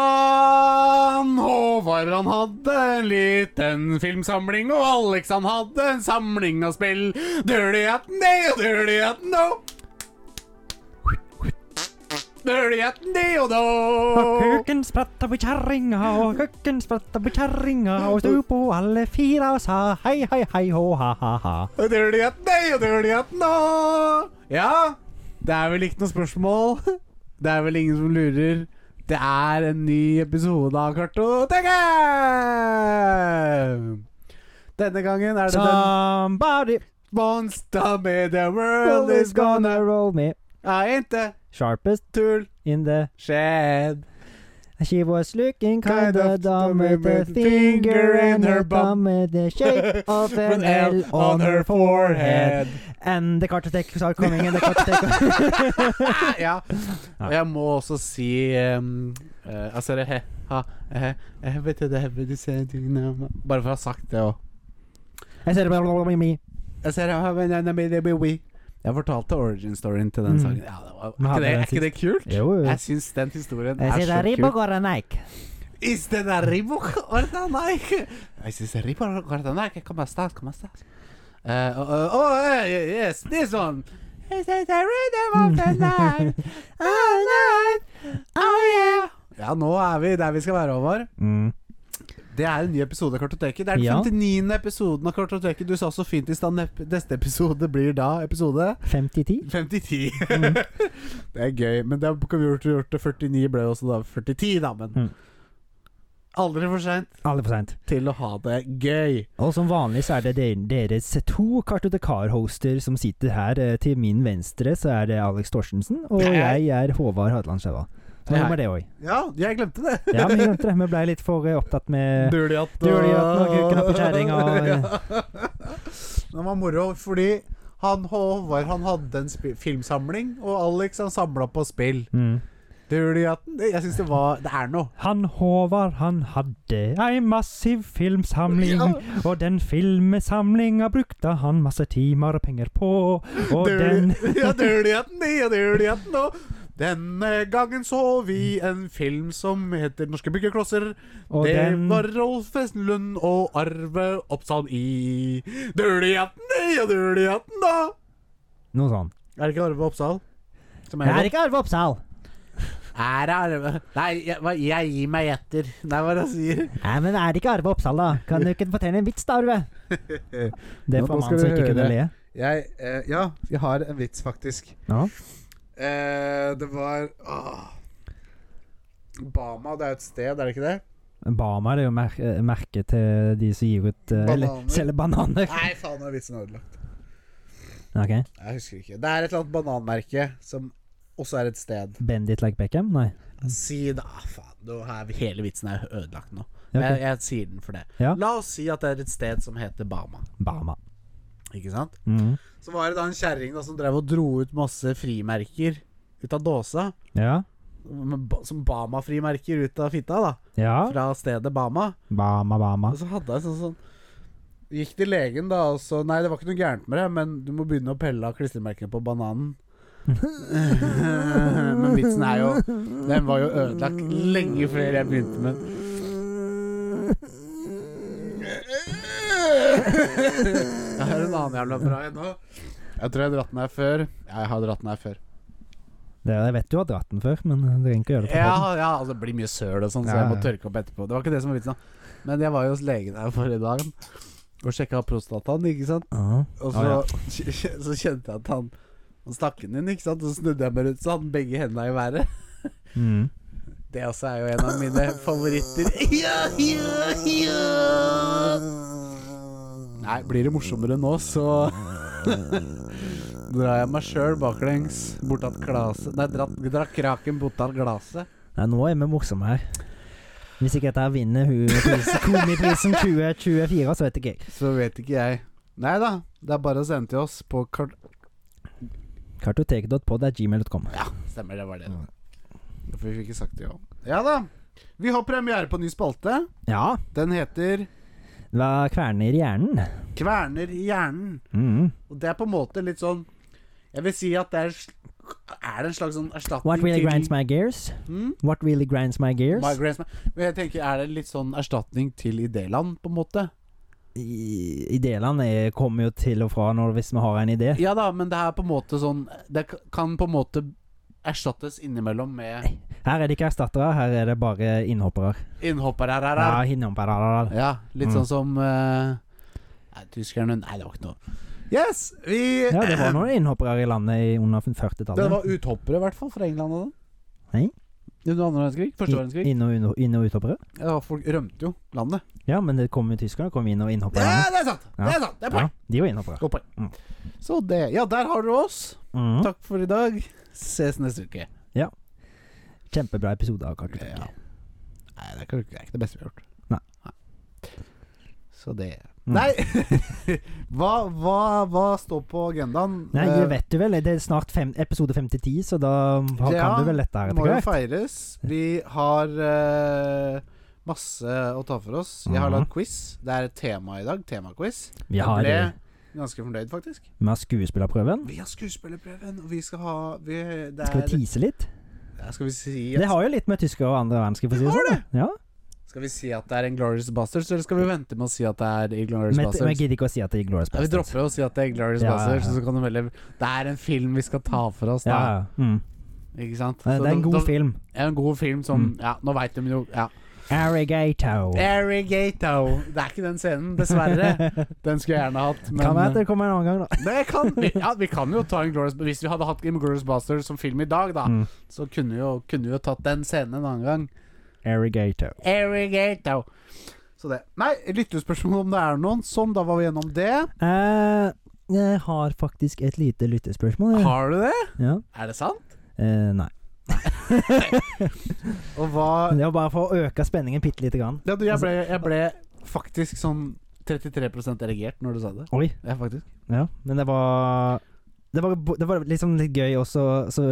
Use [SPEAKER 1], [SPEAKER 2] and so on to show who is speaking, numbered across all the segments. [SPEAKER 1] Han Håvard han hadde en liten filmsamling, og Alex han hadde en samling av spill. Dirty at nay og dirty at no. Dirty at nay og no.
[SPEAKER 2] Kuken spratta på kjerringa, og kuken spratta på kjerringa, og sto på alle fire og sa hei, hei, hei, hå, ha, ha, ha.
[SPEAKER 1] Dirty at nay og dirty at no. Ja, det er vel ikke noe spørsmål. Det er vel ingen som lurer. Det er en ny episode av Kartoteket! Denne gangen er det den
[SPEAKER 2] Somebody
[SPEAKER 1] Monster med the world
[SPEAKER 2] roll
[SPEAKER 1] is
[SPEAKER 2] is
[SPEAKER 1] gonna
[SPEAKER 2] gonna roll me
[SPEAKER 1] Er ikke
[SPEAKER 2] sharpest
[SPEAKER 1] tull
[SPEAKER 2] in the
[SPEAKER 1] skjedd.
[SPEAKER 2] She was looking
[SPEAKER 1] Kind
[SPEAKER 2] kinda
[SPEAKER 1] of
[SPEAKER 2] dumb with a finger in her bum with the shape of an L on her forehead. And the cartotech are coming, and the cartotech
[SPEAKER 1] ja. Og jeg må også si um, eh, Altså det he, ha, eh, eh, vet du det, vet du se, du, na, ma. Bare for å ha sagt det òg.
[SPEAKER 2] Jeg ser det
[SPEAKER 1] Jeg ser her, men jeg- men det blir we. Jeg fortalte origin storyen til den
[SPEAKER 2] Mm.
[SPEAKER 1] sangen. Ja, det var,
[SPEAKER 2] Men
[SPEAKER 1] er, ikke
[SPEAKER 2] hadde
[SPEAKER 1] det, er
[SPEAKER 2] den
[SPEAKER 1] ikke det kult?
[SPEAKER 2] Jo, jo.
[SPEAKER 1] Jeg syns den historien
[SPEAKER 2] Jeg
[SPEAKER 1] er
[SPEAKER 2] ser
[SPEAKER 1] så
[SPEAKER 2] det
[SPEAKER 1] kul.
[SPEAKER 2] ribogårdeneik.
[SPEAKER 1] Is det der ribok? Ordanaik? Is det der ribok? Ordanaik? Kom av sted, kom av sted. Eh, oh, oh, oh, eh, yes, this one. Is it the rhythm of the night? Oh, night. Oh, yeah. Ja, nå er vi der vi skal være, Håvard.
[SPEAKER 2] Mm.
[SPEAKER 1] Det er en ny episode av Kartoteket. Det er den
[SPEAKER 2] Ja.
[SPEAKER 1] 59. episoden av Kartoteket. Du sa så fint i stad nep- neste episode blir da episode
[SPEAKER 2] 50-10?
[SPEAKER 1] 50-10. det er gøy. Men da kan vi gjort, gjort det 49 ble jo også da 40-10, da, men
[SPEAKER 2] Mm.
[SPEAKER 1] Aldri for seint
[SPEAKER 2] Aldri for seint.
[SPEAKER 1] til å ha det gøy.
[SPEAKER 2] Og som vanlig så er det de- deres to kartotekar-hoster som sitter her. Eh, Til min venstre så er det Alex Torstensen, og
[SPEAKER 1] Hei.
[SPEAKER 2] jeg er Håvard Hadeland Skjæva. Så nå
[SPEAKER 1] Hei.
[SPEAKER 2] var det òg.
[SPEAKER 1] Ja, jeg glemte det.
[SPEAKER 2] Ja, men jeg glemte det. Vi ble litt for eh, opptatt med
[SPEAKER 1] Duliat
[SPEAKER 2] Duliatten og kuken opp i kjerringa og-
[SPEAKER 1] Den var moro fordi han Håvard han hadde en spi- filmsamling, og Alex han samla på spill.
[SPEAKER 2] mm.
[SPEAKER 1] Duliatten det- Jeg syns det var Det er noe.
[SPEAKER 2] Han Håvard, han hadde ei massiv filmsamling, og den filmsamlinga brukte han masse timer og penger på, og den
[SPEAKER 1] Duli- ja, Duliatten i og Duliatten og Denne gangen så vi en film som heter 'Norske byggeklosser'.
[SPEAKER 2] og
[SPEAKER 1] det
[SPEAKER 2] den
[SPEAKER 1] var Rolf Wesenlund og Arve Oppsal i Duliatten i og Duliatten da.
[SPEAKER 2] Noe sånn.
[SPEAKER 1] Er det ikke Arve Oppsal? Som
[SPEAKER 2] Det er ikke Arve Oppsal.
[SPEAKER 1] Er det Arve? Nei, jeg, hva- jeg gir meg etter. Det er hva jeg sier.
[SPEAKER 2] Nei, men er det ikke Arve Oppsal, da? Kan du ikke fortelle en vits, da, Arve? Det
[SPEAKER 1] Nå
[SPEAKER 2] får
[SPEAKER 1] skal
[SPEAKER 2] man som
[SPEAKER 1] du
[SPEAKER 2] ikke kunne
[SPEAKER 1] høre.
[SPEAKER 2] le.
[SPEAKER 1] Jeg, eh, ja, jeg har en vits, faktisk.
[SPEAKER 2] Ja.
[SPEAKER 1] Eh, det var åh. Bama, det er et sted, er det ikke det?
[SPEAKER 2] Bama er jo mer eh, merket til de som gir ut eh, Eller
[SPEAKER 1] Bananer.
[SPEAKER 2] selger bananer.
[SPEAKER 1] Nei, faen, nå er vitsen ødelagt.
[SPEAKER 2] Ok.
[SPEAKER 1] Jeg husker ikke. Det er et eller annet bananmerke som også er et sted.
[SPEAKER 2] Bendit like Beckham? Nei.
[SPEAKER 1] Si det. Ah, faen, nå er vi- hele vitsen er ødelagt nå.
[SPEAKER 2] Ja, ok.
[SPEAKER 1] Jeg, jeg sier den for det.
[SPEAKER 2] Ja.
[SPEAKER 1] La oss si at det er et sted som heter Bama.
[SPEAKER 2] Bama.
[SPEAKER 1] Ikke sant?
[SPEAKER 2] Mm.
[SPEAKER 1] Så var det da en kjerring da som drev og dro ut masse frimerker ut av dåsa.
[SPEAKER 2] Ja.
[SPEAKER 1] men ba- Som Bama-frimerker ut av fitta, da.
[SPEAKER 2] Ja.
[SPEAKER 1] Fra stedet Bama.
[SPEAKER 2] Bama, Bama.
[SPEAKER 1] Og så hadde jeg sånn sånn Gikk til legen, da, og så Nei, det var ikke noe gærent med det, men du må begynne å pelle av klistremerkene på bananen. men vitsen er jo Den var jo ødelagt lenge før jeg begynte med Jeg har en annen jævla bra en nå. Jeg tror jeg har dratt den her før. Jeg har dratt den her før.
[SPEAKER 2] Det, jeg vet du har dratt den før, men du trenger ikke gjøre det på
[SPEAKER 1] Ja, ja altså, det blir mye søl og sånn, så
[SPEAKER 2] Ja,
[SPEAKER 1] jeg må
[SPEAKER 2] ja.
[SPEAKER 1] tørke opp etterpå. Det var ikke det som var vitsen. da. Men jeg var jo hos legen her forrige dag og sjekka prostataen, ikke sant.
[SPEAKER 2] podden.
[SPEAKER 1] Og så,
[SPEAKER 2] Ja,
[SPEAKER 1] så kjente jeg at han Han stakk den inn, ikke sant. Så snudde jeg meg rundt, så hadde han begge hendene i været.
[SPEAKER 2] ja. Mm.
[SPEAKER 1] Det også er jo en av mine favoritter. Ja, ja, ja. Nei, blir det morsommere nå, så drar jeg meg sjøl baklengs bortatt glaset Nei, dratt, drar kraken bortatt glaset.
[SPEAKER 2] Nei, nå er vi morsomme her. Hvis ikke dette her vinner hun pris- Komiprisen 2024, så vet ikke jeg.
[SPEAKER 1] Så vet ikke jeg. Nei da, det er bare å sende til oss på kart...
[SPEAKER 2] Kartoteket.pod er gmail.com.
[SPEAKER 1] Stemmer, det var det. For vi fikk ikke sagt det jo. Ja da. Vi har premiere på ny spalte.
[SPEAKER 2] Ja,
[SPEAKER 1] Den heter
[SPEAKER 2] det var kverner i hjernen.
[SPEAKER 1] Kverner i hjernen.
[SPEAKER 2] Mm.
[SPEAKER 1] Og det er på en måte litt sånn Jeg vil si at det er sl- Er er det en slags sånn erstatning
[SPEAKER 2] What really
[SPEAKER 1] til
[SPEAKER 2] grinds my gears?
[SPEAKER 1] Hmm?
[SPEAKER 2] What really grinds my gears?
[SPEAKER 1] My grinds my Men jeg tenker, er det litt sånn erstatning til Idéland, på en måte?
[SPEAKER 2] I- Ideene er- kommer jo til og fra når, hvis vi har en idé.
[SPEAKER 1] Ja da, men det er på en måte sånn Det k- kan på en måte erstattes innimellom med
[SPEAKER 2] Her er det ikke erstattere, her er det bare innhoppere.
[SPEAKER 1] innhoppere her, her,
[SPEAKER 2] Ja,
[SPEAKER 1] her.
[SPEAKER 2] innhoppere.
[SPEAKER 1] Ja, litt
[SPEAKER 2] Mm.
[SPEAKER 1] sånn som eh, Nei, tyskerne Nei, det var ikke noe. Yes! Vi
[SPEAKER 2] Ja, det var noen innhoppere i landet i under 40-tallet.
[SPEAKER 1] Det var uthoppere, i hvert fall, fra England og
[SPEAKER 2] Nei.
[SPEAKER 1] sånn. Under andre verdenskrig? Første verdenskrig?
[SPEAKER 2] Inn- inn- og- inn- og uthoppere.
[SPEAKER 1] Ja, folk rømte jo landet.
[SPEAKER 2] Ja, men det kom jo tyskerne, kom inn og innhoppere.
[SPEAKER 1] Ja, det er sant!
[SPEAKER 2] Ja.
[SPEAKER 1] Det er sant! Det er
[SPEAKER 2] Ja,
[SPEAKER 1] poeng.
[SPEAKER 2] de var innhoppere.
[SPEAKER 1] Godt poeng.
[SPEAKER 2] Mm.
[SPEAKER 1] Så det Ja, der har dere oss.
[SPEAKER 2] Mm.
[SPEAKER 1] Takk for i dag. Ses neste uke.
[SPEAKER 2] Kjempebra episode av Kartoteket.
[SPEAKER 1] Ja. Nei, det er ikke, det er ikke det beste vi har gjort.
[SPEAKER 2] Nei.
[SPEAKER 1] Så det
[SPEAKER 2] Mm.
[SPEAKER 1] Nei! hva, hva, hva står på agendaen?
[SPEAKER 2] Nei,
[SPEAKER 1] Eh,
[SPEAKER 2] det vet du vel. Det er snart fem, episode 50-10, så da har,
[SPEAKER 1] Ja,
[SPEAKER 2] kan du vel dette her
[SPEAKER 1] må
[SPEAKER 2] etter
[SPEAKER 1] jo
[SPEAKER 2] hvert.
[SPEAKER 1] feires. Vi har eh, masse å ta for oss. Jeg har
[SPEAKER 2] Mhm.
[SPEAKER 1] lagd quiz. Det er et tema i dag. Temaquiz.
[SPEAKER 2] Vi
[SPEAKER 1] Jeg
[SPEAKER 2] har,
[SPEAKER 1] ble
[SPEAKER 2] eh,
[SPEAKER 1] ganske fornøyd, faktisk.
[SPEAKER 2] vi har skuespillerprøven.
[SPEAKER 1] Vi har skuespillerprøven, og vi skal ha vi, det
[SPEAKER 2] Skal vi
[SPEAKER 1] er,
[SPEAKER 2] tease litt?
[SPEAKER 1] Ja, skal, vi si
[SPEAKER 2] Det
[SPEAKER 1] at,
[SPEAKER 2] har jo litt med tyskere og andre verdenskrig, for å si det
[SPEAKER 1] har
[SPEAKER 2] sånn. da. Ja.
[SPEAKER 1] skal vi si at det er Inglorious Bastards, eller skal vi vente med å si at det er Inglorious
[SPEAKER 2] Men men jeg
[SPEAKER 1] Bastards?
[SPEAKER 2] gidder ikke å si at det er Glorious
[SPEAKER 1] Ja, vi dropper å si at det er Inglorious
[SPEAKER 2] Ja, ja,
[SPEAKER 1] Bastards,
[SPEAKER 2] ja.
[SPEAKER 1] så kan du velge Det er en film vi skal ta for oss, da.
[SPEAKER 2] Ja, ja. Mm.
[SPEAKER 1] Ikke sant?
[SPEAKER 2] Det
[SPEAKER 1] Så
[SPEAKER 2] er en
[SPEAKER 1] da-
[SPEAKER 2] god
[SPEAKER 1] da-
[SPEAKER 2] film. Mm.
[SPEAKER 1] Ja, en god film som Ja, nå veit de jo ja.
[SPEAKER 2] Arigato.
[SPEAKER 1] Arigato. Det er ikke den scenen, dessverre. Den skulle jeg gjerne hatt. Men eh,
[SPEAKER 2] Kan være at det kommer en annen gang, da.
[SPEAKER 1] det kan, vi, ja, vi kan jo ta Inglourious Hvis vi hadde hatt Inglourious Basterds som film i dag, da,
[SPEAKER 2] Mm.
[SPEAKER 1] så kunne vi jo, kunne vi jo tatt den scenen en annen gang.
[SPEAKER 2] Arigato.
[SPEAKER 1] Arigato. Så det. Nei, lyttespørsmål om det er noen. Sånn, da var vi gjennom det.
[SPEAKER 2] Eh, jeg har faktisk et lite lyttespørsmål. jeg.
[SPEAKER 1] Har du det?
[SPEAKER 2] Ja.
[SPEAKER 1] Er det sant?
[SPEAKER 2] Eh, nei.
[SPEAKER 1] Og hva
[SPEAKER 2] Men Det var bare for å øke spenningen bitte lite grann.
[SPEAKER 1] ja, du, jeg, ble, jeg ble faktisk sånn 33 erigert når du sa det.
[SPEAKER 2] Oi.
[SPEAKER 1] Ja, faktisk.
[SPEAKER 2] Ja, men det var det var, det var liksom litt gøy også, så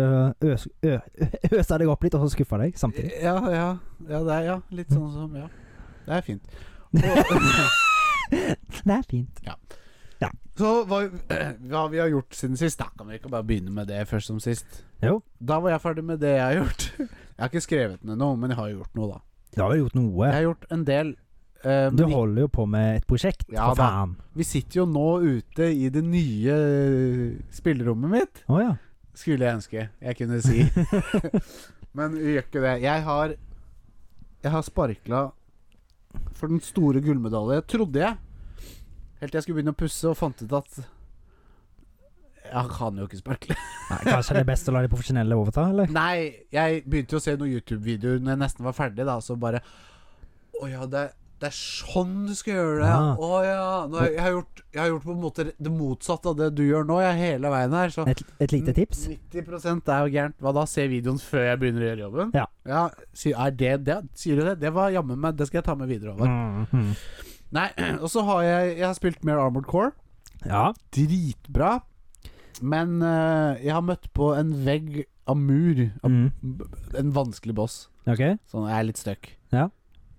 [SPEAKER 2] øs, ø, øsa deg opp litt, og så skuffa deg samtidig.
[SPEAKER 1] Ja, ja. ja, det er, ja. Litt sånn som Ja. Det er fint. Og,
[SPEAKER 2] Det er fint.
[SPEAKER 1] Så hva, hva vi har gjort siden sist, da kan vi ikke bare begynne med det først som sist.
[SPEAKER 2] Jo.
[SPEAKER 1] Da var jeg ferdig med det jeg har gjort. Jeg har ikke skrevet ned noe, men jeg har jo gjort noe, da.
[SPEAKER 2] Du har jo gjort noe.
[SPEAKER 1] Jeg har gjort en del. eh,
[SPEAKER 2] Du
[SPEAKER 1] men
[SPEAKER 2] holder jo på med et prosjekt,
[SPEAKER 1] Ja,
[SPEAKER 2] for
[SPEAKER 1] da.
[SPEAKER 2] faen.
[SPEAKER 1] vi sitter jo nå ute i det nye eh, spillerommet mitt,
[SPEAKER 2] Å ja.
[SPEAKER 1] skulle jeg ønske jeg kunne si. men vi gjør ikke det. Jeg har Jeg har sparkla for den store gullmedalje, trodde jeg. Helt til jeg skulle begynne å pusse og fant ut at Jeg kan jo ikke sparkle.
[SPEAKER 2] Nei, kanskje det er best å la de profesjonelle overta, eller?
[SPEAKER 1] Nei, jeg begynte jo å se noen YouTube-videoer Når jeg nesten var ferdig da Så bare Å ja, det, det er sånn du skal gjøre det
[SPEAKER 2] Ja.
[SPEAKER 1] Å ja Nå, har jeg, jeg, har gjort, jeg har gjort på en måte det motsatte av det du gjør nå Jeg er hele veien her Så
[SPEAKER 2] Et, et lite tips?
[SPEAKER 1] 90% er jo gærent Hva da? Se videoen før jeg begynner å gjøre jobben
[SPEAKER 2] Ja.
[SPEAKER 1] si- er det, det, Sier du det? Det var jammen meg Det skal jeg ta med videre over
[SPEAKER 2] Mm, mm.
[SPEAKER 1] Nei, og så har jeg Jeg har spilt mer Armored Core
[SPEAKER 2] Ja.
[SPEAKER 1] Dritbra Men eh, jeg har møtt på en vegg av mur av-
[SPEAKER 2] Mm.
[SPEAKER 1] En vanskelig boss
[SPEAKER 2] Ok.
[SPEAKER 1] Sånn, jeg er litt stuck.
[SPEAKER 2] Ja.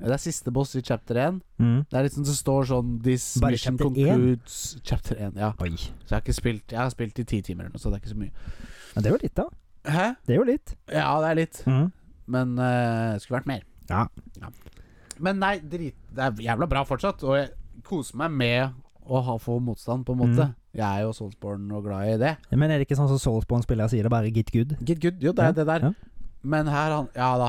[SPEAKER 1] Det er siste boss i chapter 1.
[SPEAKER 2] Mm.
[SPEAKER 1] Det er litt sånn det står sånn This
[SPEAKER 2] Bare
[SPEAKER 1] mission
[SPEAKER 2] chapter
[SPEAKER 1] concludes Chapter 1, ja.
[SPEAKER 2] Oi.
[SPEAKER 1] Så jeg har ikke spilt Jeg har spilt i ti timer eller noe, så det er ikke så mye.
[SPEAKER 2] Ja, det er jo litt, da.
[SPEAKER 1] Hæ?
[SPEAKER 2] Det er jo litt.
[SPEAKER 1] Ja, det er litt.
[SPEAKER 2] Mm.
[SPEAKER 1] Men eh, det skulle vært mer.
[SPEAKER 2] Ja.
[SPEAKER 1] Men nei, drit Det er jævla bra fortsatt, og jeg koser meg med å ha få motstand, på en måte.
[SPEAKER 2] Mm.
[SPEAKER 1] Jeg er jo Soulsborne og glad i det.
[SPEAKER 2] Men er det ikke sånn som Soulsborne-spillere sier det, bare git good?
[SPEAKER 1] Get good, jo, det er det der.
[SPEAKER 2] Ja.
[SPEAKER 1] Men her han Ja da.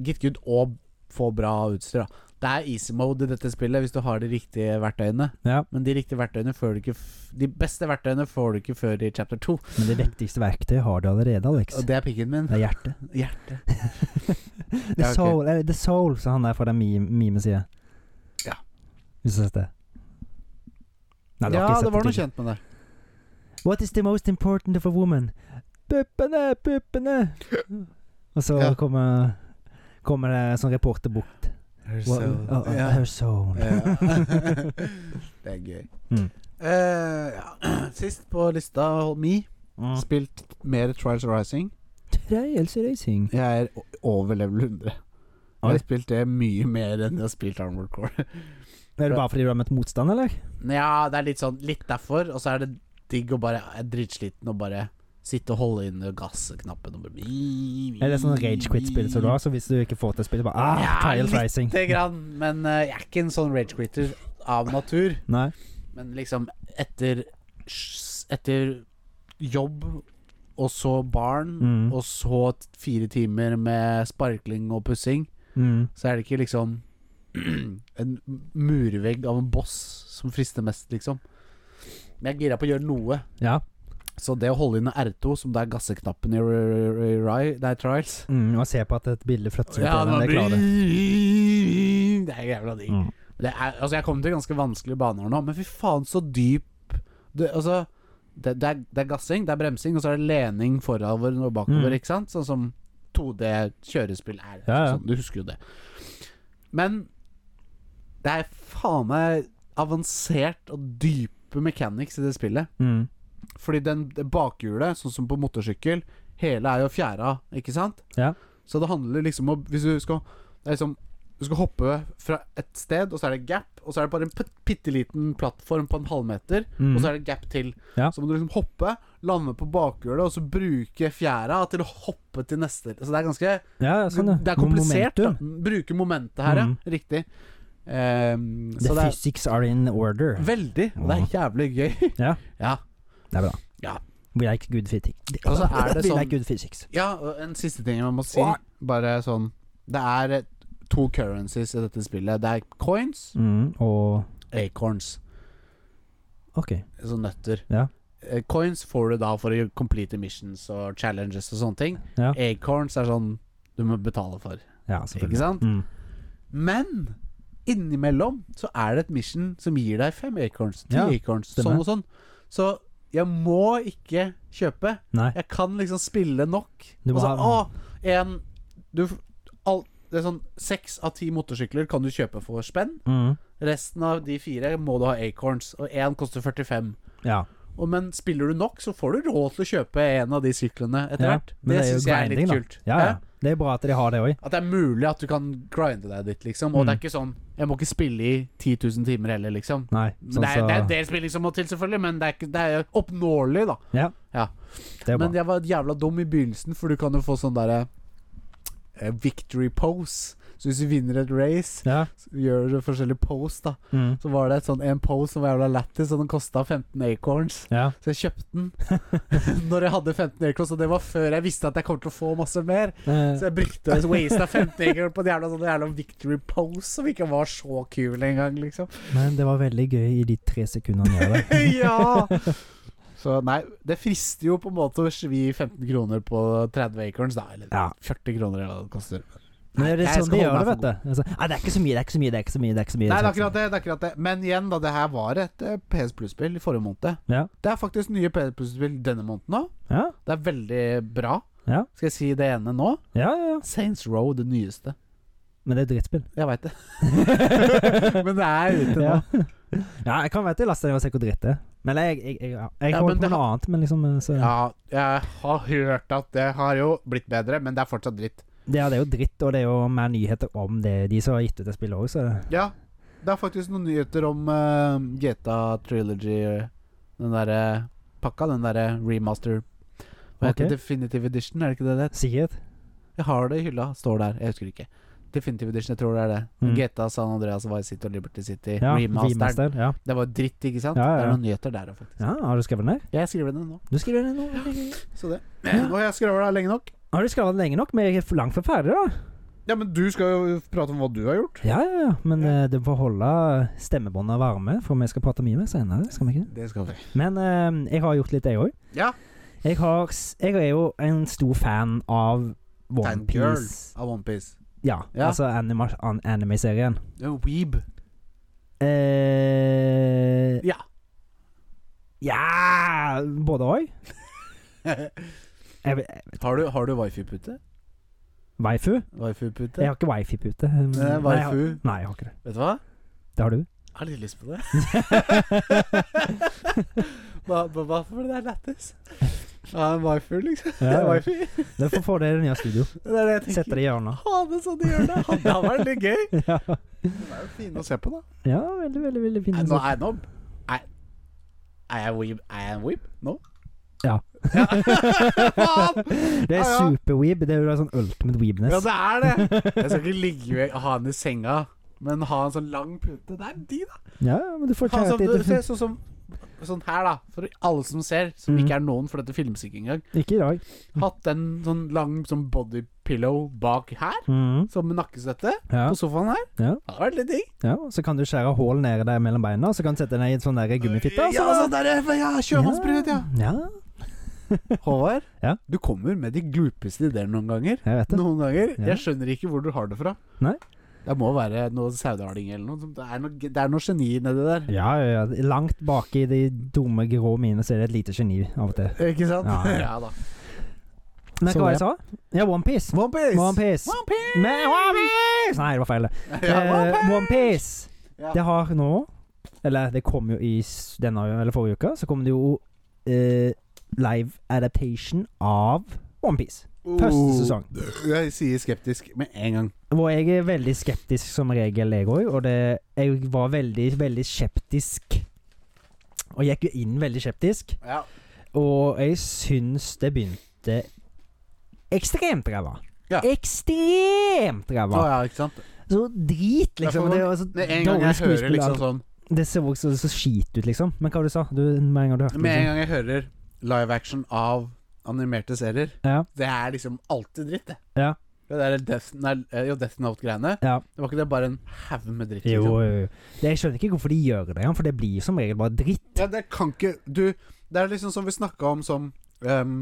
[SPEAKER 1] Get good og få bra utstyr, da. Det er easy mode i dette spillet hvis du har de riktige verktøyene.
[SPEAKER 2] Ja.
[SPEAKER 1] Men de riktige verktøyene får du ikke f De beste verktøyene får du ikke før i chapter 2.
[SPEAKER 2] Men det viktigste verktøyet har du allerede, Alex.
[SPEAKER 1] Og det er pikken min.
[SPEAKER 2] Det er hjertet.
[SPEAKER 1] Hjertet.
[SPEAKER 2] The
[SPEAKER 1] Ja, ok.
[SPEAKER 2] Soul, eller The Soul, som han der fra den meme- meme-sida.
[SPEAKER 1] Ja.
[SPEAKER 2] Hvis du har sett det. Nei, du har
[SPEAKER 1] ja,
[SPEAKER 2] ikke sett
[SPEAKER 1] det var noe
[SPEAKER 2] du.
[SPEAKER 1] kjent med det.
[SPEAKER 2] What is the most important of a woman? Puppene, puppene! Og så
[SPEAKER 1] Ja.
[SPEAKER 2] kommer, kommer det en sånn reporter bort. What- oh, oh,
[SPEAKER 1] Ja.
[SPEAKER 2] Her soul.
[SPEAKER 1] Ja. det er gøy.
[SPEAKER 2] Mm.
[SPEAKER 1] Eh, ja. Sist på lista, hold me,
[SPEAKER 2] Mm.
[SPEAKER 1] spilt mer Trials Rising.
[SPEAKER 2] Trials Racing.
[SPEAKER 1] Jeg er o- over level 100. Jeg
[SPEAKER 2] Oi.
[SPEAKER 1] har spilt det mye mer enn jeg har spilt Armored Core.
[SPEAKER 2] Er det bare fordi du har møtt motstand, eller?
[SPEAKER 1] Nja, det er litt sånn Litt derfor, og så er det digg å bare Jeg er dritsliten og bare Sitte og holde inn gassknappen og bare
[SPEAKER 2] Er det sånn rage quit-spill som du har? Så hvis du ikke får til spillet, bare ah,
[SPEAKER 1] Ja,
[SPEAKER 2] Trials
[SPEAKER 1] lite
[SPEAKER 2] Rising.
[SPEAKER 1] Lite grann, men eh, jeg er ikke en sånn rage quitter av natur.
[SPEAKER 2] Nei.
[SPEAKER 1] Men liksom etter Etter jobb og så barn,
[SPEAKER 2] Mm.
[SPEAKER 1] og så t- fire timer med sparkling og pussing,
[SPEAKER 2] Mm.
[SPEAKER 1] så er det ikke liksom en murvegg av en boss som frister mest, liksom. Men jeg er gira på å gjøre noe.
[SPEAKER 2] Ja.
[SPEAKER 1] Så det å holde inn R2, som det er gasseknappen i r r r Ri- det er Trials
[SPEAKER 2] Mm, og se på at et bilde flytter seg på
[SPEAKER 1] det,
[SPEAKER 2] den, det klarer du.
[SPEAKER 1] det er jævla digg.
[SPEAKER 2] Mm.
[SPEAKER 1] Det er, altså jeg kom til ganske vanskelige baner nå, men fy faen så dyp det, Altså, det, det, er, det er gassing, det er bremsing, og så er det lening forover og bakover,
[SPEAKER 2] Mm.
[SPEAKER 1] ikke sant? Sånn som 2D-kjørespill er.
[SPEAKER 2] Ja, ja.
[SPEAKER 1] Sånn, du husker jo det. Men det er faen meg avansert og dype mechanics i det spillet.
[SPEAKER 2] Mm.
[SPEAKER 1] Fordi den det bakhjulet, sånn som på motorsykkel, hele er jo fjæra, ikke sant?
[SPEAKER 2] Ja.
[SPEAKER 1] Så det handler liksom om Hvis du skal det er liksom, Du skal hoppe fra et sted, og så er det gap, og så er det bare en bitte liten plattform på en halvmeter,
[SPEAKER 2] Mm.
[SPEAKER 1] og så er det gap til.
[SPEAKER 2] Ja.
[SPEAKER 1] Så må du liksom hoppe, lande på bakhjulet, og så bruke fjæra til å hoppe til neste. Så det er ganske
[SPEAKER 2] Ja, ja, sånn, ja.
[SPEAKER 1] Det er komplisert. Da.
[SPEAKER 2] Momentum.
[SPEAKER 1] Bruke momentet her,
[SPEAKER 2] Mm.
[SPEAKER 1] ja. Riktig. Ehm,
[SPEAKER 2] The
[SPEAKER 1] så det er
[SPEAKER 2] physics are in order.
[SPEAKER 1] veldig, og det er jævlig gøy.
[SPEAKER 2] Ja.
[SPEAKER 1] ja.
[SPEAKER 2] Det er bra.
[SPEAKER 1] Ja.
[SPEAKER 2] We like good physics.
[SPEAKER 1] Og så er det
[SPEAKER 2] We
[SPEAKER 1] sånn-
[SPEAKER 2] like good physics.
[SPEAKER 1] Ja, og en siste ting man må si.
[SPEAKER 2] Åh.
[SPEAKER 1] Bare sånn Det er eh, to currencies i dette spillet. Det er coins,
[SPEAKER 2] Mm, og
[SPEAKER 1] acorns,
[SPEAKER 2] OK.
[SPEAKER 1] så nøtter.
[SPEAKER 2] Ja.
[SPEAKER 1] Eh, Coins får du da for å complete missions og challenges og sånne ting.
[SPEAKER 2] Ja.
[SPEAKER 1] Acorns er sånn du må betale for,
[SPEAKER 2] Ja,
[SPEAKER 1] ikke
[SPEAKER 2] selvfølgelig.
[SPEAKER 1] sant?
[SPEAKER 2] Mm.
[SPEAKER 1] Men innimellom så er det et mission som gir deg fem acorns, ti
[SPEAKER 2] Ja,
[SPEAKER 1] acorns, sånn
[SPEAKER 2] stemmer.
[SPEAKER 1] og sånn. Så jeg må ikke kjøpe.
[SPEAKER 2] Nei.
[SPEAKER 1] Jeg kan liksom spille nok.
[SPEAKER 2] Du må
[SPEAKER 1] Og så,
[SPEAKER 2] ha-
[SPEAKER 1] å, en du, f- all, Det er sånn seks av ti motorsykler kan du kjøpe for spenn.
[SPEAKER 2] Mm.
[SPEAKER 1] Resten av de fire må du ha acorns, og én koster 45.
[SPEAKER 2] Ja.
[SPEAKER 1] Og, men spiller du nok, så får du råd til å kjøpe en av de syklene etter
[SPEAKER 2] Ja,
[SPEAKER 1] hvert. Det,
[SPEAKER 2] men det er jo
[SPEAKER 1] syns jeg er litt
[SPEAKER 2] grinding, da.
[SPEAKER 1] kult.
[SPEAKER 2] Ja, ja.
[SPEAKER 1] Hæ?
[SPEAKER 2] Det er bra at de har det òg.
[SPEAKER 1] At det er mulig at du kan grinde deg dit, liksom. Og
[SPEAKER 2] Mm.
[SPEAKER 1] det er ikke sånn Jeg må ikke spille i 10 000 timer heller, liksom.
[SPEAKER 2] Nei.
[SPEAKER 1] Men
[SPEAKER 2] Sånn
[SPEAKER 1] det, er,
[SPEAKER 2] så
[SPEAKER 1] det er en del spilling som må til, selvfølgelig, men det er, ikke, det er oppnåelig, da.
[SPEAKER 2] Ja.
[SPEAKER 1] Ja.
[SPEAKER 2] Det er bra.
[SPEAKER 1] Men jeg var jævla dum i begynnelsen, for du kan jo få sånn derre eh, victory pose. Så hvis du vinner et race,
[SPEAKER 2] Ja.
[SPEAKER 1] så gjør du forskjellige pose, da.
[SPEAKER 2] Mm.
[SPEAKER 1] Så var det et sånn, en pose som var jævla lættis, og den kosta 15 acorns.
[SPEAKER 2] Ja.
[SPEAKER 1] Så jeg kjøpte den når jeg hadde 15 acorns, og det var før jeg visste at jeg kom til å få masse mer.
[SPEAKER 2] Eh,
[SPEAKER 1] Så jeg brukte og wasta 15 acorns på en jævla, sånn jævla victory pose, som ikke var så kul engang, liksom.
[SPEAKER 2] Eh, Men det var veldig gøy i de tre sekundene jeg var der.
[SPEAKER 1] ja! Så nei, det frister jo på en måte å svi 15 kroner på 30 acorns, da. Eller
[SPEAKER 2] Ja.
[SPEAKER 1] 40 kroner, eller hva det koster.
[SPEAKER 2] Men det er
[SPEAKER 1] Jeg
[SPEAKER 2] sånn
[SPEAKER 1] skal holde
[SPEAKER 2] de gjør det,
[SPEAKER 1] meg
[SPEAKER 2] vet du. Altså, Nei, det er ikke så mye, det er ikke så mye, det er ikke så mye. Det er ikke så mye
[SPEAKER 1] Nei, det er akkurat det. det, er akkurat det. Men igjen, da. Det her var et eh, PS Plus-spill i forrige måned.
[SPEAKER 2] Ja.
[SPEAKER 1] Det er faktisk nye PS Plus-spill denne måneden òg.
[SPEAKER 2] Ja,
[SPEAKER 1] Det er veldig bra.
[SPEAKER 2] Ja.
[SPEAKER 1] Skal jeg si det ene nå?
[SPEAKER 2] ja, ja, ja.
[SPEAKER 1] Saints Row, det nyeste.
[SPEAKER 2] Men det er drittspill.
[SPEAKER 1] Jeg veit det. Men det er ute nå.
[SPEAKER 2] ja. ja, jeg kan vite lasta ned og se hvor dritt det er. Men jeg, jeg, jeg, ja. jeg
[SPEAKER 1] Ja,
[SPEAKER 2] holder
[SPEAKER 1] men
[SPEAKER 2] på
[SPEAKER 1] det
[SPEAKER 2] noe annet, men liksom eh, så, ja.
[SPEAKER 1] Ja, jeg har hørt at det har jo blitt bedre, men det er fortsatt dritt.
[SPEAKER 2] ja, det er jo dritt, og det er jo mer nyheter om det, de som har gitt ut det spillet òg, så
[SPEAKER 1] Ja, det er faktisk noen nyheter om uh, GTA Trilogy, eh, den derre pakka, den derre remaster. Hva heter
[SPEAKER 2] Ok.
[SPEAKER 1] det? Definitive Edition, er det ikke det det heter?
[SPEAKER 2] Sikkert.
[SPEAKER 1] Jeg har det i hylla, står der, jeg husker ikke. Definitive Edition, jeg tror det er det.
[SPEAKER 2] Mm.
[SPEAKER 1] GTA San Andreas Vice City og Liberty City,
[SPEAKER 2] Ja,
[SPEAKER 1] remasteren.
[SPEAKER 2] remaster. Ja.
[SPEAKER 1] Det var dritt, ikke sant?
[SPEAKER 2] Ja, ja,
[SPEAKER 1] Det
[SPEAKER 2] ja.
[SPEAKER 1] er noen nyheter der òg, faktisk.
[SPEAKER 2] ja, har du skrevet det ned?
[SPEAKER 1] Jeg skriver det nå.
[SPEAKER 2] Du skriver det ned nå.
[SPEAKER 1] Så det. Og jeg skriver det lenge nok.
[SPEAKER 2] Har du skrevet det lenge nok? Vi er langt fra ferdig, da.
[SPEAKER 1] Ja, men du skal jo prate om hva du har gjort.
[SPEAKER 2] Ja, ja, ja. Men eh, det får holde stemmebåndene varme, for vi skal prate mye mer senere. Skal vi ikke?
[SPEAKER 1] Mm. Det skal vi.
[SPEAKER 2] Men eh, jeg har gjort litt, jeg òg.
[SPEAKER 1] Ja.
[SPEAKER 2] Jeg, har, s- jeg er jo en stor fan av
[SPEAKER 1] Fan girl.
[SPEAKER 2] OnePiece.
[SPEAKER 1] Av OnePiece.
[SPEAKER 2] Ja,
[SPEAKER 1] Ja.
[SPEAKER 2] altså anima, an, anime-serien.
[SPEAKER 1] Weeb.
[SPEAKER 2] Eh,
[SPEAKER 1] Ja.
[SPEAKER 2] ja Både òg. Jeg vet-
[SPEAKER 1] Har du, har du wifi-pute?
[SPEAKER 2] Waifu?
[SPEAKER 1] Waifu-pute?
[SPEAKER 2] Jeg har ikke wifi-pute. men-
[SPEAKER 1] Det er
[SPEAKER 2] Nei, jeg har-
[SPEAKER 1] Eh, waifu.
[SPEAKER 2] Nei, jeg har ikke det.
[SPEAKER 1] Vet du hva?
[SPEAKER 2] Det har du.
[SPEAKER 1] Jeg har litt lyst på det. hva, hva, hva for det er lættis? Ja, en waifu, liksom.
[SPEAKER 2] Ja, ja.
[SPEAKER 1] Waifu.
[SPEAKER 2] Du får få det i det nye studio.
[SPEAKER 1] Det er det jeg
[SPEAKER 2] Sette
[SPEAKER 1] tenker.
[SPEAKER 2] det i hjørnet.
[SPEAKER 1] Ha det sånn de gjør det. Ha- Det hadde vært litt gøy.
[SPEAKER 2] Ja.
[SPEAKER 1] De er jo fine å se på, da.
[SPEAKER 2] ja, sånn- veldig, veldig veldig fin.
[SPEAKER 1] Nei, nå er jeg nå Er er jeg weeb? Er jeg en weeb? Nå?
[SPEAKER 2] Ja.
[SPEAKER 1] Ja. Faen!
[SPEAKER 2] Det er
[SPEAKER 1] Ja, ja.
[SPEAKER 2] superweeb. Det er jo sånn ultimate
[SPEAKER 1] Ja,
[SPEAKER 2] weebness.
[SPEAKER 1] det er det. Jeg skal ikke ligge med ha han i senga, men ha en sånn lang pute. Det er de, da.
[SPEAKER 2] Ja, ja, men du får
[SPEAKER 1] Han som,
[SPEAKER 2] kjærlighet
[SPEAKER 1] se, sånn som Sånn her, da. For alle som ser, som
[SPEAKER 2] Mhm.
[SPEAKER 1] ikke er noen, for dette filmes ikke engang.
[SPEAKER 2] Ikke i dag.
[SPEAKER 1] Hatt en sånn lang sånn body pillow bak her,
[SPEAKER 2] Mhm.
[SPEAKER 1] som en nakkestøtte,
[SPEAKER 2] Ja.
[SPEAKER 1] på sofaen her.
[SPEAKER 2] Ja.
[SPEAKER 1] Det hadde vært litt digg.
[SPEAKER 2] ja. Så kan du skjære hull nede der mellom beina, og så kan du sette den i en sånn der gummifitte. og
[SPEAKER 1] Ja,
[SPEAKER 2] så-
[SPEAKER 1] sånn der, ja, sjømannsbrud, ja.
[SPEAKER 2] ja.
[SPEAKER 1] Håvard,
[SPEAKER 2] Ja.
[SPEAKER 1] du kommer med de glupeste ideene noen ganger.
[SPEAKER 2] Jeg vet det.
[SPEAKER 1] Noen ganger.
[SPEAKER 2] Ja.
[SPEAKER 1] Jeg skjønner ikke hvor du har det fra.
[SPEAKER 2] Nei.
[SPEAKER 1] Det må være noe saudaling eller noe. sånt. Det er noe, det er noe geni nedi der.
[SPEAKER 2] Ja, ja, ja. Langt bak i de dumme grå mine så er det et lite geni av og til.
[SPEAKER 1] Ikke sant?
[SPEAKER 2] Ja, ja.
[SPEAKER 1] ja da.
[SPEAKER 2] Men
[SPEAKER 1] Så
[SPEAKER 2] hva
[SPEAKER 1] det-
[SPEAKER 2] jeg sa? Ja, OnePiece.
[SPEAKER 1] OnePiece!
[SPEAKER 2] OnePiece. Men OnePiece! Nei, det var feil. det. Eh, OnePiece.
[SPEAKER 1] Ja.
[SPEAKER 2] Det har nå Eller det kom jo i s- denne eller forrige uke, så kom det jo eh, live adaptation av OnePiece. Første sesong.
[SPEAKER 1] oh. Jeg sier skeptisk med en gang.
[SPEAKER 2] Hvor jeg er veldig skeptisk som regel, jeg òg. Og det, jeg var veldig, veldig skeptisk. Og gikk jo inn veldig skeptisk.
[SPEAKER 1] Ja.
[SPEAKER 2] Og jeg syns det begynte ekstremt ræva.
[SPEAKER 1] Ja.
[SPEAKER 2] Ekstremt
[SPEAKER 1] Å
[SPEAKER 2] ræva!
[SPEAKER 1] ja, ikke sant?
[SPEAKER 2] Så drit, liksom.
[SPEAKER 1] Ja, for
[SPEAKER 2] Det var så
[SPEAKER 1] Med en gang
[SPEAKER 2] dårlig
[SPEAKER 1] jeg hører
[SPEAKER 2] skuespill,
[SPEAKER 1] liksom
[SPEAKER 2] alt.
[SPEAKER 1] sånn
[SPEAKER 2] Det ser også så skit ut, liksom. Men hva var det du sa du? Med en gang du hørte
[SPEAKER 1] Med en
[SPEAKER 2] liksom.
[SPEAKER 1] gang jeg hører live action av animerte serier,
[SPEAKER 2] Ja.
[SPEAKER 1] det er liksom alltid dritt, det.
[SPEAKER 2] Ja.
[SPEAKER 1] Det der Death, nei, eh, jo, Death Note-greiene,
[SPEAKER 2] Ja.
[SPEAKER 1] det var ikke det bare en haug med dritt?
[SPEAKER 2] Jo,
[SPEAKER 1] Liksom?
[SPEAKER 2] jo, jo. Det, jeg skjønner ikke hvorfor de gjør det, for det blir som regel bare dritt.
[SPEAKER 1] Ja, det kan ikke Du, det er liksom som vi snakka om som ehm,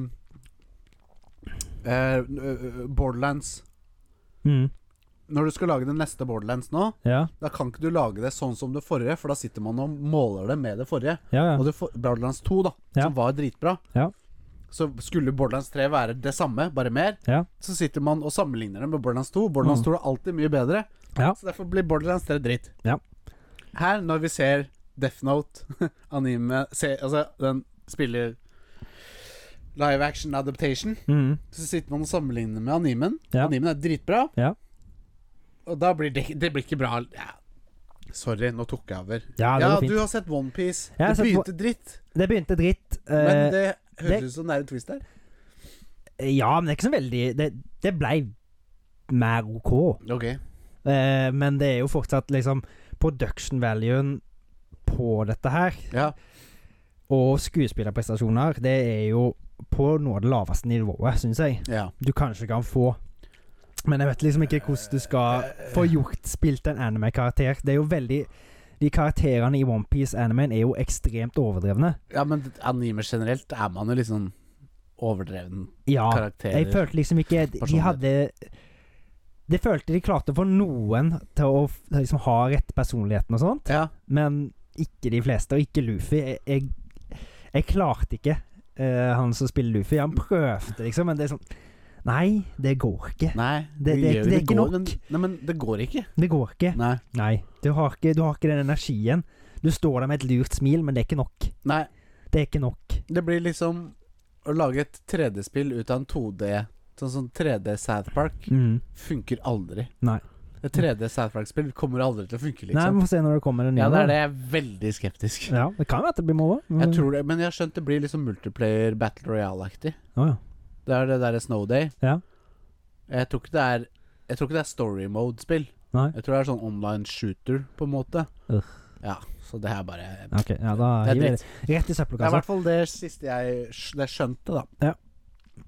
[SPEAKER 1] eh, eh, Borderlands.
[SPEAKER 2] Mm.
[SPEAKER 1] Når du skal lage den neste Borderlands nå,
[SPEAKER 2] Ja,
[SPEAKER 1] Da kan ikke du lage det sånn som det forrige, for da sitter man og måler det med det forrige.
[SPEAKER 2] ja, ja.
[SPEAKER 1] Og det for, Borderlands 2, da,
[SPEAKER 2] Ja.
[SPEAKER 1] som var dritbra,
[SPEAKER 2] Ja.
[SPEAKER 1] så skulle Borderlands 3 være det samme, bare mer.
[SPEAKER 2] Ja.
[SPEAKER 1] Så sitter man og sammenligner det med Borderlands 2. Borderlands
[SPEAKER 2] Mm.
[SPEAKER 1] 2 er alltid mye bedre,
[SPEAKER 2] Ja.
[SPEAKER 1] så derfor blir Borderlands 3 dritt.
[SPEAKER 2] Ja.
[SPEAKER 1] Her, når vi ser Death Note, anime se, Altså, den spiller live action adaptation,
[SPEAKER 2] Mm.
[SPEAKER 1] så sitter man og sammenligner med animen.
[SPEAKER 2] Ja.
[SPEAKER 1] Animen er dritbra.
[SPEAKER 2] Ja.
[SPEAKER 1] Og da blir det, det blir ikke bra. Ja. Sorry, nå tok jeg over.
[SPEAKER 2] ja, det
[SPEAKER 1] Ja,
[SPEAKER 2] var
[SPEAKER 1] du
[SPEAKER 2] fint.
[SPEAKER 1] har sett OnePiece.
[SPEAKER 2] Jeg har
[SPEAKER 1] Det
[SPEAKER 2] sett
[SPEAKER 1] begynte dritt,
[SPEAKER 2] Det begynte dritt. eh,
[SPEAKER 1] men det høres
[SPEAKER 2] det-
[SPEAKER 1] ut som det er en twist der.
[SPEAKER 2] Ja, men det er ikke så veldig Det, det blei mer OK.
[SPEAKER 1] Ok
[SPEAKER 2] Eh, men det er jo fortsatt liksom Production valuen på dette her,
[SPEAKER 1] Ja,
[SPEAKER 2] og skuespillerprestasjoner, det er jo på noe av det laveste nivået, syns jeg.
[SPEAKER 1] ja.
[SPEAKER 2] Du kanskje kan få Men jeg vet liksom ikke hvordan du skal
[SPEAKER 1] Eh,
[SPEAKER 2] få gjort spilt en anime-karakter. Det er jo veldig De karakterene i OnePiece-animen er jo ekstremt overdrevne.
[SPEAKER 1] ja men anime generelt er man jo litt sånn overdreven
[SPEAKER 2] Ja.
[SPEAKER 1] karakterer.
[SPEAKER 2] Jeg følte liksom ikke De
[SPEAKER 1] personlighet.
[SPEAKER 2] hadde De følte de klarte å få noen til å f- liksom ha rett personligheten og sånn. sånt,
[SPEAKER 1] Ja.
[SPEAKER 2] men ikke de fleste, og ikke Luffy. Jeg, jeg, jeg klarte ikke eh, han som spiller Luffy. Han prøvde, liksom, men det er sånn Nei, det går ikke.
[SPEAKER 1] Nei,
[SPEAKER 2] Det- det er
[SPEAKER 1] gjør-
[SPEAKER 2] ikke- det er ikke
[SPEAKER 1] går,
[SPEAKER 2] nok.
[SPEAKER 1] Men, nei, men det går ikke.
[SPEAKER 2] Det går ikke.
[SPEAKER 1] Nei.
[SPEAKER 2] Nei. Du har ikke, du har ikke den energien. Du står der med et lurt smil, men det er ikke nok.
[SPEAKER 1] nei.
[SPEAKER 2] Det er ikke nok.
[SPEAKER 1] Det blir liksom å lage et 3D-spill ut av en 2D Sånn som 3D South Park
[SPEAKER 2] Mm.
[SPEAKER 1] funker aldri.
[SPEAKER 2] Nei.
[SPEAKER 1] Et 3D South Park-spill kommer aldri til å funke,
[SPEAKER 2] Nei,
[SPEAKER 1] liksom.
[SPEAKER 2] vi får se når det kommer en ny.
[SPEAKER 1] ja, det
[SPEAKER 2] da.
[SPEAKER 1] er det. Jeg er veldig skeptisk.
[SPEAKER 2] Ja, det kan være at det blir moro.
[SPEAKER 1] Jeg tror det, Men jeg har skjønt det blir liksom multiplayer Battle Royale-aktig.
[SPEAKER 2] Å, ja.
[SPEAKER 1] Det er det derre Snow Day.
[SPEAKER 2] Ja.
[SPEAKER 1] Jeg tror ikke det er Jeg tror ikke det er story mode-spill.
[SPEAKER 2] Nei.
[SPEAKER 1] Jeg tror det er sånn online shooter, på en måte.
[SPEAKER 2] Ugh.
[SPEAKER 1] Ja, så det er bare
[SPEAKER 2] Ok, ja, da
[SPEAKER 1] Det er
[SPEAKER 2] hiver jeg
[SPEAKER 1] dritt.
[SPEAKER 2] altså. det rett i
[SPEAKER 1] Det er i
[SPEAKER 2] søppelkassa.
[SPEAKER 1] hvert fall det siste jeg skj- det skjønte, da. ja.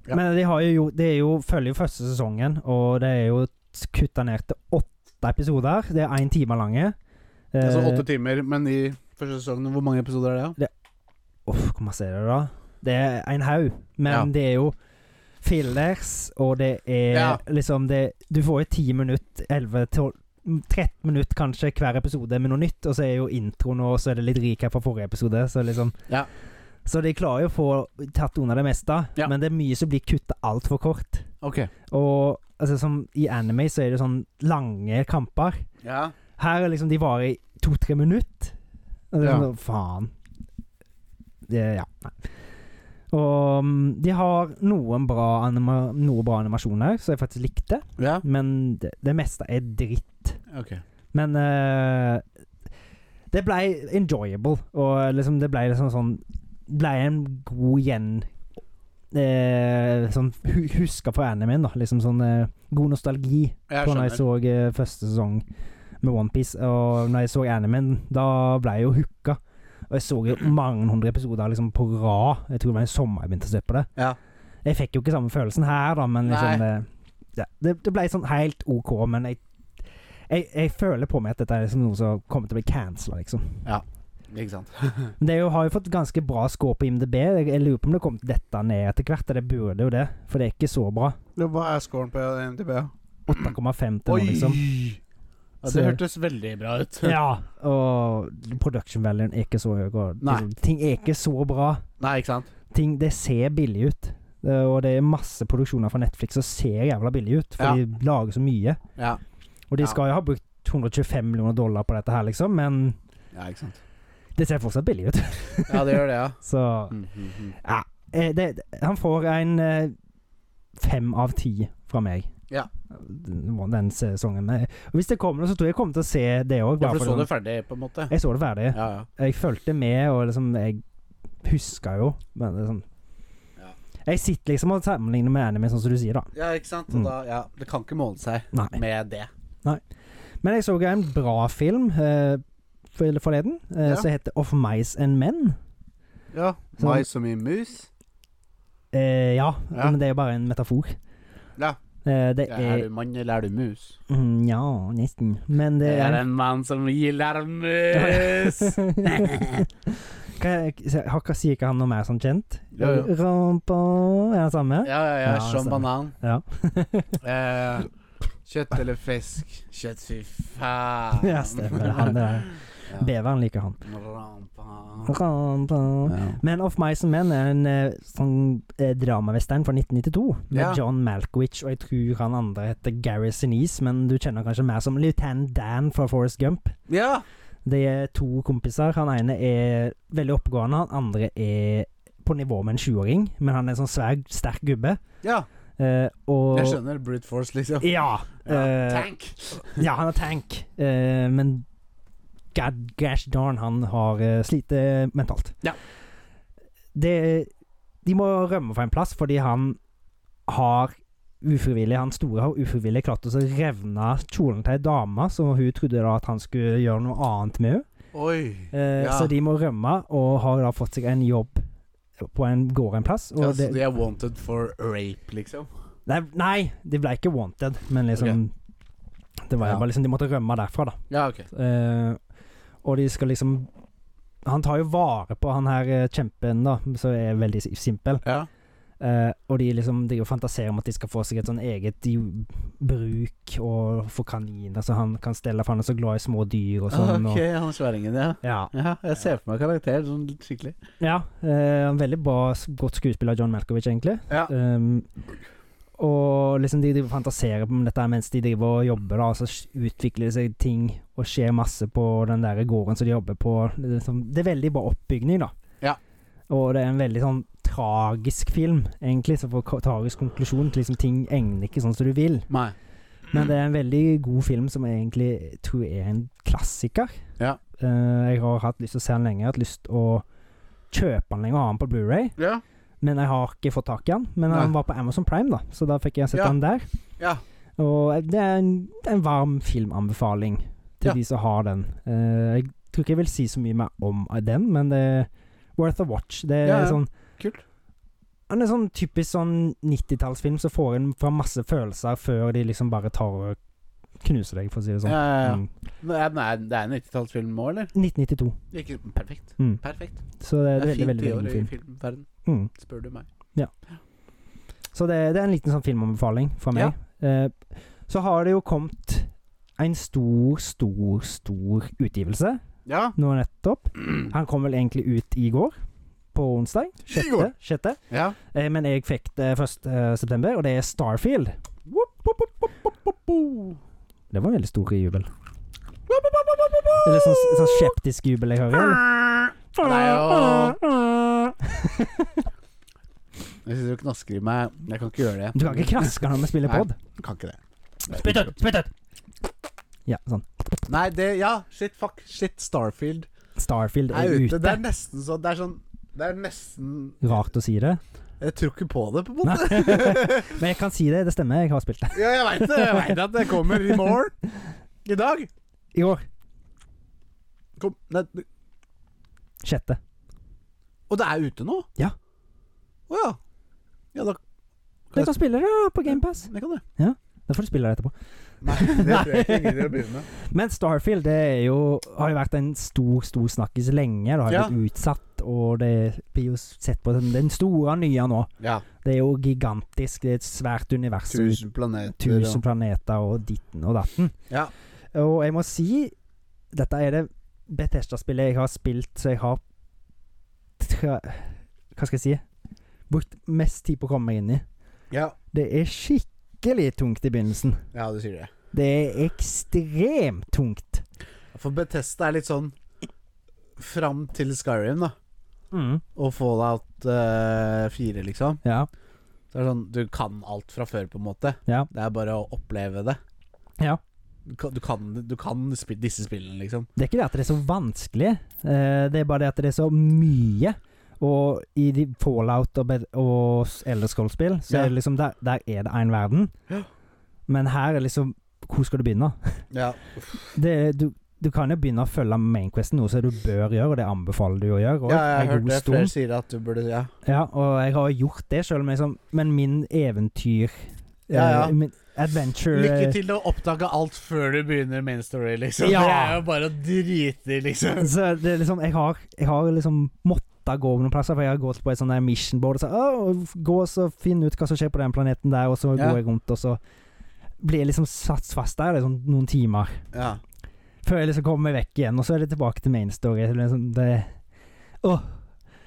[SPEAKER 2] Men de har jo gjort Det er jo følger jo første sesongen, og det er jo kutta ned til åtte episoder. Det er én time lange. Eh,
[SPEAKER 1] Altså åtte timer, men i første sesongen, hvor mange episoder er det? da?
[SPEAKER 2] Eh, uff, hvor masse er det, da? Det er en haug, men
[SPEAKER 1] Ja.
[SPEAKER 2] det er jo fillers, og det er
[SPEAKER 1] Ja.
[SPEAKER 2] liksom det Du får jo ti minutt, elleve, tolv 13 minutter kanskje hver episode med noe nytt, og så er jo introen og så er det litt recap fra forrige episode, så liksom
[SPEAKER 1] Ja.
[SPEAKER 2] Så de klarer jo å få tatt unna det meste,
[SPEAKER 1] Ja.
[SPEAKER 2] men det er mye som blir kutta altfor kort.
[SPEAKER 1] Ok.
[SPEAKER 2] Og altså, som i anime så er det sånn lange kamper.
[SPEAKER 1] Ja.
[SPEAKER 2] Her er liksom de varer i to-tre minutter. Og det er sånn, Faen. Det, ja. Nei. Og mm, de har noen bra, anima noe bra animasjoner som jeg faktisk likte,
[SPEAKER 1] Ja,
[SPEAKER 2] men det, det meste er dritt.
[SPEAKER 1] ok.
[SPEAKER 2] Men eh, det ble enjoyable, og liksom det ble liksom sånn Ble en god gjen eh, sånn hu husker fra animen, da. Liksom sånn eh, god nostalgi
[SPEAKER 1] Jeg
[SPEAKER 2] fra når jeg
[SPEAKER 1] skjønner.
[SPEAKER 2] så eh, første sesong med Onepiece. Og når jeg så animen, da ble jeg jo hooka. Og jeg så jo mange hundre episoder liksom på rad. Jeg tror det var en sommer jeg begynte å se på det.
[SPEAKER 1] Ja.
[SPEAKER 2] Jeg fikk jo ikke samme følelsen her, da, men liksom eh, ja, det, det ble sånn helt OK, men jeg, jeg, jeg føler på meg at dette er liksom noe som kommer til å bli cancela, liksom.
[SPEAKER 1] Ikke sant.
[SPEAKER 2] Men det er jo, har jo fått ganske bra score på IMDb. Jeg, jeg lurer på om det kom dette ned etter hvert. og Det burde jo det, for det er ikke så bra.
[SPEAKER 1] Hva er scoren på MDB?
[SPEAKER 2] 8,5 til nå, liksom.
[SPEAKER 1] Ja,
[SPEAKER 2] Så-
[SPEAKER 1] det hørtes veldig bra ut.
[SPEAKER 2] Ja, og production valuen er ikke så høy. Og
[SPEAKER 1] Nei.
[SPEAKER 2] liksom, ting er ikke så bra.
[SPEAKER 1] Nei, ikke sant?
[SPEAKER 2] Ting, det ser billig ut. Eh, Og det er masse produksjoner fra Netflix som ser jævla billig ut, for
[SPEAKER 1] Ja.
[SPEAKER 2] de lager så mye.
[SPEAKER 1] Ja.
[SPEAKER 2] Og de
[SPEAKER 1] Ja.
[SPEAKER 2] skal jo ha brukt 125 millioner dollar på dette her, liksom, men
[SPEAKER 1] ja, ikke sant.
[SPEAKER 2] det ser fortsatt billig ut.
[SPEAKER 1] Ja, det gjør det, ja.
[SPEAKER 2] Så
[SPEAKER 1] Mm, mm, mm.
[SPEAKER 2] eh, det, Han får en eh, fem av ti fra meg.
[SPEAKER 1] Ja.
[SPEAKER 2] Den, den sesongen. Men, og hvis det kommer noe, så tror jeg jeg kommer til å se det òg.
[SPEAKER 1] Ja, for du så det ferdig, på en måte?
[SPEAKER 2] sånn- Jeg så det ferdig.
[SPEAKER 1] Ja, ja.
[SPEAKER 2] Jeg fulgte med, og liksom Jeg huska jo, men det er sånn
[SPEAKER 1] Ja.
[SPEAKER 2] Jeg sitter liksom og sammenligner med anime, sånn som du sier, da.
[SPEAKER 1] Ja, ikke sant.
[SPEAKER 2] Mm.
[SPEAKER 1] Og da, ja, det kan ikke måle seg
[SPEAKER 2] Nei.
[SPEAKER 1] med det.
[SPEAKER 2] Men jeg så jo en bra film eh, for- forleden, eh,
[SPEAKER 1] Ja.
[SPEAKER 2] som heter Of Mice and Men.
[SPEAKER 1] Ja.
[SPEAKER 2] Så-
[SPEAKER 1] Mai som i mus.
[SPEAKER 2] Eh, ja,
[SPEAKER 1] Ja.
[SPEAKER 2] men det er jo bare en metafor.
[SPEAKER 1] Ja.
[SPEAKER 2] Eh, det
[SPEAKER 1] Er
[SPEAKER 2] er
[SPEAKER 1] du mann, eller er du mus?
[SPEAKER 2] mm, Ja, nesten. Men det
[SPEAKER 1] Jeg
[SPEAKER 2] er
[SPEAKER 1] er en mann som gilder mus.
[SPEAKER 2] Hva- hva- hva- Sier ikke han noe mer som kjent?
[SPEAKER 1] Jo, jo.
[SPEAKER 2] Rampa Er han samme?
[SPEAKER 1] Ja, ja, ja.
[SPEAKER 2] Ja,
[SPEAKER 1] Som
[SPEAKER 2] stemmer.
[SPEAKER 1] banan.
[SPEAKER 2] Ja.
[SPEAKER 1] Eh, kjøtt eller fisk? Kjøtt, fy faen.
[SPEAKER 2] Ja, stemmer. Han der.
[SPEAKER 1] Ja.
[SPEAKER 2] Beveren liker han.
[SPEAKER 1] Rampa.
[SPEAKER 2] Rampa Men Of Mice and Men er en eh, sånn eh, dramavestern fra 1992 med
[SPEAKER 1] Ja.
[SPEAKER 2] John Malkovich, og jeg tror han andre heter Gary Sinise, men du kjenner kanskje mer som Lieutenant Dan fra Forrest Gump.
[SPEAKER 1] Ja.
[SPEAKER 2] De er to kompiser. Han ene er veldig oppegående, han andre er på nivå med en sjuåring, men han er en sånn svær, sterk gubbe.
[SPEAKER 1] ja.
[SPEAKER 2] Eh, og
[SPEAKER 1] Jeg skjønner. Brute force, liksom.
[SPEAKER 2] Ja. eh,
[SPEAKER 1] Tank.
[SPEAKER 2] ja, han er tank, eh, men god gosh darn, han har eh, slitt eh, mentalt.
[SPEAKER 1] Ja.
[SPEAKER 2] Det, de må rømme fra en plass fordi han har ufrivillig, han store har ufrivillig klart å så revne kjolen til ei dame, så hun trodde da at han skulle gjøre noe annet med henne.
[SPEAKER 1] Oi.
[SPEAKER 2] Eh,
[SPEAKER 1] Ja.
[SPEAKER 2] Så de må rømme, og har da fått seg en jobb på en gård en plass. Og
[SPEAKER 1] Ja, så
[SPEAKER 2] det,
[SPEAKER 1] de er wanted for rape, liksom?
[SPEAKER 2] nei, nei, det ble ikke wanted, men liksom Det var
[SPEAKER 1] Ja.
[SPEAKER 2] bare liksom De måtte rømme derfra, da.
[SPEAKER 1] Ja, ok.
[SPEAKER 2] Eh, og de skal liksom Han tar jo vare på han her eh, kjempen, da, som er veldig si- simpel.
[SPEAKER 1] Ja.
[SPEAKER 2] Eh, og de liksom de fantaserer om at de skal få seg et sånn eget ju- bruk og få kaniner, så han kan stelle for han er så glad i små dyr og sånn.
[SPEAKER 1] Ah, ok, han sværingen, ja.
[SPEAKER 2] Og, ja.
[SPEAKER 1] ja. Jeg ser for meg karakter sånn skikkelig.
[SPEAKER 2] ja eh, en veldig bra, s- godt skuespiller av John Malkovich, egentlig.
[SPEAKER 1] Ja.
[SPEAKER 2] Um, og liksom de driver og fantaserer om dette her mens de driver og jobber, da, og så s- utvikler det seg ting og skjer masse på den der gården som de jobber på. Det er, sånn- det er veldig bra oppbygning, da.
[SPEAKER 1] Ja.
[SPEAKER 2] Og det er en veldig sånn tragisk film, egentlig, som får ko- tragisk konklusjon. til Liksom, ting egner ikke sånn som du vil.
[SPEAKER 1] Nei. Mm.
[SPEAKER 2] Men det er en veldig god film som jeg egentlig tror er en klassiker.
[SPEAKER 1] Ja.
[SPEAKER 2] Eh, jeg har hatt lyst til å se den lenge, jeg har hatt lyst til å kjøpe den lenge og ha den på Blu-ray.
[SPEAKER 1] Ja.
[SPEAKER 2] Men jeg har ikke fått tak i han. Men han
[SPEAKER 1] Nei.
[SPEAKER 2] var på Amazon Prime, da så da fikk jeg sett
[SPEAKER 1] Ja.
[SPEAKER 2] han der.
[SPEAKER 1] Ja.
[SPEAKER 2] Og det er en, det er en varm filmanbefaling til
[SPEAKER 1] Ja.
[SPEAKER 2] de som har den. Eh, jeg tror ikke jeg vil si så mye mer om den, men det er worth a watch. Det er
[SPEAKER 1] Ja, ja.
[SPEAKER 2] sånn
[SPEAKER 1] Kult.
[SPEAKER 2] Han er sånn typisk sånn 90-tallsfilm som får en fra masse følelser før de liksom bare tar og knuser deg, for å si det
[SPEAKER 1] Ja,
[SPEAKER 2] sånn.
[SPEAKER 1] ja, ja.
[SPEAKER 2] Mm.
[SPEAKER 1] Det er, nei, det er en 90-tallsfilm òg, eller?
[SPEAKER 2] 1992.
[SPEAKER 1] Ikke, perfekt.
[SPEAKER 2] Mm.
[SPEAKER 1] Perfekt.
[SPEAKER 2] Så det
[SPEAKER 1] Det
[SPEAKER 2] er,
[SPEAKER 1] er
[SPEAKER 2] veldig,
[SPEAKER 1] fint
[SPEAKER 2] veldig, veldig
[SPEAKER 1] tiår
[SPEAKER 2] god
[SPEAKER 1] i
[SPEAKER 2] film.
[SPEAKER 1] filmverden,
[SPEAKER 2] Mm.
[SPEAKER 1] spør du meg.
[SPEAKER 2] Så det, det er en liten sånn filmanbefaling fra meg. Eh, så har det jo kommet en stor, stor, stor utgivelse
[SPEAKER 1] Ja.
[SPEAKER 2] nå nettopp. Han kom vel egentlig ut i går, på onsdag.
[SPEAKER 1] Mm. I går.
[SPEAKER 2] Sjette, sjette.
[SPEAKER 1] ja.
[SPEAKER 2] Eh, men jeg fikk det 1. september, og det er Starfield. Det var en veldig stor jubel. Det er litt sånn, sånn skeptisk jubel jeg hører.
[SPEAKER 1] Nei, åh.
[SPEAKER 2] Du
[SPEAKER 1] Jeg sitter og knasker i meg. Jeg kan ikke gjøre det.
[SPEAKER 2] kan ikke knaske når vi spiller
[SPEAKER 1] Nei.
[SPEAKER 2] pod.
[SPEAKER 1] Kan ikke det.
[SPEAKER 2] ut! Spytt ut! Ja, sånn.
[SPEAKER 1] Nei, det Ja, shit, fuck. Shit, Starfield
[SPEAKER 2] Starfield
[SPEAKER 1] er
[SPEAKER 2] er
[SPEAKER 1] ute.
[SPEAKER 2] ute.
[SPEAKER 1] Det er nesten sånn Det er sånn Det er nesten
[SPEAKER 2] Rart å si det.
[SPEAKER 1] Jeg tror ikke på det, på en måte.
[SPEAKER 2] Nei. Men jeg kan si det, det stemmer. Jeg har spilt det.
[SPEAKER 1] Ja, jeg veit det. Jeg vet at det kommer i morgen. I dag.
[SPEAKER 2] I år.
[SPEAKER 1] Kom. Nei.
[SPEAKER 2] Sjette.
[SPEAKER 1] Og det er ute nå?
[SPEAKER 2] Ja.
[SPEAKER 1] Å ja. Ja, da
[SPEAKER 2] Du kan spille det da, på GamePass.
[SPEAKER 1] jeg kan det.
[SPEAKER 2] Da får du spille det etterpå.
[SPEAKER 1] Nei, det tror jeg ikke jeg gidder å begynne med.
[SPEAKER 2] Men Starfield det er jo, har jo vært en stor stor snakkis lenge. Det har
[SPEAKER 1] Ja.
[SPEAKER 2] blitt utsatt, og det blir jo sett på som den store nye nå.
[SPEAKER 1] Ja.
[SPEAKER 2] Det er jo gigantisk. Det er et svært univers.
[SPEAKER 1] Tusen planeter.
[SPEAKER 2] tusen planeter og ditten og datten.
[SPEAKER 1] Ja.
[SPEAKER 2] Og jeg må si Dette er det Bethesda-spillet jeg har spilt så jeg har tra- Hva skal jeg si Brukt mest tid på å komme meg inn i.
[SPEAKER 1] Ja.
[SPEAKER 2] Det er skikkelig tungt i begynnelsen.
[SPEAKER 1] ja, du sier det.
[SPEAKER 2] Det er ekstremt tungt.
[SPEAKER 1] For Bethesda er litt sånn fram til Skyrim, da. Og Fallout eh, 4, liksom.
[SPEAKER 2] Ja.
[SPEAKER 1] Så er det sånn, Du kan alt fra før, på en måte.
[SPEAKER 2] Ja.
[SPEAKER 1] Det er bare å oppleve det.
[SPEAKER 2] Ja.
[SPEAKER 1] Du kan, du kan, du kan spi disse spillene, liksom.
[SPEAKER 2] Det er ikke det at det er så vanskelig, eh, det er bare det at det er så mye. Og i de Fallout og, Bed- og Elderscroll-spill, så
[SPEAKER 1] Ja.
[SPEAKER 2] er det liksom der, der er det én verden.
[SPEAKER 1] Ja.
[SPEAKER 2] Men her er liksom Hvor skal du begynne?
[SPEAKER 1] Ja.
[SPEAKER 2] Det, er- du, du kan jo begynne å følge mainquesten, noe som du bør gjøre, og det anbefaler du å gjøre. og
[SPEAKER 1] Ja, jeg
[SPEAKER 2] en
[SPEAKER 1] har
[SPEAKER 2] god
[SPEAKER 1] hørt det.
[SPEAKER 2] stund.
[SPEAKER 1] Flere sier at du burde Ja.
[SPEAKER 2] Ja, og jeg har gjort det sjøl, men, liksom, men min eventyr
[SPEAKER 1] Ja, ja.
[SPEAKER 2] eh, min Adventure
[SPEAKER 1] Lykke
[SPEAKER 2] eh,
[SPEAKER 1] til å oppdage alt før du begynner main story, liksom.
[SPEAKER 2] Ja.
[SPEAKER 1] Det er jo bare å drite i, liksom.
[SPEAKER 2] Så det er liksom, jeg har, jeg har liksom måttet gå noen plasser, for jeg har gått på et sånn der mission board og så, «Å, gå og så finne ut hva som skjer på den planeten der, og så
[SPEAKER 1] Ja.
[SPEAKER 2] går jeg rundt, og så blir jeg liksom satt fast der liksom, noen timer,
[SPEAKER 1] Ja.
[SPEAKER 2] før jeg liksom kommer meg vekk igjen, og så er det tilbake til main story. så Liksom, det, åh,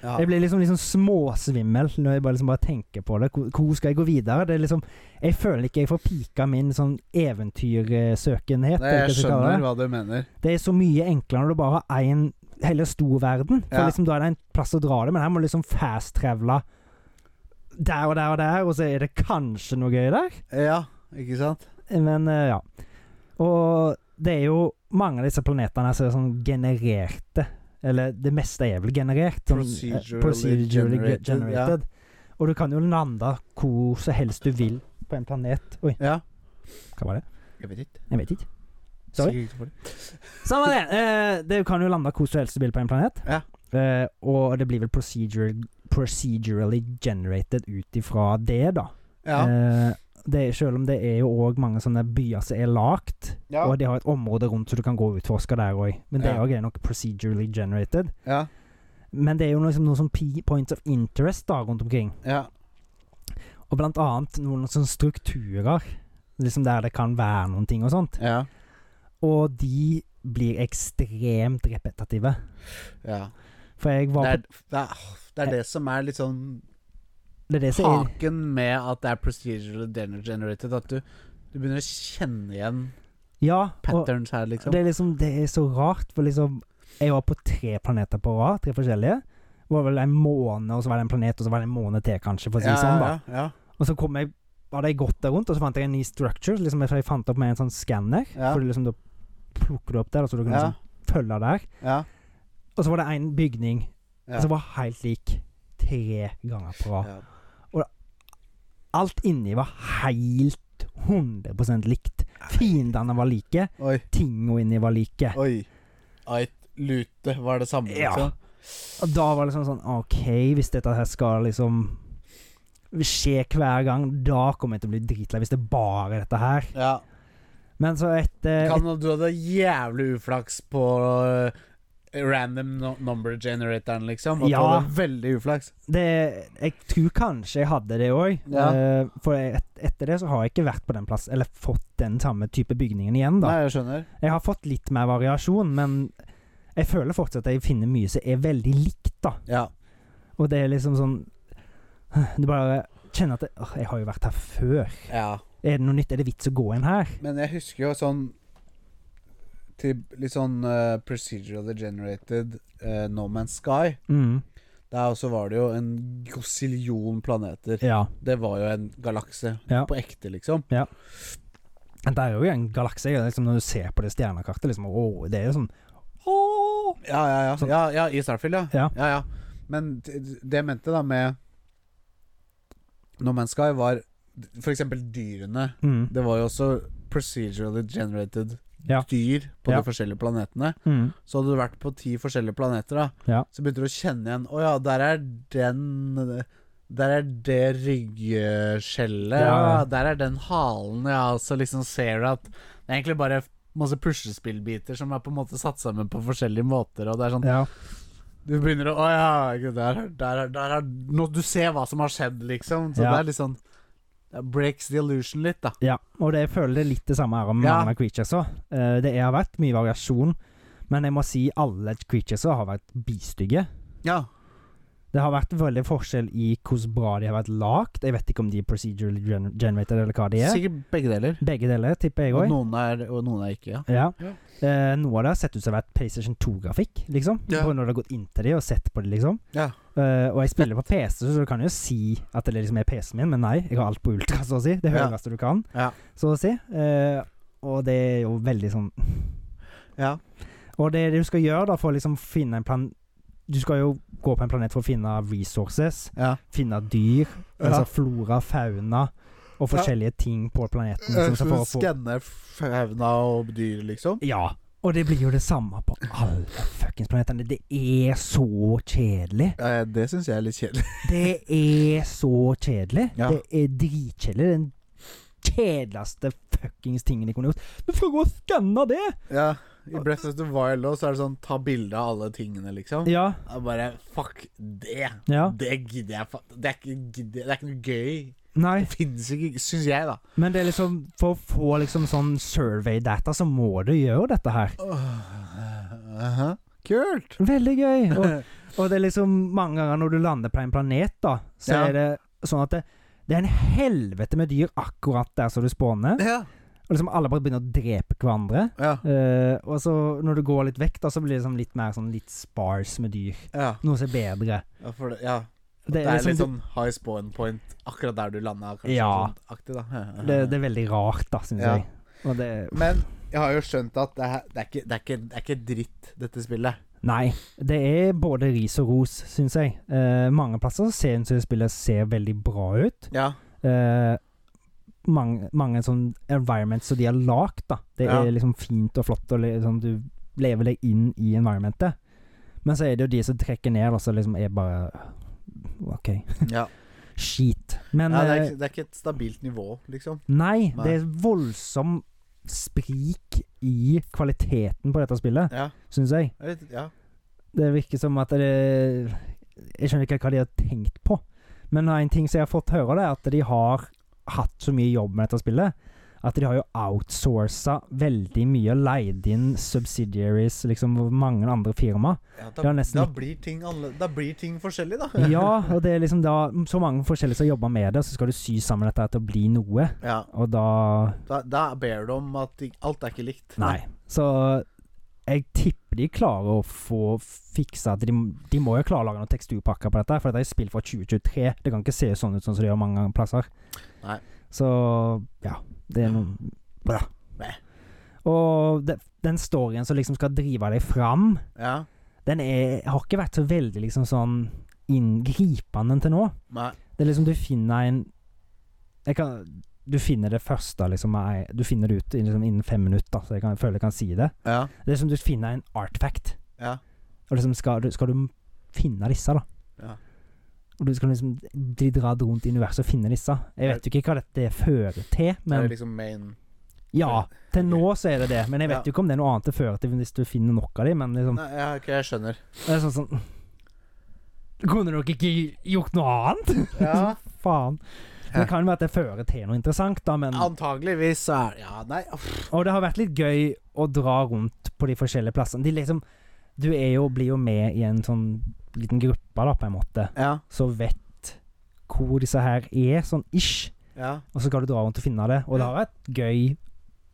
[SPEAKER 1] ja.
[SPEAKER 2] jeg blir liksom, liksom småsvimmel når jeg bare, liksom bare tenker på det. Hvor, hvor skal jeg gå videre? Det er liksom, jeg føler ikke jeg får pika min sånn eventyrsøkenhet.
[SPEAKER 1] Nei,
[SPEAKER 2] eller hva
[SPEAKER 1] jeg
[SPEAKER 2] jeg skal kalle det.
[SPEAKER 1] skjønner hva du mener.
[SPEAKER 2] Det er så mye enklere når du bare har én hele stor verden. For
[SPEAKER 1] Ja.
[SPEAKER 2] liksom Da er det en plass å dra det, men her må du liksom fast-travle der og der og der, og så er det kanskje noe gøy der.
[SPEAKER 1] Ja, ikke sant?
[SPEAKER 2] Men eh, ja. Og det er jo mange av disse planetene som er sånn genererte. Eller det meste er vel generert. Sånn, eh,
[SPEAKER 1] Procedurally
[SPEAKER 2] procedurally ge-
[SPEAKER 1] generated,
[SPEAKER 2] generated. Og du kan jo lande hvor som helst du vil på en planet. Oi,
[SPEAKER 1] Ja.
[SPEAKER 2] hva var det?
[SPEAKER 1] Jeg vet ikke.
[SPEAKER 2] Jeg vet ikke. Sorry.
[SPEAKER 1] Sikkert ikke for det.
[SPEAKER 2] Samme det. Eh, det kan jo lande hvor som helst du vil på en planet.
[SPEAKER 1] Ja.
[SPEAKER 2] Eh, og det blir vel procedure, procedurally generated ut ifra det, da.
[SPEAKER 1] Ja.
[SPEAKER 2] Eh, det, selv om det er jo òg mange sånne byer som er lagt,
[SPEAKER 1] Ja.
[SPEAKER 2] og de har et område rundt så du kan gå og utforske der òg. Men det
[SPEAKER 1] Ja.
[SPEAKER 2] òg er nok procedurally generated.
[SPEAKER 1] Ja.
[SPEAKER 2] Men det er jo liksom noen sånn pi- points of interest da rundt omkring.
[SPEAKER 1] Ja.
[SPEAKER 2] Og blant annet noen sånne strukturer liksom der det kan være noen ting og sånt.
[SPEAKER 1] Ja.
[SPEAKER 2] Og de blir ekstremt repetitive.
[SPEAKER 1] ja.
[SPEAKER 2] For jeg var
[SPEAKER 1] Det,
[SPEAKER 2] på
[SPEAKER 1] er, det, er, det er det som er litt sånn
[SPEAKER 2] Det er det som er
[SPEAKER 1] haken med at det er procedural generated. At du, du begynner å kjenne igjen
[SPEAKER 2] Ja, og
[SPEAKER 1] patterns her, liksom.
[SPEAKER 2] det er liksom Det er så rart, for liksom Jeg var på tre planeter på rad, tre forskjellige. Det var vel en måned, og så var det en planet, og så var det en måned til, kanskje, for å si det sånn, da.
[SPEAKER 1] ja,
[SPEAKER 2] Og så kom jeg hadde jeg gått der rundt, og så fant jeg en ny structure. Liksom jeg fant opp med en sånn skanner,
[SPEAKER 1] Ja.
[SPEAKER 2] for liksom da plukker du opp der, og så du kan
[SPEAKER 1] ja,
[SPEAKER 2] liksom følge der.
[SPEAKER 1] ja,
[SPEAKER 2] Og så var det en bygning
[SPEAKER 1] ja,
[SPEAKER 2] som var helt lik tre ganger på rad.
[SPEAKER 1] ja.
[SPEAKER 2] Alt inni var helt 100 likt. Fiendene var like,
[SPEAKER 1] Oi,
[SPEAKER 2] tinga inni var like.
[SPEAKER 1] oi. Eit lute var det samme,
[SPEAKER 2] Ja.
[SPEAKER 1] liksom.
[SPEAKER 2] Og da var det liksom sånn OK, hvis dette her skal liksom skje hver gang, da kommer jeg til å bli dritlei hvis det er bare dette her.
[SPEAKER 1] Ja.
[SPEAKER 2] Men så etter
[SPEAKER 1] Kan du hadde jævlig uflaks på eh, random no number generatoren, liksom? At
[SPEAKER 2] Ja.
[SPEAKER 1] Du hadde veldig uflaks.
[SPEAKER 2] det, Jeg tror kanskje jeg hadde det òg.
[SPEAKER 1] Ja.
[SPEAKER 2] for et, etter det så har jeg ikke vært på den plass Eller fått den samme type bygningen igjen, da.
[SPEAKER 1] Nei, jeg skjønner.
[SPEAKER 2] Jeg har fått litt mer variasjon, men jeg føler fortsatt at jeg finner mye som er veldig likt, da.
[SPEAKER 1] Ja.
[SPEAKER 2] Og det er liksom sånn Du bare kjenner at det, åh, Jeg har jo vært her før.
[SPEAKER 1] ja.
[SPEAKER 2] Er det noe nytt? Er det vits å gå inn her?
[SPEAKER 1] Men jeg husker jo sånn til Litt sånn eh, procedurally generated eh, No Man's Sky.
[SPEAKER 2] Mm.
[SPEAKER 1] Der også var det jo en gosillion planeter.
[SPEAKER 2] Ja.
[SPEAKER 1] Det var jo en galakse.
[SPEAKER 2] Ja.
[SPEAKER 1] På ekte, liksom.
[SPEAKER 2] Men Det er jo en galakse. og Liksom, når du ser på det stjernekartet, liksom, åh, det er jo sånn åh.
[SPEAKER 1] Ja, ja, ja.
[SPEAKER 2] Sånn.
[SPEAKER 1] ja, ja I Starfield, ja.
[SPEAKER 2] Ja.
[SPEAKER 1] ja, ja. Men t- det jeg mente da med No Man's Sky var For eksempel dyrene.
[SPEAKER 2] Mm.
[SPEAKER 1] Det var jo også procedurally generated
[SPEAKER 2] Ja.
[SPEAKER 1] dyr på
[SPEAKER 2] Ja.
[SPEAKER 1] de forskjellige planetene.
[SPEAKER 2] Mm.
[SPEAKER 1] Så hadde du vært på ti forskjellige planeter, da.
[SPEAKER 2] Ja.
[SPEAKER 1] Så begynte du å kjenne igjen Å ja, der er den Der er det ryggskjellet.
[SPEAKER 2] Ja.
[SPEAKER 1] Ja. Der er den halen. Ja, og så liksom ser du at det er egentlig bare masse puslespillbiter som er på en måte satt sammen på forskjellige måter, og det er sånn
[SPEAKER 2] Ja.
[SPEAKER 1] Du begynner å Å ja, ikke, der, er- der, er- der er nå, Du ser hva som har skjedd, liksom. Så
[SPEAKER 2] Ja.
[SPEAKER 1] det er litt sånn det Breaks the illusion litt, da.
[SPEAKER 2] ja. Og det, jeg føler det er litt det samme her om
[SPEAKER 1] Ja.
[SPEAKER 2] mange av creatures òg. det har vært mye variasjon, men jeg må si alle creatures har vært bistygge.
[SPEAKER 1] Ja.
[SPEAKER 2] Det har vært veldig forskjell i hvordan bra de har vært lagd. Jeg vet ikke om de er procedurally gen generated, eller hva de er.
[SPEAKER 1] Sikkert begge deler.
[SPEAKER 2] Begge deler, tipper jeg
[SPEAKER 1] Og
[SPEAKER 2] òg.
[SPEAKER 1] noen er, og noen er ikke, ja.
[SPEAKER 2] Ja.
[SPEAKER 1] Ja.
[SPEAKER 2] Eh, noe av det har sett ut som det har vært PlayStation 2-grafikk, liksom.
[SPEAKER 1] Ja.
[SPEAKER 2] På når du har gått inn til de og sett på de, liksom.
[SPEAKER 1] Ja.
[SPEAKER 2] Eh, og jeg spiller på PC, så du kan jo si at det liksom er PC-en min, men nei, jeg har alt på ultra, så å si. Det
[SPEAKER 1] Ja.
[SPEAKER 2] høyeste du kan,
[SPEAKER 1] Ja.
[SPEAKER 2] så å si. Eh, og det er jo veldig sånn
[SPEAKER 1] ja.
[SPEAKER 2] Og det, er det du skal gjøre da for å liksom finne en plan Du skal jo gå på en planet for å finne resources,
[SPEAKER 1] Ja.
[SPEAKER 2] finne dyr,
[SPEAKER 1] Ja.
[SPEAKER 2] altså flora, fauna og
[SPEAKER 1] Ja.
[SPEAKER 2] forskjellige ting på planeten.
[SPEAKER 1] Ja,
[SPEAKER 2] som skal
[SPEAKER 1] for å
[SPEAKER 2] for- for-
[SPEAKER 1] Eh, Skanne fauna og dyr, liksom?
[SPEAKER 2] Ja. Og det blir jo det samme på alle fuckings planetene. Det er så kjedelig.
[SPEAKER 1] Ja, det syns jeg er litt kjedelig.
[SPEAKER 2] Det er så kjedelig.
[SPEAKER 1] Ja.
[SPEAKER 2] Det er dritkjedelig. Det er Den kjedeligste fuckings tingen de kunne gjort. Du skal gå og skanne det!
[SPEAKER 1] Ja, I Breath of the Wild også, så er det sånn ta bilde av alle tingene, liksom.
[SPEAKER 2] Ja.
[SPEAKER 1] Jeg bare fuck det.
[SPEAKER 2] ja.
[SPEAKER 1] Det gidder jeg fa... Det er ikke, gidder, det er ikke noe gøy.
[SPEAKER 2] Nei,
[SPEAKER 1] Det fins ikke, syns jeg, da.
[SPEAKER 2] men det er liksom For å få liksom sånn survey-data, så må du gjøre dette her.
[SPEAKER 1] Åh, aha. Kult!
[SPEAKER 2] Veldig gøy. Og, og det er liksom mange ganger når du lander på en planet, da, så
[SPEAKER 1] Ja.
[SPEAKER 2] er det sånn at det, det er en helvete med dyr akkurat der som du spåner.
[SPEAKER 1] Ja.
[SPEAKER 2] Og liksom alle bare begynner å drepe hverandre.
[SPEAKER 1] Ja.
[SPEAKER 2] Eh, og så når du går litt vekk, da, så blir det liksom litt mer sånn litt sparse med dyr.
[SPEAKER 1] ja.
[SPEAKER 2] Noe som er bedre.
[SPEAKER 1] ja, for det, ja.
[SPEAKER 2] Det
[SPEAKER 1] Det
[SPEAKER 2] er,
[SPEAKER 1] er litt
[SPEAKER 2] liksom,
[SPEAKER 1] sånn high spawn point akkurat der du landa, kanskje.
[SPEAKER 2] Ja.
[SPEAKER 1] sånn Aktig, da.
[SPEAKER 2] det, det er veldig rart, da, syns
[SPEAKER 1] Ja.
[SPEAKER 2] jeg. Og det
[SPEAKER 1] Men jeg har jo skjønt at det, her, det, er ikke, det, er ikke, det er ikke dritt, dette spillet.
[SPEAKER 2] Nei. Det er både ris og ros, syns jeg. Eh, mange plasser så ser hun som spillet ser veldig bra ut.
[SPEAKER 1] Ja.
[SPEAKER 2] Eh, mange, mange sånn environments som de har lagd, da. Det
[SPEAKER 1] Ja.
[SPEAKER 2] er liksom fint og flott, og liksom du lever deg inn i environmentet. Men så er det jo de som trekker ned, og så liksom er bare OK.
[SPEAKER 1] ja.
[SPEAKER 2] Skit. Men
[SPEAKER 1] ja det, er
[SPEAKER 2] eh,
[SPEAKER 1] ikke, det er ikke et stabilt nivå, liksom.
[SPEAKER 2] Nei,
[SPEAKER 1] Nei.
[SPEAKER 2] det er voldsom sprik i kvaliteten på dette spillet,
[SPEAKER 1] Ja.
[SPEAKER 2] syns jeg.
[SPEAKER 1] Jeg vet- ja.
[SPEAKER 2] Det virker som at det Jeg skjønner ikke hva de har tenkt på. Men en ting som jeg har fått høre, det er at de har hatt så mye jobb med dette spillet. At de har jo outsourca veldig mye og leid inn subsidiaries, liksom mange andre firma.
[SPEAKER 1] ja
[SPEAKER 2] Det
[SPEAKER 1] da,
[SPEAKER 2] er nesten
[SPEAKER 1] da,
[SPEAKER 2] litt-
[SPEAKER 1] blir ting annerle- da blir ting forskjellig, da.
[SPEAKER 2] Ja, og det er liksom da så mange forskjellige som jobber med det, så skal du sy sammen dette her til å bli noe,
[SPEAKER 1] Ja,
[SPEAKER 2] og da
[SPEAKER 1] da, da ber du om at ting- alt er ikke likt.
[SPEAKER 2] Nei. Så jeg tipper de klarer å få fiksa at de, de må jo klare å lage noen teksturpakker på dette, for dette er et spill fra 2023. Det kan ikke se sånn ut sånn som det gjør mange plasser.
[SPEAKER 1] Nei.
[SPEAKER 2] Så ja. Det er noe bra.
[SPEAKER 1] Meh.
[SPEAKER 2] Og det, den storyen som liksom skal drive deg fram,
[SPEAKER 1] Ja.
[SPEAKER 2] den er, har ikke vært så veldig liksom sånn inngripende til nå.
[SPEAKER 1] Nei.
[SPEAKER 2] Det er liksom du finner en jeg kan, Du finner det første, liksom. er- Du finner det ut i liksom, innen fem minutter, så jeg, kan, jeg føler jeg kan si det.
[SPEAKER 1] Ja.
[SPEAKER 2] Det er som du finner en artifact.
[SPEAKER 1] Ja.
[SPEAKER 2] Og liksom skal, du, skal du finne disse, da.
[SPEAKER 1] Ja.
[SPEAKER 2] Og du skal liksom de drar rundt i universet og finne disse. Jeg vet jo ikke hva dette fører til,
[SPEAKER 1] det er
[SPEAKER 2] men
[SPEAKER 1] liksom main
[SPEAKER 2] Ja, til nå så er det det. Men jeg
[SPEAKER 1] Ja.
[SPEAKER 2] vet jo ikke om det er noe annet det fører til hvis du finner nok av dem, men liksom
[SPEAKER 1] Nei, ja, ok, jeg skjønner.
[SPEAKER 2] Det er sånn sånn Kunne dere ikke gjort noe annet?
[SPEAKER 1] Ja,
[SPEAKER 2] Faen.
[SPEAKER 1] Ja.
[SPEAKER 2] Det kan jo være at det fører til noe interessant, da, men
[SPEAKER 1] antageligvis så er Ja, nei uff.
[SPEAKER 2] Og det har vært litt gøy å dra rundt på de forskjellige plassene. De liksom Du er jo, blir jo med i en sånn liten gruppe, da, på en måte,
[SPEAKER 1] Ja.
[SPEAKER 2] som vet hvor disse her er, sånn ish.
[SPEAKER 1] Ja.
[SPEAKER 2] Og så skal du dra rundt og finne det. Og det har vært gøy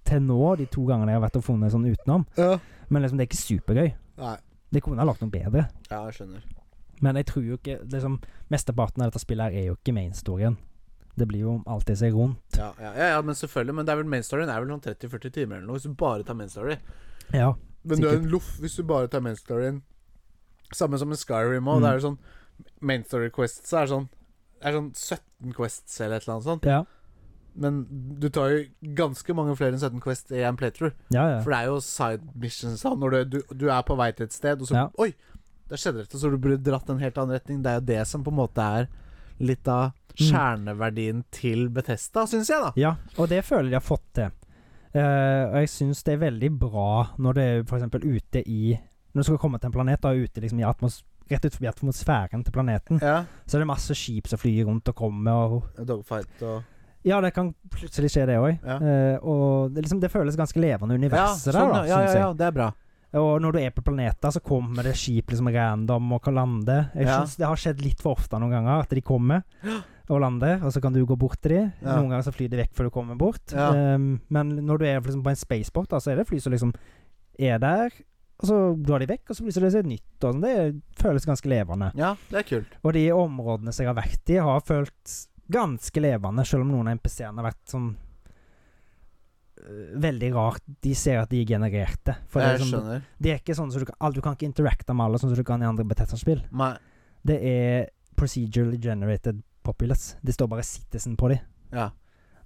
[SPEAKER 2] til nå, de to gangene jeg har vært og funnet sånn utenom.
[SPEAKER 1] ja.
[SPEAKER 2] Men liksom, det er ikke supergøy.
[SPEAKER 1] Nei.
[SPEAKER 2] Det kunne ha lagt noe bedre.
[SPEAKER 1] Ja, jeg skjønner.
[SPEAKER 2] Men jeg tror jo ikke liksom, Mesteparten av dette spillet her er jo ikke main-storyen. Det blir jo alltid seg rundt.
[SPEAKER 1] Ja, ja, ja, ja, men selvfølgelig. Men det er vel main storyen er vel sånn 30-40 timer eller noe, hvis du bare tar main story.
[SPEAKER 2] Ja.
[SPEAKER 1] Men du er en loff hvis du bare tar main storyen. Samme som med Skyrim òg.
[SPEAKER 2] Mm.
[SPEAKER 1] Det er jo sånn Main story quests er sånn Det er sånn 17 Quests eller et eller annet sånt.
[SPEAKER 2] Ja,
[SPEAKER 1] Men du tar jo ganske mange flere enn 17 Quest i en playthrough.
[SPEAKER 2] ja. ja.
[SPEAKER 1] For det er jo side missions og sånn. Når du, du, du er på vei til et sted, og så
[SPEAKER 2] Ja.
[SPEAKER 1] Oi! Der skjedde det, så du burde dratt en helt annen retning. Det er jo det som på en måte er litt av
[SPEAKER 2] Mm.
[SPEAKER 1] kjerneverdien til Betesta, syns jeg, da.
[SPEAKER 2] Ja, og det føler jeg de har fått til. Eh, og jeg syns det er veldig bra når det er for eksempel ute i Når du skal komme til en planet, da ute liksom i atmos rett ut forbi atmosfæren til planeten,
[SPEAKER 1] Ja.
[SPEAKER 2] så er det masse skip som flyr rundt og kommer, og
[SPEAKER 1] Dogfight og
[SPEAKER 2] Ja, det kan plutselig skje, det òg.
[SPEAKER 1] Ja.
[SPEAKER 2] og det, liksom, det føles ganske levende universet der, da,
[SPEAKER 1] ja,
[SPEAKER 2] syns
[SPEAKER 1] ja, ja, det er bra.
[SPEAKER 2] jeg. Og når du er på planeter, så kommer det skip liksom random og kan lande. Jeg
[SPEAKER 1] Ja.
[SPEAKER 2] synes Det har skjedd litt for ofte noen ganger, at de kommer og lander, og så kan du gå bort til dem.
[SPEAKER 1] Ja.
[SPEAKER 2] Noen ganger så flyr de vekk før du kommer bort.
[SPEAKER 1] Ja.
[SPEAKER 2] Ehm, men når du er liksom på en spaceboat, da, så er det fly som liksom er der, og så drar de vekk, og så plutselig er det nytt. Og sånn. Det føles ganske levende.
[SPEAKER 1] Ja, det er kult.
[SPEAKER 2] Og de områdene som jeg har vært i, har følt ganske levende, selv om noen av NPC-ene har vært sånn øh, Veldig rart. De ser at de er genererte. For det er,
[SPEAKER 1] jeg
[SPEAKER 2] sånn,
[SPEAKER 1] skjønner.
[SPEAKER 2] det er ikke sånn som du kan alle- Du kan ikke interacte med alle sånn som du kan i andre Bethesda-spill.
[SPEAKER 1] Nei.
[SPEAKER 2] Det er procedurally generated populace. Det står bare citizen på dem.
[SPEAKER 1] Ja.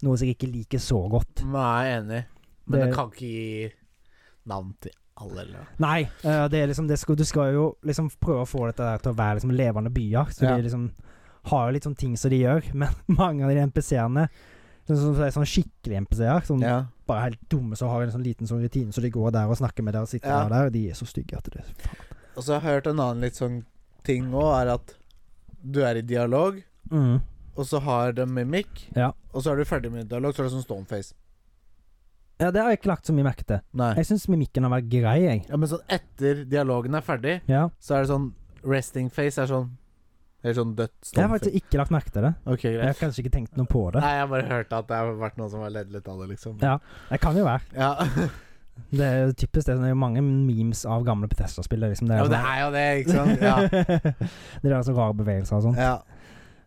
[SPEAKER 2] Noe som jeg ikke liker så godt.
[SPEAKER 1] Men jeg er enig. Men det,
[SPEAKER 2] Det-
[SPEAKER 1] kan ikke gi navn til alle, eller noe.
[SPEAKER 2] Nei, øh, det er liksom, det skal, du skal jo liksom prøve å få dette der til å være liksom levende byer. Så
[SPEAKER 1] Ja.
[SPEAKER 2] de liksom har jo litt sånn ting som de gjør, men mange av de NPC-ene Sånn som er sånn skikkelige NPC-er, sånn
[SPEAKER 1] Ja.
[SPEAKER 2] bare helt dumme som har en sånn liten sånn rutine, så de går der og snakker med deg og sitter
[SPEAKER 1] Ja.
[SPEAKER 2] der og der, og de er så stygge at det
[SPEAKER 1] Og så har jeg hørt en annen litt sånn ting òg, er at du er i dialog,
[SPEAKER 2] mm.
[SPEAKER 1] og så har de mimikk,
[SPEAKER 2] Ja.
[SPEAKER 1] og så er du ferdig med dialog, så er det sånn stoneface.
[SPEAKER 2] Ja, det har jeg ikke lagt så mye merke til.
[SPEAKER 1] Nei.
[SPEAKER 2] Jeg syns mimikken har vært grei, jeg.
[SPEAKER 1] Ja, men sånn etter dialogen er ferdig,
[SPEAKER 2] Ja.
[SPEAKER 1] så er det sånn resting face er sånn Helt sånn dødt
[SPEAKER 2] Jeg har
[SPEAKER 1] stoneface.
[SPEAKER 2] faktisk ikke lagt merke til det.
[SPEAKER 1] Ok,
[SPEAKER 2] Jeg har
[SPEAKER 1] greit.
[SPEAKER 2] kanskje ikke tenkt noe på det.
[SPEAKER 1] Nei, jeg har bare hørt at det har vært noen som har ledd litt av det, liksom.
[SPEAKER 2] Ja. Det kan jo være.
[SPEAKER 1] Ja.
[SPEAKER 2] Det er jo typisk det. sånn, Det er jo mange memes av gamle Petesta-spill. det er Liksom, det
[SPEAKER 1] ja, men
[SPEAKER 2] er
[SPEAKER 1] det
[SPEAKER 2] sånn-
[SPEAKER 1] er jo det, ikke sant? Ja.
[SPEAKER 2] det er så rare bevegelser og sånn.
[SPEAKER 1] ja.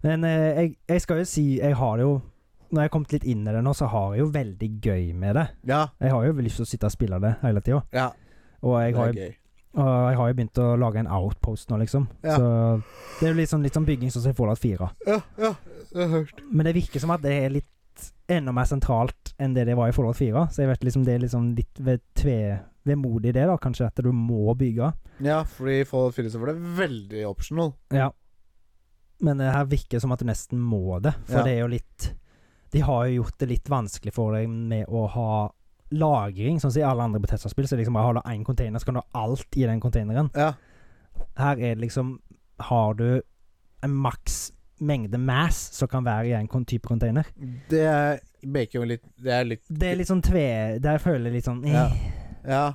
[SPEAKER 2] Men eh, jeg, jeg skal jo si Jeg har det jo Når jeg har kommet litt inn i det nå, så har jeg jo veldig gøy med det.
[SPEAKER 1] Ja.
[SPEAKER 2] Jeg har jo lyst til å sitte og spille det hele tida.
[SPEAKER 1] ja.
[SPEAKER 2] Og jeg
[SPEAKER 1] Det
[SPEAKER 2] har jo
[SPEAKER 1] er gøy.
[SPEAKER 2] Og jeg har jo begynt å lage en outpost nå, liksom.
[SPEAKER 1] Ja.
[SPEAKER 2] Så det er jo litt sånn, litt sånn bygging sånn som i Fallout 4.
[SPEAKER 1] Ja, ja. Jeg har hørt.
[SPEAKER 2] Men det virker som at det er litt enda mer sentralt enn det det var i Fallout 4. Så jeg vet liksom det er liksom litt ved tve, vemodig det, da, kanskje, at du må bygge.
[SPEAKER 1] Ja, fordi Fallout 4 så var det veldig optional.
[SPEAKER 2] Ja. Men det her virker som at du nesten må det, for
[SPEAKER 1] Ja.
[SPEAKER 2] det er jo litt De har jo gjort det litt vanskelig for deg med å ha lagring, sånn som i alle andre Betesta-spill. Så liksom bare har du én container, så kan du ha alt i den containeren.
[SPEAKER 1] Ja.
[SPEAKER 2] Her er det liksom Har du en maks mengde mass som kan være i en kon- type container?
[SPEAKER 1] Det er bacon litt Det er litt
[SPEAKER 2] Det er litt sånn tve... Der føler jeg litt sånn eh,
[SPEAKER 1] Ja. Ja.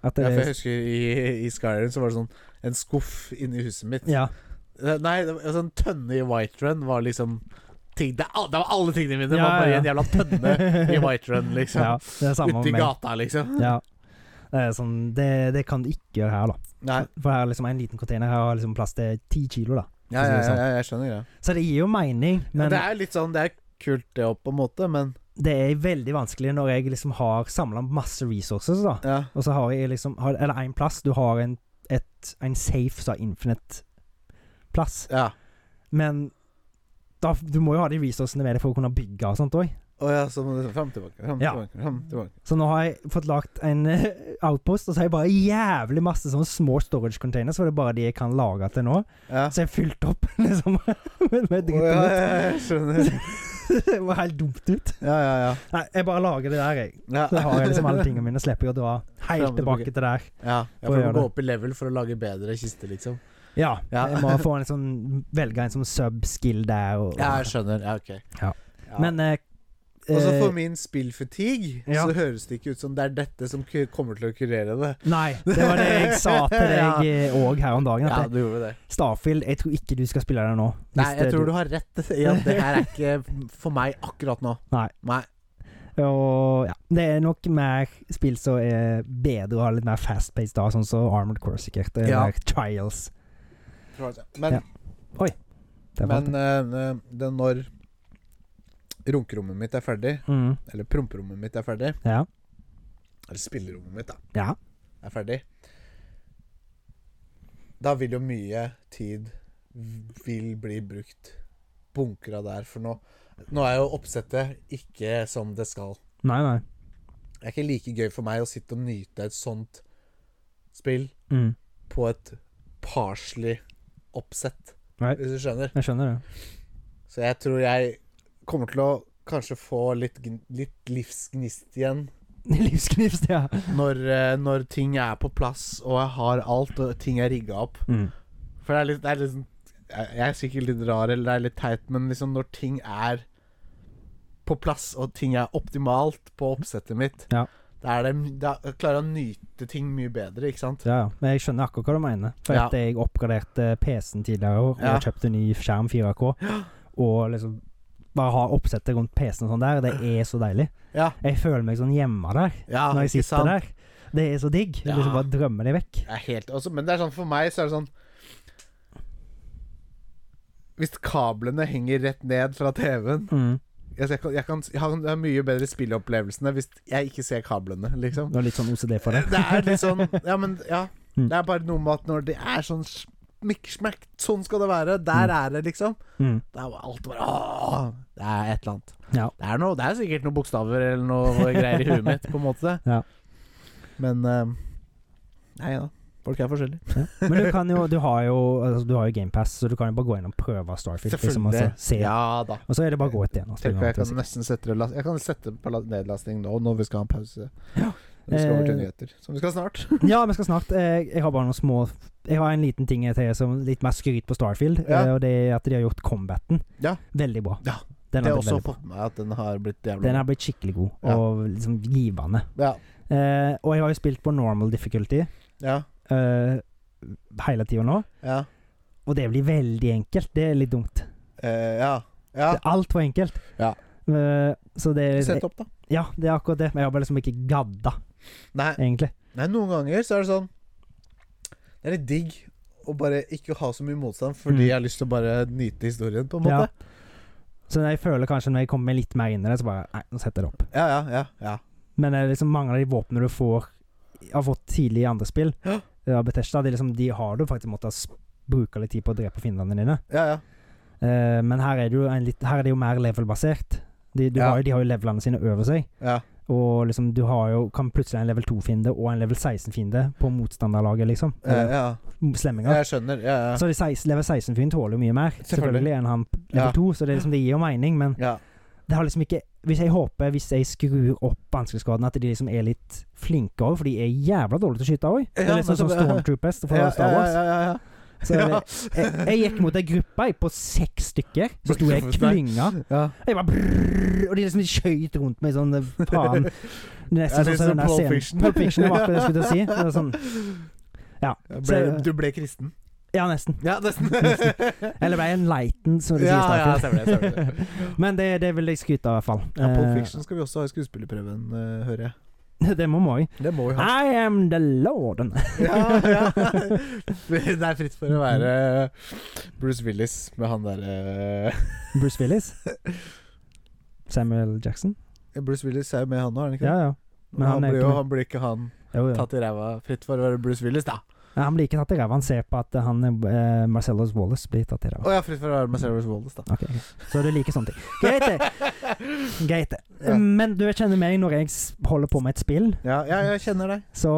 [SPEAKER 2] At
[SPEAKER 1] ja for jeg
[SPEAKER 2] det,
[SPEAKER 1] husker i, i Skyrim så var det sånn en skuff inni huset mitt.
[SPEAKER 2] ja.
[SPEAKER 1] Eh, Nei, det var en sånn tønne i White Run var liksom ting, det, er al- det var alle tingene mine! Det
[SPEAKER 2] Ja,
[SPEAKER 1] var bare
[SPEAKER 2] ja.
[SPEAKER 1] en jævla tønne i White Run, liksom.
[SPEAKER 2] ja, det er samme
[SPEAKER 1] Ute i
[SPEAKER 2] med meg.
[SPEAKER 1] gata, liksom.
[SPEAKER 2] Ja. Det, er sånn, det, det kan du ikke gjøre her, da.
[SPEAKER 1] Nei.
[SPEAKER 2] For her er liksom en liten container her har liksom plass til ti kilo, da.
[SPEAKER 1] Ja, ja, ja, ja, jeg skjønner greia.
[SPEAKER 2] Så det gir jo mening,
[SPEAKER 1] Ja.
[SPEAKER 2] sånn. men
[SPEAKER 1] Det er litt sånn Det er kult, det opp, på en måte, men
[SPEAKER 2] det er veldig vanskelig når jeg liksom har samla masse resources, da.
[SPEAKER 1] ja.
[SPEAKER 2] Og så har jeg liksom har, Eller én plass. Du har en, et, en safe som har infinite plass.
[SPEAKER 1] ja.
[SPEAKER 2] Men da, du må jo ha de resourcene med deg for å kunne bygge og sånt òg.
[SPEAKER 1] Å ja, så må du fram tilbake, fram
[SPEAKER 2] Ja.
[SPEAKER 1] tilbake, fram tilbake.
[SPEAKER 2] Så nå har jeg fått lagt en eh, outpost, og så har jeg bare jævlig masse sånne små storage containers, for det er bare de jeg kan lage til nå.
[SPEAKER 1] Ja.
[SPEAKER 2] Så jeg har fylt opp, liksom, med, med
[SPEAKER 1] Å, ja,
[SPEAKER 2] dritt.
[SPEAKER 1] ja, ja, jeg skjønner.
[SPEAKER 2] Det var helt dumt ut.
[SPEAKER 1] Ja, ja, ja.
[SPEAKER 2] Nei, jeg bare lager det der, jeg.
[SPEAKER 1] Ja.
[SPEAKER 2] Så har jeg liksom alle tingene mine, slipper jeg å dra helt
[SPEAKER 1] Frem og
[SPEAKER 2] tilbake
[SPEAKER 1] tilbake.
[SPEAKER 2] til der.
[SPEAKER 1] Ja, ja
[SPEAKER 2] For å
[SPEAKER 1] for å
[SPEAKER 2] gjøre
[SPEAKER 1] gå
[SPEAKER 2] det.
[SPEAKER 1] opp i level for å lage bedre kiste, liksom.
[SPEAKER 2] Ja.
[SPEAKER 1] Ja.
[SPEAKER 2] Jeg må få en sånn, velge en sånn sub-skill der. Og,
[SPEAKER 1] Ja, jeg skjønner. Ja, ok.
[SPEAKER 2] Ja. Men eh,
[SPEAKER 1] Også
[SPEAKER 2] eh,
[SPEAKER 1] for min spillfatigue
[SPEAKER 2] Ja.
[SPEAKER 1] så høres det ikke ut som det er dette som ku- kommer til å kurere det.
[SPEAKER 2] Nei, det var det jeg sa til
[SPEAKER 1] Ja.
[SPEAKER 2] deg òg her om dagen.
[SPEAKER 1] Ja,
[SPEAKER 2] At
[SPEAKER 1] du gjorde det.
[SPEAKER 2] Starfield, jeg tror ikke du skal spille det nå. Hvis
[SPEAKER 1] Nei, jeg
[SPEAKER 2] det-
[SPEAKER 1] tror du har rett i at det her er ikke for meg akkurat nå.
[SPEAKER 2] Nei.
[SPEAKER 1] Nei.
[SPEAKER 2] Og ja, det er nok mer spill som er bedre og har litt mer fast-paced da, sånn som Armored Core sikkert. Eller
[SPEAKER 1] Ja.
[SPEAKER 2] Trials.
[SPEAKER 1] Tror jeg. Men,
[SPEAKER 2] Ja, Det er
[SPEAKER 1] men
[SPEAKER 2] fint.
[SPEAKER 1] eh, det er når runkerommet mitt er ferdig,
[SPEAKER 2] mm.
[SPEAKER 1] eller promperommet mitt er ferdig,
[SPEAKER 2] Ja.
[SPEAKER 1] eller spillerommet mitt, da,
[SPEAKER 2] Ja.
[SPEAKER 1] er ferdig Da vil jo mye tid vil bli brukt bunkra der, for nå Nå er jo oppsettet ikke som det skal.
[SPEAKER 2] Nei, nei.
[SPEAKER 1] Det er ikke like gøy for meg å sitte og nyte et sånt spill
[SPEAKER 2] Mm.
[SPEAKER 1] på et parslig oppsett,
[SPEAKER 2] Nei.
[SPEAKER 1] hvis du skjønner.
[SPEAKER 2] Jeg skjønner det.
[SPEAKER 1] Så jeg tror jeg kommer til å kanskje få litt, gn- litt livsgnist igjen
[SPEAKER 2] Livsknivs, ja.
[SPEAKER 1] når, eh, når ting er på plass, og jeg har alt, og ting er rigga opp.
[SPEAKER 2] Mm.
[SPEAKER 1] For det er litt, det er litt sånn- Jeg jeg er sikkert litt rar, eller det er litt teit, men liksom når ting er på plass, og ting er optimalt på oppsettet mitt,
[SPEAKER 2] Ja.
[SPEAKER 1] da, er det, da klarer jeg å nyte ting mye bedre, ikke sant?
[SPEAKER 2] Ja, ja. Men jeg skjønner akkurat hva du mener. For
[SPEAKER 1] Ja.
[SPEAKER 2] at jeg oppgraderte PC-en tidligere i år, og
[SPEAKER 1] Ja.
[SPEAKER 2] kjøpte ny skjerm 4K, og liksom bare ha oppsettet rundt PC-en og sånn der, det er så deilig.
[SPEAKER 1] Ja,
[SPEAKER 2] Jeg føler meg sånn hjemme der,
[SPEAKER 1] ja
[SPEAKER 2] når jeg
[SPEAKER 1] ikke
[SPEAKER 2] sitter
[SPEAKER 1] sant?
[SPEAKER 2] der. Det er så digg. Jeg
[SPEAKER 1] Ja.
[SPEAKER 2] Liksom bare drømmer det vekk.
[SPEAKER 1] Det er helt også, Men det er sånn for meg så er det sånn Hvis kablene henger rett ned fra TV-en
[SPEAKER 2] Mm.
[SPEAKER 1] jeg, jeg, kan, jeg, kan, jeg har jeg har mye bedre spilleopplevelsene hvis jeg ikke ser kablene, liksom.
[SPEAKER 2] Du har litt sånn OCD for det.
[SPEAKER 1] Det er litt sånn Ja, men ja.
[SPEAKER 2] Mm.
[SPEAKER 1] Det er bare noe med at når det er sånn smikksmekk, sånn skal det være, der er det, liksom.
[SPEAKER 2] Mm.
[SPEAKER 1] Det er jo alt bare åh, Det er et eller annet.
[SPEAKER 2] Ja.
[SPEAKER 1] Det, er noe, det er sikkert noen bokstaver eller noe greier i huet mitt, på en måte.
[SPEAKER 2] Ja.
[SPEAKER 1] Men eh, Nei da. Folk er forskjellige.
[SPEAKER 2] Ja. Men du kan jo Du har jo, altså, du har jo GamePass, så du kan jo bare gå inn og prøve Starfield. Liksom, og, så se.
[SPEAKER 1] Ja da.
[SPEAKER 2] og så er det bare å gå ut igjen. altså, Og
[SPEAKER 1] Tenk
[SPEAKER 2] spille
[SPEAKER 1] hva jeg
[SPEAKER 2] noe
[SPEAKER 1] kan
[SPEAKER 2] annet.
[SPEAKER 1] nesten sette det last- Jeg kan sette på la- nedlasting nå når vi skal ha en pause.
[SPEAKER 2] Ja.
[SPEAKER 1] Når vi skal over til
[SPEAKER 2] Eh,
[SPEAKER 1] nyheter. Som vi skal snart.
[SPEAKER 2] Ja, vi skal snart. Eh, Jeg har bare noen små Jeg har en liten ting til som litt mer skryt på Starfield.
[SPEAKER 1] Ja.
[SPEAKER 2] eh, Og det er at de har gjort combaten
[SPEAKER 1] Ja.
[SPEAKER 2] veldig bra.
[SPEAKER 1] Ja,
[SPEAKER 2] Den
[SPEAKER 1] Det
[SPEAKER 2] har
[SPEAKER 1] har
[SPEAKER 2] blitt
[SPEAKER 1] også
[SPEAKER 2] veldig bra.
[SPEAKER 1] fått med meg at den har blitt jævlig
[SPEAKER 2] Den har blitt skikkelig god,
[SPEAKER 1] Ja.
[SPEAKER 2] og liksom givende.
[SPEAKER 1] Ja.
[SPEAKER 2] Eh, og jeg har jo spilt på normal difficulty
[SPEAKER 1] Ja.
[SPEAKER 2] eh, hele tida nå,
[SPEAKER 1] Ja.
[SPEAKER 2] og det blir veldig enkelt. Det er litt dumt.
[SPEAKER 1] Eh, ja. ja.
[SPEAKER 2] Det er altfor enkelt.
[SPEAKER 1] Ja.
[SPEAKER 2] Eh, så det
[SPEAKER 1] Sett opp, da.
[SPEAKER 2] Ja, det er akkurat det. Men jeg har bare liksom ikke gadda,
[SPEAKER 1] Nei,
[SPEAKER 2] egentlig.
[SPEAKER 1] nei, noen ganger så er det sånn Det er litt digg å bare ikke ha så mye motstand fordi
[SPEAKER 2] Mm.
[SPEAKER 1] jeg har lyst til å bare nyte historien, på en måte.
[SPEAKER 2] Så jeg føler kanskje når jeg kommer litt mer inn i det, så bare Nei, nå setter jeg det opp.
[SPEAKER 1] Ja, ja, ja. ja.
[SPEAKER 2] Men det er liksom mange av de våpnene du får har fått tidlig i andre spill
[SPEAKER 1] Ja.
[SPEAKER 2] av Bethesda, de, liksom, de har du faktisk måttet s- bruke litt tid på å drepe fiendene dine.
[SPEAKER 1] ja, ja.
[SPEAKER 2] Eh, men her er, det jo en litt, her er det jo mer level-basert. De, du
[SPEAKER 1] Ja.
[SPEAKER 2] har, jo- de har jo levelene sine over seg.
[SPEAKER 1] ja.
[SPEAKER 2] Og liksom, du har jo, kan plutselig ha en level 2-fiende og en level 16-fiende på motstanderlaget, liksom.
[SPEAKER 1] ja,
[SPEAKER 2] Eller
[SPEAKER 1] ja.
[SPEAKER 2] slemminger.
[SPEAKER 1] Jeg skjønner. Ja, ja.
[SPEAKER 2] Så de 16, level 16-fyren tåler jo mye mer
[SPEAKER 1] Selvfølgelig.
[SPEAKER 2] Selvfølgelig enn han p-
[SPEAKER 1] Ja.
[SPEAKER 2] level 2, så det, er liksom, det gir jo mening, men
[SPEAKER 1] ja.
[SPEAKER 2] det har liksom ikke Hvis jeg håper, hvis jeg skrur opp vanskelighetsgraden, at de liksom er litt flinke òg, for de er jævla dårlige til å skyte òg. Det
[SPEAKER 1] Ja,
[SPEAKER 2] er liksom
[SPEAKER 1] men
[SPEAKER 2] som
[SPEAKER 1] så-
[SPEAKER 2] Stormtroopers fra
[SPEAKER 1] Ja,
[SPEAKER 2] Star Wars.
[SPEAKER 1] Ja, ja, ja, ja.
[SPEAKER 2] Så
[SPEAKER 1] Ja.
[SPEAKER 2] jeg, jeg gikk mot ei gruppe jeg, på seks stykker. eh, Så sto jeg og klynga.
[SPEAKER 1] ja.
[SPEAKER 2] Jeg bare brrrr, Og de liksom skøyt rundt meg sånn faen. Det er
[SPEAKER 1] Ja,
[SPEAKER 2] Nesten
[SPEAKER 1] det er
[SPEAKER 2] sånn som
[SPEAKER 1] som
[SPEAKER 2] den der
[SPEAKER 1] Pulp Fiction.
[SPEAKER 2] scenen Pulp Fiction var akkurat det jeg skulle til å si. Det var sånn, ja.
[SPEAKER 1] Jeg
[SPEAKER 2] Så,
[SPEAKER 1] Ble, du ble kristen?
[SPEAKER 2] ja, nesten.
[SPEAKER 1] Ja, nesten.
[SPEAKER 2] Eller ble jeg enlightened, som de sier
[SPEAKER 1] ja,
[SPEAKER 2] i
[SPEAKER 1] ja,
[SPEAKER 2] starten.
[SPEAKER 1] stemmer det. Stemmer det.
[SPEAKER 2] Men det, det vil jeg skryte av, i hvert fall.
[SPEAKER 1] Ja, Pulp
[SPEAKER 2] Eh,
[SPEAKER 1] Fiction skal vi også ha i skuespillerprøven, eh, hører jeg.
[SPEAKER 2] Det må må jeg.
[SPEAKER 1] Det må vi ha.
[SPEAKER 2] I am the lorden.
[SPEAKER 1] Ja, ja. Det er fritt for å være Bruce Willis med han eh, derre
[SPEAKER 2] Bruce Willis. Samuel Jackson.
[SPEAKER 1] Bruce Willis er jo med han nå, er han ikke?
[SPEAKER 2] Ja, ja. men han
[SPEAKER 1] han,
[SPEAKER 2] er
[SPEAKER 1] blir
[SPEAKER 2] ikke
[SPEAKER 1] jo,
[SPEAKER 2] med.
[SPEAKER 1] han blir ikke han
[SPEAKER 2] Jo, jo.
[SPEAKER 1] tatt i ræva fritt for å være Bruce Willis, da.
[SPEAKER 2] Ja, han blir ikke tatt i ræva. Han ser på at han eh, Marcellus Wallace blir tatt i
[SPEAKER 1] Å
[SPEAKER 2] ræva.
[SPEAKER 1] ja, fritt for å være Marcellus Wallace, da.
[SPEAKER 2] Ok, ok. Så du liker sånne ting. Greit, det. Greit det. Men du kjenner meg når jeg s- holder på med et spill,
[SPEAKER 1] Ja, ja, jeg kjenner deg.
[SPEAKER 2] så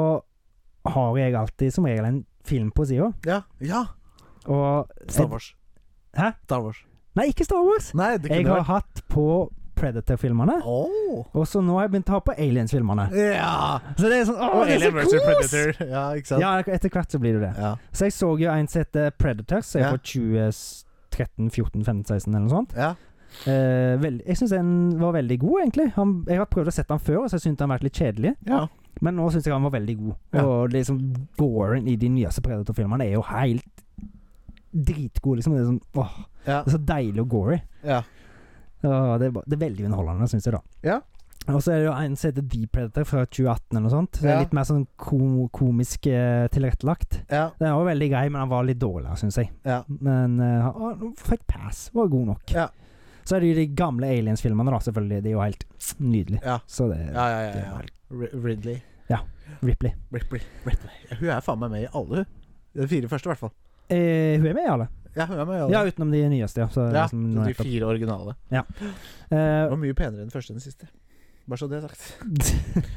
[SPEAKER 2] har jeg alltid som regel en film på sida.
[SPEAKER 1] Ja. ja.
[SPEAKER 2] Og
[SPEAKER 1] Star Wars.
[SPEAKER 2] Hæ?
[SPEAKER 1] Star Wars.
[SPEAKER 2] Nei, ikke Star Wars!
[SPEAKER 1] Nei, det
[SPEAKER 2] Jeg
[SPEAKER 1] kunne
[SPEAKER 2] har
[SPEAKER 1] vært
[SPEAKER 2] hatt på Predator-filmene.
[SPEAKER 1] Åh.
[SPEAKER 2] Og så nå har jeg begynt å ha på Aliens-filmene.
[SPEAKER 1] Ja!
[SPEAKER 2] Så det er sånn Å,
[SPEAKER 1] Og
[SPEAKER 2] det er
[SPEAKER 1] Alien
[SPEAKER 2] så
[SPEAKER 1] versus
[SPEAKER 2] kos!
[SPEAKER 1] Predator. Ja, ikke sant?
[SPEAKER 2] Ja, etter hvert så blir det det.
[SPEAKER 1] Ja.
[SPEAKER 2] Så jeg så jo en som heter Predators, som er
[SPEAKER 1] Ja.
[SPEAKER 2] fra 2013, 14, 15, 16 eller noe sånt.
[SPEAKER 1] ja.
[SPEAKER 2] Eh, veld, jeg syns den var veldig god, egentlig. Han, jeg har prøvd å sette den før, og så syntes han har vært litt kjedelig.
[SPEAKER 1] ja.
[SPEAKER 2] Men nå syns jeg han var veldig god.
[SPEAKER 1] Ja.
[SPEAKER 2] Og liksom goren i de nyeste Predator-filmene er jo helt dritgod, liksom. Det er, sånn, åh,
[SPEAKER 1] Ja.
[SPEAKER 2] det er så deilig og gory.
[SPEAKER 1] ja.
[SPEAKER 2] Ja, det, er, ba- det er veldig underholdende, syns jeg, da.
[SPEAKER 1] Ja.
[SPEAKER 2] Og så er det jo en som heter Deep Predator fra 2018 eller noe sånt. Det
[SPEAKER 1] Ja.
[SPEAKER 2] er litt mer sånn ko komisk eh, tilrettelagt.
[SPEAKER 1] ja.
[SPEAKER 2] Den var veldig grei, men han var litt dårligere, syns jeg.
[SPEAKER 1] Ja.
[SPEAKER 2] Men eh, han- han fikk pass, var god nok.
[SPEAKER 1] Ja.
[SPEAKER 2] Så er det jo de gamle Aliens-filmene, da, selvfølgelig. Det er jo helt nydelig.
[SPEAKER 1] Ja.
[SPEAKER 2] Så det
[SPEAKER 1] Ja, ja, ja,
[SPEAKER 2] det
[SPEAKER 1] ja.
[SPEAKER 2] var
[SPEAKER 1] Ri- Ridley.
[SPEAKER 2] Ripley.
[SPEAKER 1] Ripley. Ripley. Hun er faen meg med i alle, hun. De fire første, i hvert fall.
[SPEAKER 2] Eh, hun er med i alle.
[SPEAKER 1] Ja, jeg er med,
[SPEAKER 2] Ja,
[SPEAKER 1] ja,
[SPEAKER 2] utenom de nyeste, ja. Så,
[SPEAKER 1] ja,
[SPEAKER 2] som
[SPEAKER 1] så de
[SPEAKER 2] nettopp.
[SPEAKER 1] fire originale. Det
[SPEAKER 2] Eh,
[SPEAKER 1] var mye penere enn den første enn den siste. Bare så det er sagt.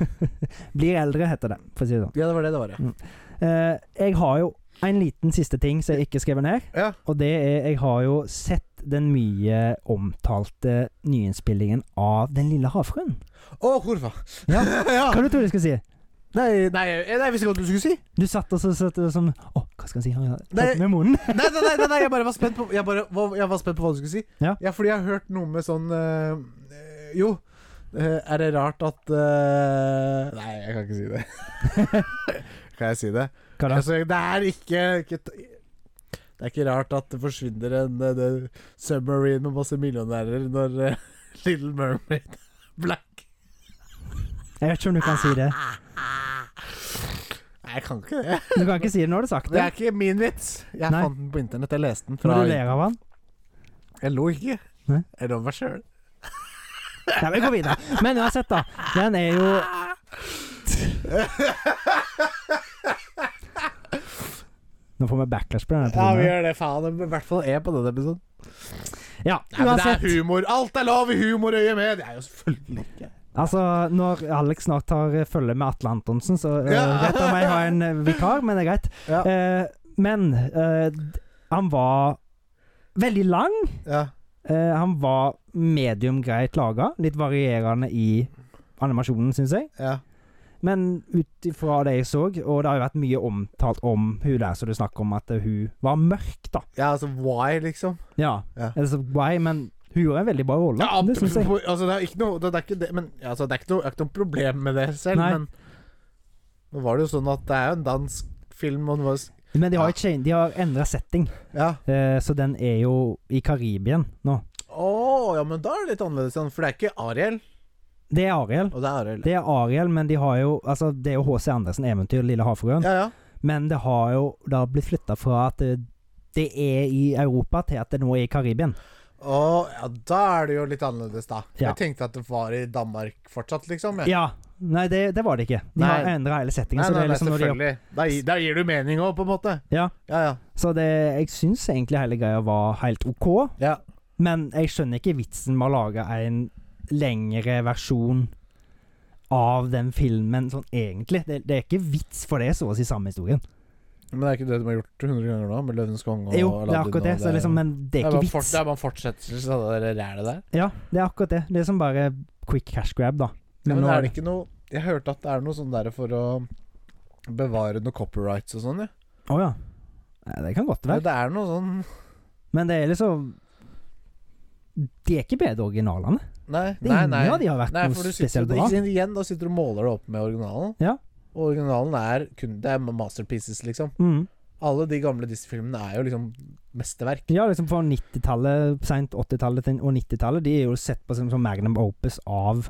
[SPEAKER 2] Blir eldre, heter det, for å si det sånn.
[SPEAKER 1] Ja, det var det det var, ja.
[SPEAKER 2] Eh, jeg har jo en liten siste ting som jeg ikke skrev ned.
[SPEAKER 1] Ja.
[SPEAKER 2] Og det er Jeg har jo sett den mye omtalte nyinnspillingen av Den lille havfruen.
[SPEAKER 1] Å, kurva!
[SPEAKER 2] Ja.
[SPEAKER 1] ja.
[SPEAKER 2] Hva du tror du jeg skulle si?
[SPEAKER 1] Nei, nei, nei, jeg visste ikke hva du skulle si.
[SPEAKER 2] Du satt og så satt og sånn Å, hva skal jeg si? Har jeg
[SPEAKER 1] Nei.
[SPEAKER 2] tatt med munnen?
[SPEAKER 1] Nei, nei, nei, nei, nei jeg bare var spent på, jeg bare, hva- jeg var spent på hva du skulle si.
[SPEAKER 2] Ja.
[SPEAKER 1] fordi jeg har hørt noe med sånn eh, eh, Jo, eh, er det rart at eh, Nei, jeg kan ikke si det. kan jeg si det?
[SPEAKER 2] Hva da?
[SPEAKER 1] Altså, det er ikke, ikke Det er ikke rart at det forsvinner en eh, det- submarine med masse millionærer når eh, Little Mermaid er Black.
[SPEAKER 2] Jeg vet ikke om du kan si det.
[SPEAKER 1] Nei, jeg kan ikke det.
[SPEAKER 2] Du kan ikke si det når du har sagt
[SPEAKER 1] Det
[SPEAKER 2] det.
[SPEAKER 1] er ikke min vits. Jeg
[SPEAKER 2] Nei.
[SPEAKER 1] fant den på internett. Jeg leste den fra
[SPEAKER 2] Når du ler av han.
[SPEAKER 1] Jeg lo ikke.
[SPEAKER 2] Nei.
[SPEAKER 1] Jeg lo meg sjøl.
[SPEAKER 2] Nei, vi går videre. Men uansett, da. Den er jo Nå får vi backlash på denne
[SPEAKER 1] Ja, vi
[SPEAKER 2] episoden.
[SPEAKER 1] gjør det, faen. Det blir I hvert fall E på denne episoden.
[SPEAKER 2] Ja,
[SPEAKER 1] Nei, men det
[SPEAKER 2] uansett.
[SPEAKER 1] er humor. Alt er lov i humorøyet med! Det er jo selvfølgelig ikke
[SPEAKER 2] Altså, når Alex snart tar eh, følge med Atle Antonsen, så eh,
[SPEAKER 1] Ja.
[SPEAKER 2] vet han om jeg har en eh, vikar, men det er greit.
[SPEAKER 1] Ja.
[SPEAKER 2] Eh, men eh, d- han var veldig lang.
[SPEAKER 1] Ja.
[SPEAKER 2] Eh, han var medium greit laga. Litt varierende i animasjonen, syns jeg.
[SPEAKER 1] ja.
[SPEAKER 2] Men ut ifra det jeg så, og det har jo vært mye omtalt om hun der, så du snakker om at eh, hun var mørk, da.
[SPEAKER 1] ja altså why, liksom?
[SPEAKER 2] Ja.
[SPEAKER 1] Ja.
[SPEAKER 2] Altså, why, men hun gjorde en veldig bra rolle.
[SPEAKER 1] Ja,
[SPEAKER 2] det syns jeg.
[SPEAKER 1] Altså, det er ikke noe Det er ikke det Men altså, det er ikke noe, det er ikke noe problem med det selv,
[SPEAKER 2] Nei.
[SPEAKER 1] men Nå var det jo sånn at det er jo en dansk film, og den var
[SPEAKER 2] Men de har,
[SPEAKER 1] Ja.
[SPEAKER 2] ikke- de har endra setting,
[SPEAKER 1] Ja.
[SPEAKER 2] eh, så den er jo i Karibien nå.
[SPEAKER 1] Å, ja, men da er det litt annerledes, sånn, for det er ikke Ariel.
[SPEAKER 2] Det er Ariel.
[SPEAKER 1] Og det er Ariel.
[SPEAKER 2] Det er Ariel, men de har jo Altså, det er jo H.C. Andersen eventyr, Lille havfruen.
[SPEAKER 1] Ja, ja.
[SPEAKER 2] Men det har jo da blitt flytta fra at eh, det er i Europa, til at det nå er i Karibien.
[SPEAKER 1] Å, ja, da er det jo litt annerledes, da.
[SPEAKER 2] Ja.
[SPEAKER 1] Jeg tenkte at det var i Danmark fortsatt, liksom. jeg.
[SPEAKER 2] Ja. Nei, det, det var det ikke. De har
[SPEAKER 1] Nei.
[SPEAKER 2] endra hele settingen.
[SPEAKER 1] Nei,
[SPEAKER 2] så det
[SPEAKER 1] nei,
[SPEAKER 2] er
[SPEAKER 1] nei,
[SPEAKER 2] liksom når de
[SPEAKER 1] selvfølgelig. Da, gi- da gir du mening òg, på en måte.
[SPEAKER 2] Ja.
[SPEAKER 1] Ja, ja.
[SPEAKER 2] Så det, jeg syns egentlig hele greia var helt OK,
[SPEAKER 1] ja.
[SPEAKER 2] men jeg skjønner ikke vitsen med å lage en lengre versjon av den filmen sånn egentlig. Det, det er ikke vits, for det er så å si samme historien.
[SPEAKER 1] Men det er ikke det de har gjort 100 ganger nå, med Løvenes konge og
[SPEAKER 2] jo,
[SPEAKER 1] Aladdin?
[SPEAKER 2] det er akkurat det,
[SPEAKER 1] og
[SPEAKER 2] så liksom, men det er
[SPEAKER 1] bare
[SPEAKER 2] ikke
[SPEAKER 1] fort-
[SPEAKER 2] vits.
[SPEAKER 1] det er bare en fortsettelse av det der rælet der.
[SPEAKER 2] Ja, det er akkurat det. Det er som bare quick cash grab, da.
[SPEAKER 1] Men,
[SPEAKER 2] nå
[SPEAKER 1] er det ikke noe Jeg hørte at det er noe sånn der for å bevare noe copyrights og sånn, ja.
[SPEAKER 2] Å ja. Nei, Det kan godt
[SPEAKER 1] Men
[SPEAKER 2] være.
[SPEAKER 1] det er noe sånn
[SPEAKER 2] Men det er liksom De er ikke bedre originalene.
[SPEAKER 1] Nei,
[SPEAKER 2] Det er
[SPEAKER 1] nei.
[SPEAKER 2] Ingen
[SPEAKER 1] nei.
[SPEAKER 2] av de har vært
[SPEAKER 1] nei for du
[SPEAKER 2] noe
[SPEAKER 1] sitter,
[SPEAKER 2] spesielt
[SPEAKER 1] det,
[SPEAKER 2] bra.
[SPEAKER 1] ikke, igjen, da sitter du og måler det opp med originalen.
[SPEAKER 2] Ja.
[SPEAKER 1] Og originalen er kun Det er masterpieces, liksom.
[SPEAKER 2] Mm.
[SPEAKER 1] Alle de gamle Disney-filmene er jo liksom mesterverk.
[SPEAKER 2] Ja, liksom fra 90-tallet, seint 80-tallet til- og 90-tallet, de er jo sett på som, som magnum opus av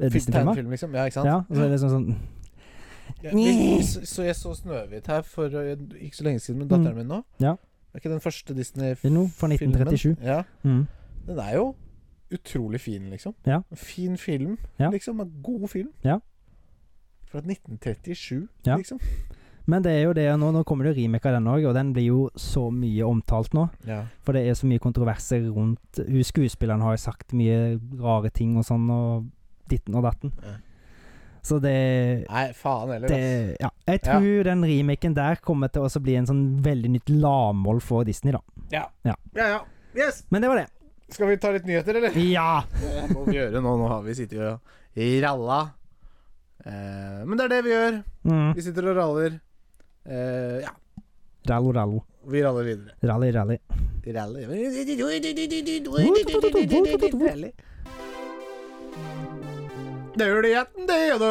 [SPEAKER 2] eh, Disney-filmer.
[SPEAKER 1] Tegnefilm, liksom. Ja, ikke sant?
[SPEAKER 2] Ja, og så er det liksom sånn
[SPEAKER 1] Ja, vi, så, så jeg så Snøhvit her for eh, ikke så lenge siden med datteren min nå.
[SPEAKER 2] Mm. Ja.
[SPEAKER 1] Det er ikke den første
[SPEAKER 2] Det er
[SPEAKER 1] Disney-filmen.
[SPEAKER 2] noe fra 1937.
[SPEAKER 1] Ja.
[SPEAKER 2] Mm.
[SPEAKER 1] Den er jo utrolig fin, liksom.
[SPEAKER 2] Ja.
[SPEAKER 1] En Fin film,
[SPEAKER 2] Ja.
[SPEAKER 1] liksom. En god film.
[SPEAKER 2] Ja.
[SPEAKER 1] Fra 1937,
[SPEAKER 2] Ja.
[SPEAKER 1] liksom.
[SPEAKER 2] Men det er jo det nå, nå kommer det jo remake av den òg, og den blir jo så mye omtalt nå.
[SPEAKER 1] Ja.
[SPEAKER 2] For det er så mye kontroverser rundt Hun skuespilleren har jo sagt mye rare ting og sånn, og ditten og datten.
[SPEAKER 1] Ja.
[SPEAKER 2] Så det
[SPEAKER 1] Nei, faen heller. ass.
[SPEAKER 2] det, ja. Jeg tror den remaken der kommer til å også bli en sånn veldig nytt lavmål for Disney, da.
[SPEAKER 1] Ja, ja. Yes!
[SPEAKER 2] Men det var det.
[SPEAKER 1] Skal vi ta litt nyheter, eller?
[SPEAKER 2] Ja!
[SPEAKER 1] Det må vi gjøre nå. Nå har vi sittet og ralla. Eh, men det er det vi gjør.
[SPEAKER 2] Mm.
[SPEAKER 1] Vi sitter og raller. Eh, ja,
[SPEAKER 2] Rallo, rallo.
[SPEAKER 1] vi raller videre.
[SPEAKER 2] Rally, rally.
[SPEAKER 1] Rally. Det gjør det igjen, det og da.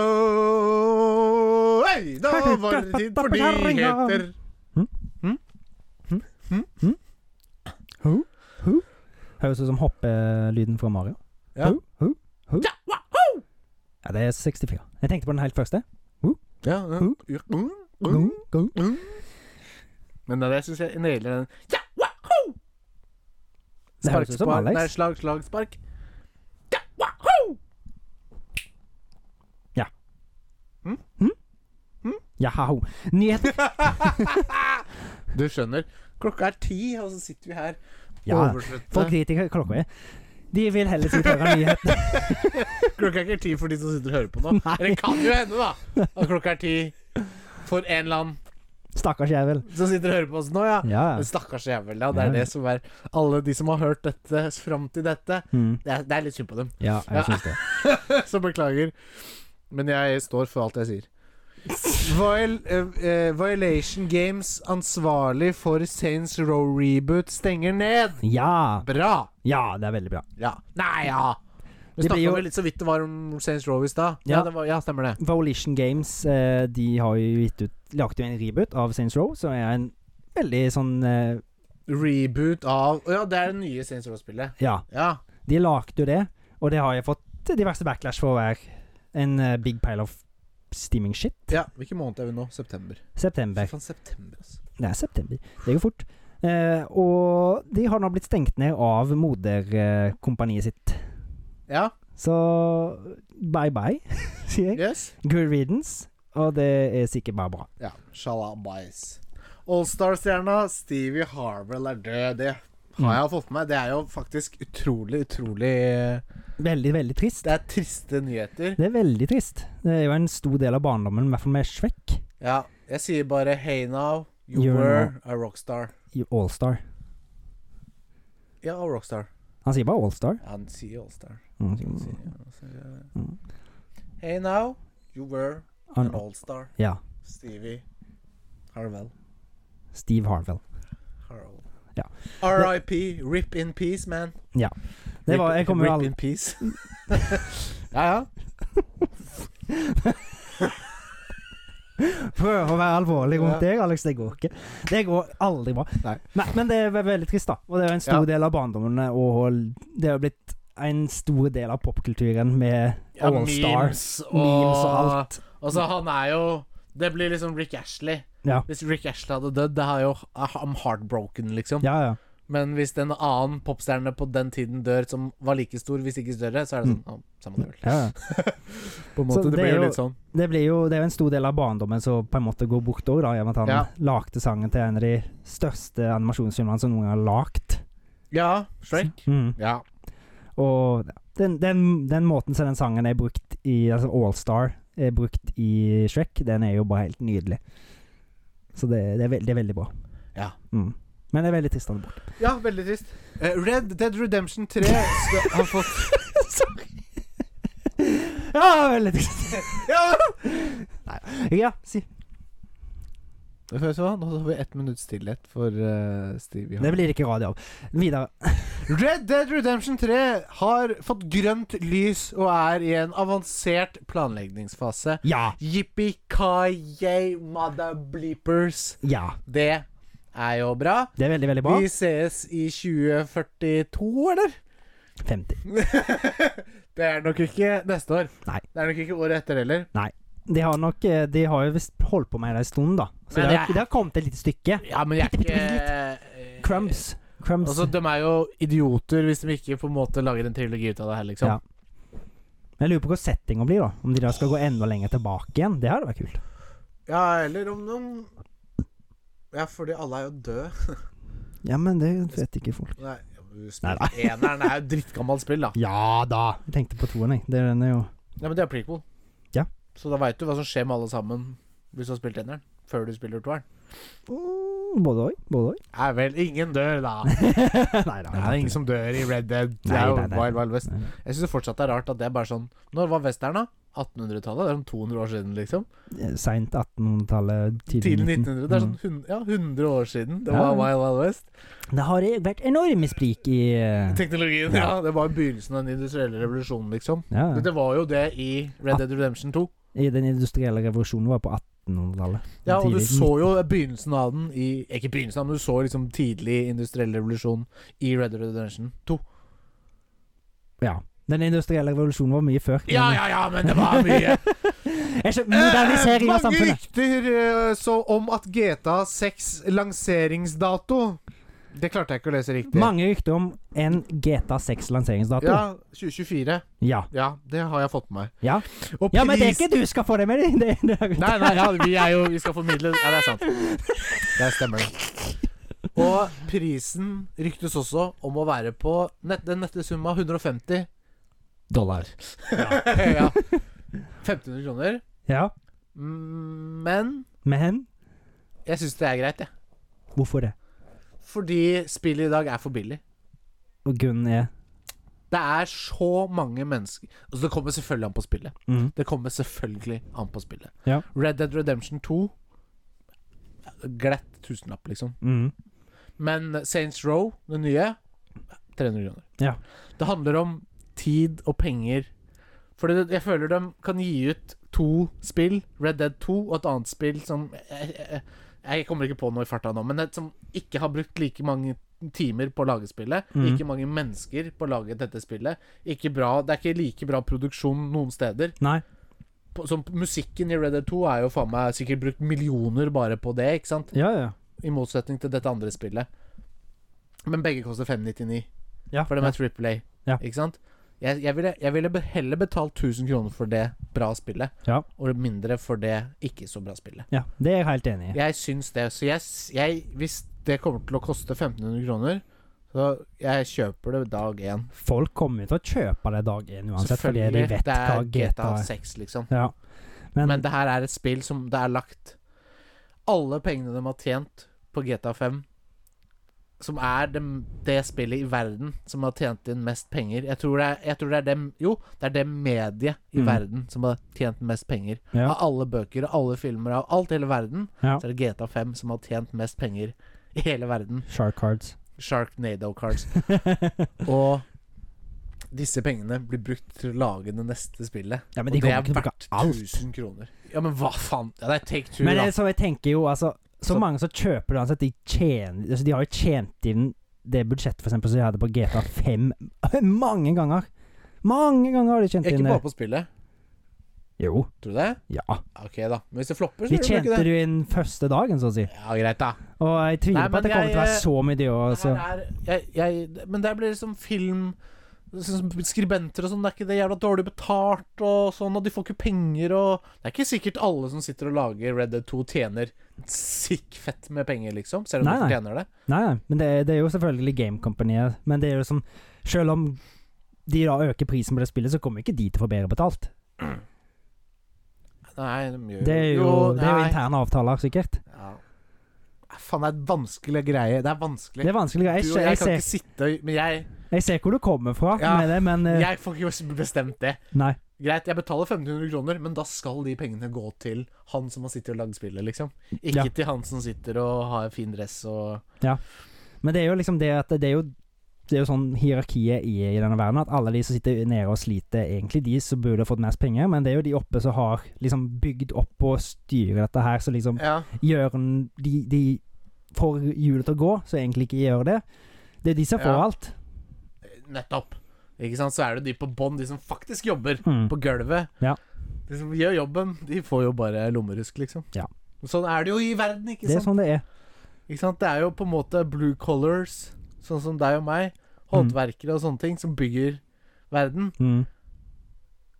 [SPEAKER 1] Hei, da var det tid for nyheter.
[SPEAKER 2] Høres ut som hoppelyden fra Mario.
[SPEAKER 1] Ja.
[SPEAKER 2] Ho, ho, ho. Ja, det er 64. Jeg tenkte på den helt første.
[SPEAKER 1] Ja, ja. Mm.
[SPEAKER 2] Gung, gung.
[SPEAKER 1] Men det syns jeg nailer den. Ja, wahoo!
[SPEAKER 2] Det høres ut som
[SPEAKER 1] Spark, spark, nei,
[SPEAKER 2] Alex.
[SPEAKER 1] slag, slag, spark. Ja, wahoo!
[SPEAKER 2] Jaha, ho. Nyhet
[SPEAKER 1] Du skjønner. Klokka er ti, og så sitter vi her.
[SPEAKER 2] Ja,
[SPEAKER 1] Overslutte.
[SPEAKER 2] folk driter i hva klokka er. De vil heller sitte og høre nyheter.
[SPEAKER 1] Klokka er ikke ti for de som sitter og hører på nå. Eller det kan jo hende, da. At klokka er ti for en eller annen
[SPEAKER 2] Stakkars jævel.
[SPEAKER 1] som sitter og hører på oss nå, ja.
[SPEAKER 2] Ja,
[SPEAKER 1] Men
[SPEAKER 2] ja.
[SPEAKER 1] stakkars jævel, ja. Det er
[SPEAKER 2] Ja.
[SPEAKER 1] det som er Alle de som har hørt dette fram til dette,
[SPEAKER 2] Mm.
[SPEAKER 1] det er, det er litt synd på dem.
[SPEAKER 2] Ja,
[SPEAKER 1] Ja.
[SPEAKER 2] jeg syns det.
[SPEAKER 1] Så beklager. Men jeg står for alt jeg sier. Viol eh, eh, Violation Games ansvarlig for Saints Row Reboot stenger ned.
[SPEAKER 2] Ja.
[SPEAKER 1] Bra!
[SPEAKER 2] ja, det er veldig bra.
[SPEAKER 1] Ja. Nei, ja! Vi
[SPEAKER 2] Det blir
[SPEAKER 1] snakka
[SPEAKER 2] jo-
[SPEAKER 1] vel litt så vidt det var om Saints Row i stad. Ja.
[SPEAKER 2] Ja.
[SPEAKER 1] det var, ja, stemmer det.
[SPEAKER 2] Volition Games eh, De har jo gitt ut lagt jo en reboot av Saints Row, som er en veldig sånn eh,
[SPEAKER 1] Reboot av Å Ja, det er det nye Saints Row-spillet.
[SPEAKER 2] Ja.
[SPEAKER 1] Ja.
[SPEAKER 2] De lagde jo det, og det har jeg fått diverse backlash for å være en eh, big pile of steaming shit.
[SPEAKER 1] ja. Hvilken måned er vi nå? September. Fy
[SPEAKER 2] September.
[SPEAKER 1] faen, september, altså.
[SPEAKER 2] Det er september. Det går fort. Eh, og de har nå blitt stengt ned av moderkompaniet sitt.
[SPEAKER 1] Ja.
[SPEAKER 2] Så bye bye, sier jeg.
[SPEAKER 1] Yes.
[SPEAKER 2] Good riddance. Og det er sikkert bare bra.
[SPEAKER 1] Ja. Shalabais. Allstar-stjerna Stevie Harwell er død. Det har
[SPEAKER 2] Mm.
[SPEAKER 1] jeg fått med meg. Det er jo faktisk utrolig, utrolig eh,
[SPEAKER 2] Veldig, veldig trist.
[SPEAKER 1] Det er triste nyheter.
[SPEAKER 2] Det er veldig trist. Det er jo en stor del av barndommen, i hvert fall med Shrek.
[SPEAKER 1] Ja. Jeg sier bare hey now, you
[SPEAKER 2] You're
[SPEAKER 1] were a rockstar.
[SPEAKER 2] i Allstar.
[SPEAKER 1] Ja, a rockstar.
[SPEAKER 2] Han sier bare Allstar.
[SPEAKER 1] Ja, Han sier allstar.
[SPEAKER 2] Mm.
[SPEAKER 1] Han sier- han sier-
[SPEAKER 2] Mm.
[SPEAKER 1] Hey now, you were an
[SPEAKER 2] Han,
[SPEAKER 1] allstar.
[SPEAKER 2] ja.
[SPEAKER 1] Stevie Harwell.
[SPEAKER 2] Steve Harvell.
[SPEAKER 1] Harwell.
[SPEAKER 2] Ja.
[SPEAKER 1] RIP. Rip in peace, man.
[SPEAKER 2] Det var,
[SPEAKER 1] Rip-
[SPEAKER 2] jeg kommer
[SPEAKER 1] rip
[SPEAKER 2] jo aldri
[SPEAKER 1] in peace. ja, ja.
[SPEAKER 2] Prøv å være alvorlig rundt deg, Alex. Det går ikke. Det går aldri bra.
[SPEAKER 1] Nei.
[SPEAKER 2] men det er ve- veldig trist, da. Og det er jo en stor
[SPEAKER 1] Ja.
[SPEAKER 2] del av barndommen, og det er jo blitt en stor del av popkulturen med
[SPEAKER 1] Ja,
[SPEAKER 2] Allstar. Memes.
[SPEAKER 1] og,
[SPEAKER 2] og alt.
[SPEAKER 1] Og så han er jo Det blir liksom Rick Ashley.
[SPEAKER 2] Ja.
[SPEAKER 1] Hvis Rick Ashley hadde dødd, det er jo I'm heartbroken, liksom.
[SPEAKER 2] Ja, ja.
[SPEAKER 1] Men hvis en annen popstjerne på den tiden dør som var like stor, hvis ikke større, så er det sånn «Å, Samme det vel.
[SPEAKER 2] Mm. ja, ja.
[SPEAKER 1] På en
[SPEAKER 2] måte, Så
[SPEAKER 1] det
[SPEAKER 2] det det blir
[SPEAKER 1] blir
[SPEAKER 2] er
[SPEAKER 1] jo
[SPEAKER 2] jo jo-
[SPEAKER 1] litt
[SPEAKER 2] litt
[SPEAKER 1] sånn.
[SPEAKER 2] Det, blir jo, det er jo en stor del av barndommen som på en måte går bort òg, da, i og med at han
[SPEAKER 1] Ja.
[SPEAKER 2] lagde sangen til en av de største animasjonsfilmene som noen gang har lagd.
[SPEAKER 1] Ja, Shrek.
[SPEAKER 2] Mm.
[SPEAKER 1] Ja.
[SPEAKER 2] Og den, den, den måten som den sangen er brukt i altså Allstar er brukt i Shrek, den er jo bare helt nydelig. Så det, det, er, veld, det er veldig bra.
[SPEAKER 1] Ja.
[SPEAKER 2] Mm. Men det er veldig trist at det er borte.
[SPEAKER 1] ja, veldig trist. Eh, Red Dead Redemption 3 skal, har fått
[SPEAKER 2] Sorry. ja, veldig trist.
[SPEAKER 1] Ja!
[SPEAKER 2] Ja, si.
[SPEAKER 1] Nå har vi ett minutts stillhet for
[SPEAKER 2] eh,
[SPEAKER 1] Stevie
[SPEAKER 2] Det blir ikke radio av. Videre.
[SPEAKER 1] Red Dead Redemption 3 har fått grønt lys og er i en avansert planleggingsfase.
[SPEAKER 2] Ja.
[SPEAKER 1] Yippee-ki-yay, mother bleepers.
[SPEAKER 2] Ja.
[SPEAKER 1] Det er jo bra.
[SPEAKER 2] Det er veldig, veldig bra.
[SPEAKER 1] Vi ses i 2042, eller?
[SPEAKER 2] 50.
[SPEAKER 1] Det er nok ikke neste år.
[SPEAKER 2] Nei.
[SPEAKER 1] Det er nok ikke året etter heller.
[SPEAKER 2] De har nok eh, De har jo visst holdt på med det en stund, da. Så
[SPEAKER 1] Men
[SPEAKER 2] det har,
[SPEAKER 1] det er-
[SPEAKER 2] det har kommet et lite stykke.
[SPEAKER 1] Ja, men jeg er
[SPEAKER 2] Bitte,
[SPEAKER 1] ikke eh,
[SPEAKER 2] Crumbs. Crumbs.
[SPEAKER 1] Altså, de er jo idioter hvis de ikke på en måte lager en trilogi ut av det her, liksom.
[SPEAKER 2] Ja. Men Jeg lurer på hva settinga blir, da. Om de da skal gå enda lenger tilbake igjen. Det hadde vært kult.
[SPEAKER 1] Ja, eller om noen Ja, fordi alle er jo døde.
[SPEAKER 2] Ja, men det vet ikke folk.
[SPEAKER 1] Nei,
[SPEAKER 2] Nei
[SPEAKER 1] spill- Eneren er jo drittgammelt spill, da.
[SPEAKER 2] Ja da! Jeg tenkte på toeren, jeg. Det er den er jo
[SPEAKER 1] Ja, Men det er prequel.
[SPEAKER 2] Ja.
[SPEAKER 1] Så da veit du hva som skjer med alle sammen hvis du har spilt eneren. Før du spiller toeren.
[SPEAKER 2] mm, Både òg. Både òg.
[SPEAKER 1] Er vel ingen dør, da.
[SPEAKER 2] nei da.
[SPEAKER 1] Det er ingen som dør i Red Dead. Det
[SPEAKER 2] Nei,
[SPEAKER 1] er jo
[SPEAKER 2] nei, nei.
[SPEAKER 1] Wild Wild West.
[SPEAKER 2] Nei.
[SPEAKER 1] Jeg syns fortsatt det er rart at det er bare sånn Når var western, da? 1800-tallet? Det er sånn 200 år siden, liksom.
[SPEAKER 2] Seint 1800-tallet,
[SPEAKER 1] Tidlig
[SPEAKER 2] tidlig
[SPEAKER 1] 1900. Det er sånn
[SPEAKER 2] Mm.
[SPEAKER 1] hun- ja, 100 år siden det
[SPEAKER 2] Ja.
[SPEAKER 1] var Wild Wild West.
[SPEAKER 2] Mm. Det har vært enorme sprik i eh,
[SPEAKER 1] Teknologien, ja. Det var begynnelsen av den industrielle revolusjonen, liksom.
[SPEAKER 2] ja,
[SPEAKER 1] Men Det var jo det i Red Dead Redemption 2.
[SPEAKER 2] I den industrielle revolusjonen var på 1800-tallet.
[SPEAKER 1] Ja, og du
[SPEAKER 2] Tidlig-
[SPEAKER 1] så jo begynnelsen av den i Ikke begynnelsen, men du så liksom tidlig industriell revolusjon i Red Dead Redemption 2.
[SPEAKER 2] Ja. Den industrielle revolusjonen var mye før.
[SPEAKER 1] Ja, ja, ja, men det var mye!
[SPEAKER 2] Jeg skjønner, modernisering av
[SPEAKER 1] Eh, Mange
[SPEAKER 2] samfunnet.
[SPEAKER 1] rykter eh, så om at GTA 6 lanseringsdato Det klarte jeg ikke å lese riktig.
[SPEAKER 2] Mange rykter om en GTA 6-lanseringsdato.
[SPEAKER 1] Ja, 2024.
[SPEAKER 2] ja.
[SPEAKER 1] Ja, det har jeg fått med meg.
[SPEAKER 2] Ja.
[SPEAKER 1] Og
[SPEAKER 2] Ja, men det er
[SPEAKER 1] pris-
[SPEAKER 2] ikke du skal få det med deg. Det, det,
[SPEAKER 1] Nei, nei, ja, vi er jo Vi skal formidle Ja, det er sant. Det stemmer, det. Og prisen ryktes også om å være på nett, den nette summa 150
[SPEAKER 2] Dollar.
[SPEAKER 1] ja. 1500 kroner.
[SPEAKER 2] Ja,
[SPEAKER 1] Mm, Men
[SPEAKER 2] men
[SPEAKER 1] jeg syns det er greit, jeg.
[SPEAKER 2] hvorfor det?
[SPEAKER 1] Fordi spillet i dag er for billig.
[SPEAKER 2] Og grunnen er
[SPEAKER 1] Det er så mange mennesker Altså, det kommer selvfølgelig an på spillet.
[SPEAKER 2] mm.
[SPEAKER 1] Det kommer selvfølgelig an på spillet.
[SPEAKER 2] Ja.
[SPEAKER 1] Red Dead Redemption 2 Glatt tusenlapp, liksom.
[SPEAKER 2] Mm.
[SPEAKER 1] Men Saints Row, det nye 300 kroner.
[SPEAKER 2] Ja.
[SPEAKER 1] Det handler om tid og penger. For det- jeg føler de kan gi ut to spill, Red Dead 2 og et annet spill som Jeg, jeg, jeg kommer ikke på noe i farta nå, men et som ikke har brukt like mange timer på å lage spillet.
[SPEAKER 2] Mm.
[SPEAKER 1] Ikke mange mennesker på å lage dette spillet. Ikke bra, det er ikke like bra produksjon noen steder.
[SPEAKER 2] Nei.
[SPEAKER 1] På, som musikken i Red Dead 2 er jo faen meg sikkert brukt millioner bare på det, ikke sant?
[SPEAKER 2] Ja, ja.
[SPEAKER 1] I motsetning til dette andre spillet. Men begge koster 599.
[SPEAKER 2] ja.
[SPEAKER 1] For de er Triple A.
[SPEAKER 2] Ja.
[SPEAKER 1] Ikke sant? Jeg, jeg ville, jeg ville be- heller betalt 1000 kroner for det bra spillet,
[SPEAKER 2] Ja.
[SPEAKER 1] og mindre for det ikke så bra spillet.
[SPEAKER 2] ja. Det er jeg helt enig i.
[SPEAKER 1] Jeg syns det. Så jeg, s- jeg Hvis det kommer til å koste 1500 kroner, så jeg kjøper det dag én.
[SPEAKER 2] Folk kommer jo til å kjøpe det dag én uansett, fordi de
[SPEAKER 1] Selvfølgelig.
[SPEAKER 2] vet
[SPEAKER 1] Det
[SPEAKER 2] hva
[SPEAKER 1] er
[SPEAKER 2] GTA
[SPEAKER 1] GTA
[SPEAKER 2] er.
[SPEAKER 1] 6, liksom.
[SPEAKER 2] Ja. Men,
[SPEAKER 1] Men det her er et spill som det er lagt Alle pengene de har tjent på GTA 5 Som er det, det spillet i verden Som har tjent inn mest penger Jeg tror det er, jeg tror det, er det Jo, det er det mediet i
[SPEAKER 2] Mm.
[SPEAKER 1] verden Som har tjent mest penger
[SPEAKER 2] ja.
[SPEAKER 1] Av alle bøker, av alle filmer, av alt i hele verden
[SPEAKER 2] Ja.
[SPEAKER 1] Så er det GTA 5 som har tjent mest penger I hele verden
[SPEAKER 2] Shark cards.
[SPEAKER 1] Sharknado cards Og disse pengene blir brukt til å lage det neste spillet
[SPEAKER 2] Ja,
[SPEAKER 1] Og
[SPEAKER 2] men de
[SPEAKER 1] det
[SPEAKER 2] kommer
[SPEAKER 1] er
[SPEAKER 2] ikke til å
[SPEAKER 1] verdt
[SPEAKER 2] bruke alt.
[SPEAKER 1] 1000 kroner Ja, men hva faen Ja, det er take two
[SPEAKER 2] Men
[SPEAKER 1] da
[SPEAKER 2] det, er så jeg tenker jo, altså Så
[SPEAKER 1] Så-
[SPEAKER 2] mange som kjøper det uansett, de tjener altså, De har jo tjent inn det budsjettet for eksempel som de hadde på GTA 5 mange ganger. Mange ganger har de tjent
[SPEAKER 1] Ikke
[SPEAKER 2] inn det.
[SPEAKER 1] bare på spillet.
[SPEAKER 2] Jo.
[SPEAKER 1] Tror du det?
[SPEAKER 2] Ja.
[SPEAKER 1] Ok, da. Men hvis det flopper, så
[SPEAKER 2] De
[SPEAKER 1] gjør det
[SPEAKER 2] tjente
[SPEAKER 1] ikke det.
[SPEAKER 2] det jo inn første dagen, så å si.
[SPEAKER 1] Ja, greit, da.
[SPEAKER 2] Og jeg tviler
[SPEAKER 1] Nei,
[SPEAKER 2] på at det
[SPEAKER 1] men
[SPEAKER 2] kommer til å være
[SPEAKER 1] jeg,
[SPEAKER 2] så mye det òg,
[SPEAKER 1] Det her er, jeg, jeg, men det blir liksom film sånn som Skribenter og sånn, det er ikke det jævla dårlig betalt og sånn, og de får ikke penger og Det er ikke sikkert alle som sitter og lager Red Dead 2, tjener sikk fett med penger, liksom. Selv om
[SPEAKER 2] Nei,
[SPEAKER 1] de
[SPEAKER 2] nei.
[SPEAKER 1] fortjener det.
[SPEAKER 2] Nei, nei, men det, det er jo selvfølgelig gamekompanier. Men det er jo som Selv om de da øker prisen på det spillet, så kommer ikke de til å få bedre betalt.
[SPEAKER 1] Nei, de gjør
[SPEAKER 2] Det er jo, det er jo
[SPEAKER 1] nei.
[SPEAKER 2] interne avtaler, sikkert.
[SPEAKER 1] Ja. Ah, Faen, det er en vanskelig greie. Det er vanskelig.
[SPEAKER 2] Det er vanskelig. Jeg,
[SPEAKER 1] du og
[SPEAKER 2] jeg,
[SPEAKER 1] jeg kan
[SPEAKER 2] jeg,
[SPEAKER 1] ikke sitte og Men jeg,
[SPEAKER 2] ser, jeg ser hvor du kommer fra
[SPEAKER 1] Ja,
[SPEAKER 2] med det, men eh,
[SPEAKER 1] jeg får ikke bestemt det.
[SPEAKER 2] Nei.
[SPEAKER 1] Greit, jeg betaler 1500 kroner, men da skal de pengene gå til han som har sittet og lagd spillet, liksom. Ikke
[SPEAKER 2] Ja.
[SPEAKER 1] til han som sitter og har en fin dress og
[SPEAKER 2] Men det er jo liksom det at det er jo det er jo sånn hierarkiet i, i denne verden, at alle de som sitter nede og sliter, egentlig de som burde fått mest penger, men det er jo de oppe som har liksom bygd opp og styrer dette her, så liksom
[SPEAKER 1] Ja.
[SPEAKER 2] gjør en, de, de får hjulet til å gå, så egentlig ikke gjør det. Det er de som får
[SPEAKER 1] Ja.
[SPEAKER 2] alt.
[SPEAKER 1] Nettopp. Ikke sant? Så er det de på bånn, de som faktisk jobber
[SPEAKER 2] Mm.
[SPEAKER 1] på gulvet.
[SPEAKER 2] Ja.
[SPEAKER 1] De som gjør jobben, de får jo bare lommerusk, liksom.
[SPEAKER 2] Ja.
[SPEAKER 1] Sånn er det jo i verden, ikke
[SPEAKER 2] Det er
[SPEAKER 1] sant?
[SPEAKER 2] sånn det er.
[SPEAKER 1] Ikke sant? Det er jo på en måte blue collars, sånn som deg og meg, håndverkere og sånne ting, som bygger verden,
[SPEAKER 2] Mm.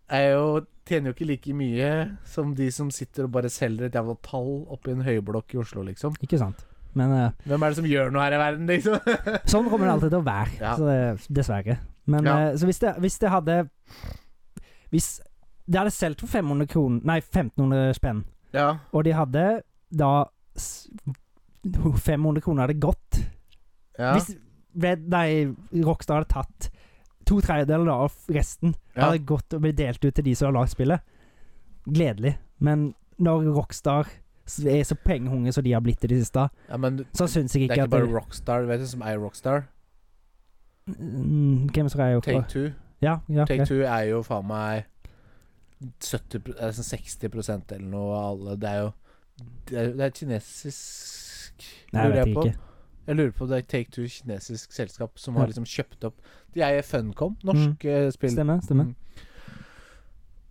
[SPEAKER 1] er jo Tjener jo ikke like mye som de som sitter og bare selger et jævla tall oppi en høyblokk i Oslo, liksom.
[SPEAKER 2] Ikke sant. Men eh,
[SPEAKER 1] Hvem er det som gjør noe her i verden, liksom?
[SPEAKER 2] sånn kommer det alltid til å være,
[SPEAKER 1] Ja.
[SPEAKER 2] så det, dessverre. Men
[SPEAKER 1] Ja.
[SPEAKER 2] eh, så hvis det, hvis det hadde Hvis det hadde solgt for 500 kroner Nei, 1500 spenn,
[SPEAKER 1] ja.
[SPEAKER 2] og de hadde da s- 500 kroner hadde gått
[SPEAKER 1] ja.
[SPEAKER 2] Hvis Red, nei, Rockstar hadde tatt to tredjedeler da, og resten
[SPEAKER 1] Ja.
[SPEAKER 2] hadde gått og blitt delt ut til de som har lagd spillet. Gledelig. Men når Rockstar s- er så pengehungre som de har blitt i det siste,
[SPEAKER 1] ja, men det
[SPEAKER 2] så syns jeg
[SPEAKER 1] er
[SPEAKER 2] ikke,
[SPEAKER 1] ikke
[SPEAKER 2] at
[SPEAKER 1] bare
[SPEAKER 2] det-
[SPEAKER 1] Rockstar, vet du, som er Rockstar.
[SPEAKER 2] Mm, Hvem som er
[SPEAKER 1] Take
[SPEAKER 2] Rockstar?
[SPEAKER 1] Two.
[SPEAKER 2] Ja, ja,
[SPEAKER 1] Take
[SPEAKER 2] ok.
[SPEAKER 1] Two er jo faen meg 70 pro- eller sånn 60 eller noe av alle Det er jo Det er, det er kinesisk
[SPEAKER 2] Nei, jeg
[SPEAKER 1] lurer
[SPEAKER 2] vet
[SPEAKER 1] på.
[SPEAKER 2] ikke.
[SPEAKER 1] Jeg lurer på om det er Take Two kinesisk selskap som
[SPEAKER 2] Ja. Mm.
[SPEAKER 1] har liksom kjøpt opp De eier Funcom, norske spill.
[SPEAKER 2] Stemmer. stemmer.
[SPEAKER 1] Mm.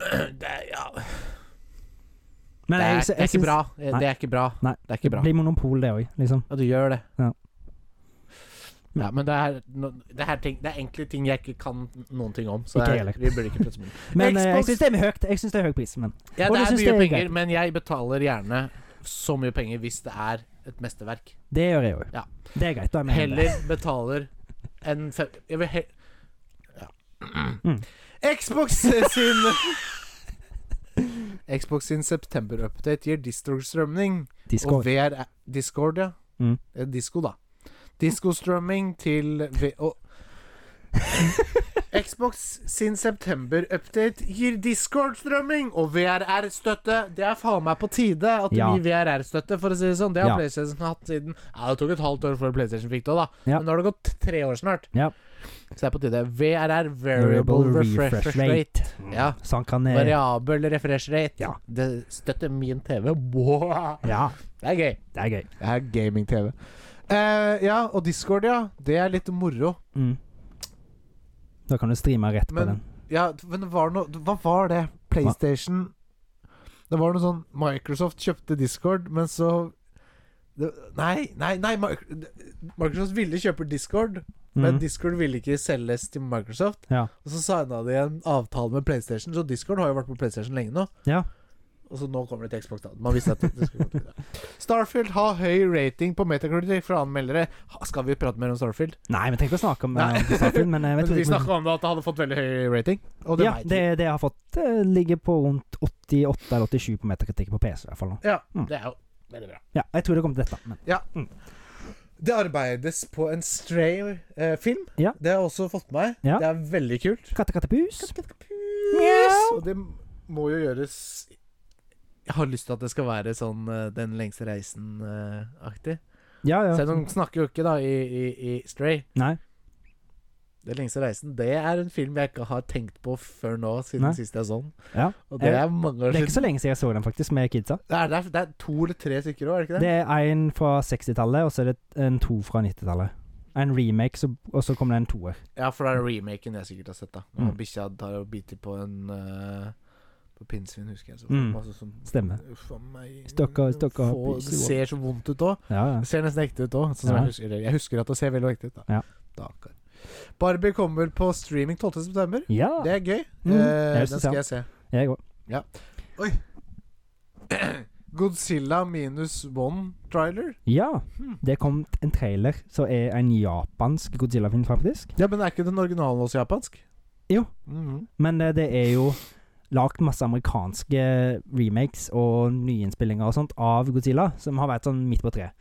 [SPEAKER 1] Det er, ja, det
[SPEAKER 2] Men
[SPEAKER 1] er,
[SPEAKER 2] jeg-
[SPEAKER 1] det er
[SPEAKER 2] jeg
[SPEAKER 1] ikke
[SPEAKER 2] syns-
[SPEAKER 1] bra. Eh, Det er ikke bra.
[SPEAKER 2] Nei.
[SPEAKER 1] Det er ikke bra.
[SPEAKER 2] Det blir monopol, det òg, liksom.
[SPEAKER 1] Ja, du gjør det.
[SPEAKER 2] Ja.
[SPEAKER 1] Ja, men det er, no- det, her ting, det er egentlig ting jeg ikke kan noen ting om. Så
[SPEAKER 2] Ikke
[SPEAKER 1] det
[SPEAKER 2] jeg
[SPEAKER 1] er,
[SPEAKER 2] heller.
[SPEAKER 1] vi burde ikke plutselig
[SPEAKER 2] Men eh, jeg
[SPEAKER 1] Xbox-
[SPEAKER 2] syns det er høyt. Jeg synes det er høy pris, men
[SPEAKER 1] Ja,
[SPEAKER 2] Og
[SPEAKER 1] det
[SPEAKER 2] du
[SPEAKER 1] er
[SPEAKER 2] synes
[SPEAKER 1] mye
[SPEAKER 2] det er
[SPEAKER 1] penger,
[SPEAKER 2] greit?
[SPEAKER 1] men jeg betaler gjerne så mye penger hvis det er et mesterverk.
[SPEAKER 2] Det gjør jeg jo.
[SPEAKER 1] Ja.
[SPEAKER 2] Det er greit. Da er vi enige.
[SPEAKER 1] Heller betaler enn fem... Jeg vil he... Ja.
[SPEAKER 2] Mm.
[SPEAKER 1] Xbox sin Xbox sin september-update gir Discord-strømning. Og
[SPEAKER 2] Discord.
[SPEAKER 1] VR er- Discord, ja.
[SPEAKER 2] Mm.
[SPEAKER 1] Eh, Disco, da. Diskostrømming til v og Xbox sin september-update gir Discord-strømming og VRR-støtte. Det er faen meg på tide at det
[SPEAKER 2] Ja.
[SPEAKER 1] blir VRR-støtte, for å si det sånn. Det har
[SPEAKER 2] Ja.
[SPEAKER 1] PlayStation hatt siden Ja, det tok et halvt år før PlayStation fikk det, da.
[SPEAKER 2] Ja.
[SPEAKER 1] Men nå har det gått tre år snart.
[SPEAKER 2] Ja.
[SPEAKER 1] Så det er på tide. VRR, Variable,
[SPEAKER 2] Variable
[SPEAKER 1] Refresh,
[SPEAKER 2] refresh
[SPEAKER 1] rate.
[SPEAKER 2] rate.
[SPEAKER 1] Ja.
[SPEAKER 2] Sånn kan jeg
[SPEAKER 1] Variabel refresh rate.
[SPEAKER 2] Ja.
[SPEAKER 1] Det støtter min TV. Wow.
[SPEAKER 2] Ja,
[SPEAKER 1] Det er gøy.
[SPEAKER 2] det er gøy.
[SPEAKER 1] Det er gaming-TV. Eh, ja, og Discord, ja. Det er litt moro.
[SPEAKER 2] Mm. Da kan du streame rett
[SPEAKER 1] Men-
[SPEAKER 2] på den.
[SPEAKER 1] Ja, men det var noe Hva var det? PlayStation Det var noe sånn Microsoft kjøpte Discord, men så det, Nei, nei, nei Mi- Microsoft ville kjøpe Discord, men
[SPEAKER 2] Mm.
[SPEAKER 1] Discord ville ikke selges til Microsoft.
[SPEAKER 2] Ja.
[SPEAKER 1] Og så signa de en avtale med PlayStation, så Discord har jo vært på PlayStation lenge nå.
[SPEAKER 2] Ja.
[SPEAKER 1] Og så nå kommer det til Xbox. da Man visste at det skulle komme til det. Starfield har høy rating på Metacritic fra anmeldere. Ha- Skal vi prate mer om Starfield?
[SPEAKER 2] Nei, vi trenger ikke å snakke om
[SPEAKER 1] Nei.
[SPEAKER 2] eh, Starfield, men jeg
[SPEAKER 1] Men
[SPEAKER 2] vet
[SPEAKER 1] vi
[SPEAKER 2] ikke om-
[SPEAKER 1] snakka om det at det hadde fått veldig høy rating. Og det
[SPEAKER 2] ja,
[SPEAKER 1] vet vi.
[SPEAKER 2] det, det jeg har fått, eh, ligger på rundt 88 eller 87 på meterkritikk på PC. i hvert fall nå.
[SPEAKER 1] Ja,
[SPEAKER 2] Mm.
[SPEAKER 1] det er jo veldig bra.
[SPEAKER 2] Ja, Jeg tror det kommer til dette. Men.
[SPEAKER 1] Det arbeides på en Stray-film.
[SPEAKER 2] Ja.
[SPEAKER 1] Det har jeg også fått med meg.
[SPEAKER 2] Ja.
[SPEAKER 1] Det er veldig kult.
[SPEAKER 2] Katte, katte, pus.
[SPEAKER 1] Yes. Og det må jo gjøres Jeg har lyst til at det skal være sånn eh, Den lengste reisen-aktig.
[SPEAKER 2] Ja, ja.
[SPEAKER 1] Selv om de snakker jo ikke da i, i, i Stray.
[SPEAKER 2] Nei.
[SPEAKER 1] Den lengste reisen Det er en film jeg ikke har tenkt på før nå, siden
[SPEAKER 2] Nei.
[SPEAKER 1] sist jeg så den.
[SPEAKER 2] Ja.
[SPEAKER 1] Og det
[SPEAKER 2] Eh,
[SPEAKER 1] er mange år
[SPEAKER 2] Det er ikke
[SPEAKER 1] siden.
[SPEAKER 2] så lenge siden jeg så den, faktisk, med kidsa.
[SPEAKER 1] Det er, det er, det er to eller tre stykker òg, er det ikke det?
[SPEAKER 2] Det er en fra 60-tallet, og så er det en to fra 90-tallet. En remake, så, og så kommer det en toer.
[SPEAKER 1] Ja, for det er remaken jeg sikkert har sett, da. Når
[SPEAKER 2] Mm.
[SPEAKER 1] bikkja tar og biter på en eh, På pinnsvin, husker jeg. Så
[SPEAKER 2] Mm.
[SPEAKER 1] masse sånn
[SPEAKER 2] Stemmer.
[SPEAKER 1] Uff a meg.
[SPEAKER 2] Stakkar, stakkar,
[SPEAKER 1] Få-
[SPEAKER 2] bikkje.
[SPEAKER 1] Det ser så vondt ut òg.
[SPEAKER 2] Ja, ja.
[SPEAKER 1] Det ser nesten ekte ut òg.
[SPEAKER 2] Ja.
[SPEAKER 1] Jeg, husker det. jeg husker at det ser veldig ekte ut. da
[SPEAKER 2] Ja.
[SPEAKER 1] Stakkar. Barbie kommer på streaming 12.9.
[SPEAKER 2] Ja,
[SPEAKER 1] Det er gøy.
[SPEAKER 2] Mm.
[SPEAKER 1] Eh,
[SPEAKER 2] Jeg
[SPEAKER 1] den
[SPEAKER 2] synes
[SPEAKER 1] skal
[SPEAKER 2] ja.
[SPEAKER 1] jeg se.
[SPEAKER 2] jeg òg.
[SPEAKER 1] Godzilla minus one-trailer.
[SPEAKER 2] Ja.
[SPEAKER 1] Hmm.
[SPEAKER 2] Det kom en trailer som er en japansk Godzilla-film, faktisk.
[SPEAKER 1] Ja, men er ikke den originalen også japansk?
[SPEAKER 2] Jo.
[SPEAKER 1] Mhm.
[SPEAKER 2] Men eh, det er jo lagd masse amerikanske remakes og nyinnspillinger og sånt av Godzilla, som har vært sånn midt på treet.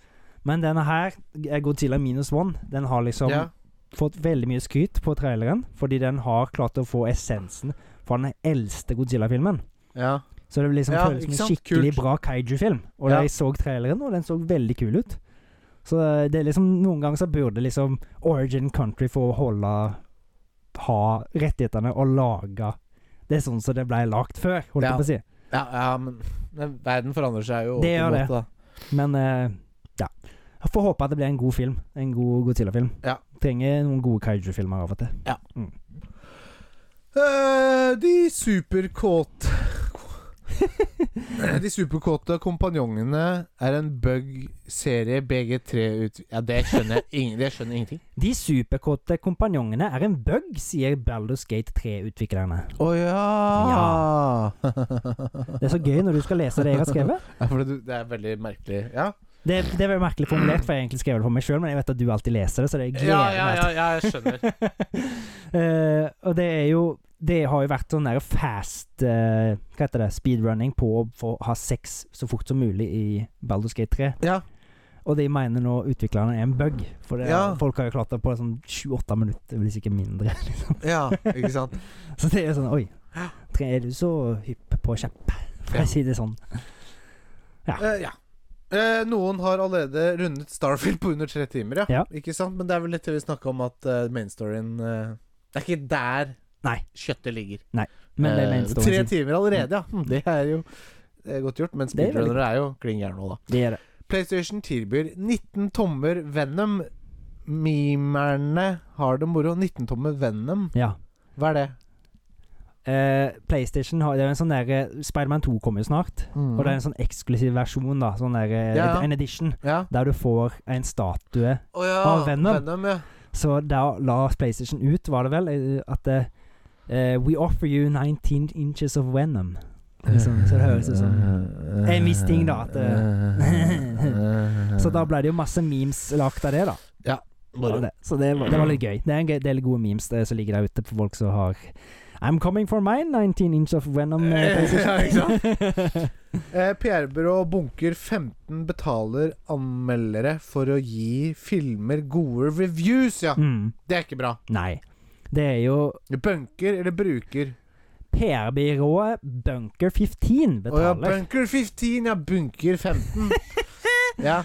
[SPEAKER 2] Men denne her, eh, Godzilla minus one, den har liksom
[SPEAKER 1] Ja.
[SPEAKER 2] fått veldig mye skryt på traileren, fordi den har klart å få essensen fra den eldste Godzilla-filmen.
[SPEAKER 1] ja.
[SPEAKER 2] Så det liksom
[SPEAKER 1] Ja,
[SPEAKER 2] føles som
[SPEAKER 1] ikke
[SPEAKER 2] en
[SPEAKER 1] sant?
[SPEAKER 2] skikkelig
[SPEAKER 1] Kult.
[SPEAKER 2] bra kaiju-film. Og
[SPEAKER 1] Ja.
[SPEAKER 2] jeg så traileren, og den så veldig kul ut. Så det er liksom Noen ganger så burde liksom Origin Country få holde Ha rettighetene og lage Det er sånn som det ble lagd før, holdt jeg
[SPEAKER 1] Ja.
[SPEAKER 2] på å si.
[SPEAKER 1] ja, ja men, men verden forandrer seg jo.
[SPEAKER 2] Det gjør
[SPEAKER 1] åpenbart,
[SPEAKER 2] det.
[SPEAKER 1] da.
[SPEAKER 2] Men eh, ja. Jeg får håpe at det blir en god film. En god Godzilla-film.
[SPEAKER 1] Ja.
[SPEAKER 2] Trenger noen gode kaiju-filmer av og til.
[SPEAKER 1] Eh, de superkåte De superkåte kompanjongene er en bug-serie BG3 ut... Ja, det skjønner jeg ingen, det skjønner jeg ingenting.
[SPEAKER 2] De superkåte kompanjongene er en bug, sier Baldur's Gate 3-utviklerne.
[SPEAKER 1] Å ja!
[SPEAKER 2] Det er så gøy når du skal lese det jeg har skrevet.
[SPEAKER 1] for det, det er veldig merkelig. Ja,
[SPEAKER 2] Det, det er veldig merkelig formulert, for jeg har egentlig skrev det for meg sjøl, men jeg vet at du alltid leser det, så det gleder
[SPEAKER 1] ja,
[SPEAKER 2] meg
[SPEAKER 1] ja, ja, ja jeg skjønner.
[SPEAKER 2] Eh, og det er jo Det har jo vært sånn der fast eh, Hva heter det? Speedrunning på å få ha sex så fort som mulig i Baldur's Gate 3.
[SPEAKER 1] Ja.
[SPEAKER 2] Og de mener nå utviklerne er en bug, for det,
[SPEAKER 1] Ja.
[SPEAKER 2] folk har jo klart det på sånn 7-8 minutter, hvis ikke mindre.
[SPEAKER 1] Ja, ikke sant?
[SPEAKER 2] Så det er sånn Oi, tre- er du så hypp på kjepp? For
[SPEAKER 1] Ja.
[SPEAKER 2] å si det sånn.
[SPEAKER 1] Eh, ja. Eh, noen har allerede rundet Starfield på under tre timer, ja.
[SPEAKER 2] Ja.
[SPEAKER 1] Ikke sant? Men det er vel litt til vi snakka om at uh, mainstoryen eh, Det er ikke der
[SPEAKER 2] Nei.
[SPEAKER 1] kjøttet ligger.
[SPEAKER 2] Men det er
[SPEAKER 1] Eh,
[SPEAKER 2] mainstone
[SPEAKER 1] Tre
[SPEAKER 2] sin. Mm.
[SPEAKER 1] timer allerede, ja. Hm, Det er jo det er godt gjort. Men
[SPEAKER 2] Det er veldig
[SPEAKER 1] speedrunnere er jo kling gærne, da.
[SPEAKER 2] Det er det.
[SPEAKER 1] PlayStation tilbyr 19 tommer Venom. Mimerne har det moro. 19 tommer Venom,
[SPEAKER 2] Ja.
[SPEAKER 1] hva er det?
[SPEAKER 2] Eh, PlayStation har Det er jo en sånn derre Spiderman 2 kommer jo snart. Og det er en sånn eksklusiv versjon, da. Sånn der, eh,
[SPEAKER 1] Ja, ja.
[SPEAKER 2] En edition.
[SPEAKER 1] Ja.
[SPEAKER 2] Der du får en statue.
[SPEAKER 1] Å ja.
[SPEAKER 2] Ah, Venom.
[SPEAKER 1] ja.
[SPEAKER 2] Så da la PlayStation ut, var det vel, eh, at eh, eh, We offer you 19 inches of venom. Liksom, så det høres ut som En viss ting da, at, eh, Så da ble det jo masse memes lagt av det, da.
[SPEAKER 1] Bare-
[SPEAKER 2] Av det. Så det var, det var litt gøy. Det er en gøy, del gode memes det, som ligger der ute for folk som har I'm coming for mine 19 inch of Venom. eh,
[SPEAKER 1] Ja, ikke
[SPEAKER 2] PlayStation.
[SPEAKER 1] Eh, PR-byrå Bunker 15 betaler anmeldere for å gi filmer gode reviews, ja.
[SPEAKER 2] mm,
[SPEAKER 1] Det er ikke bra.
[SPEAKER 2] nei. Det er jo
[SPEAKER 1] Bunker eller bruker?
[SPEAKER 2] PR-byrået
[SPEAKER 1] Å
[SPEAKER 2] Bunker15
[SPEAKER 1] ja,
[SPEAKER 2] betaler.
[SPEAKER 1] Bunker 15, ja. Bunker 15. ja.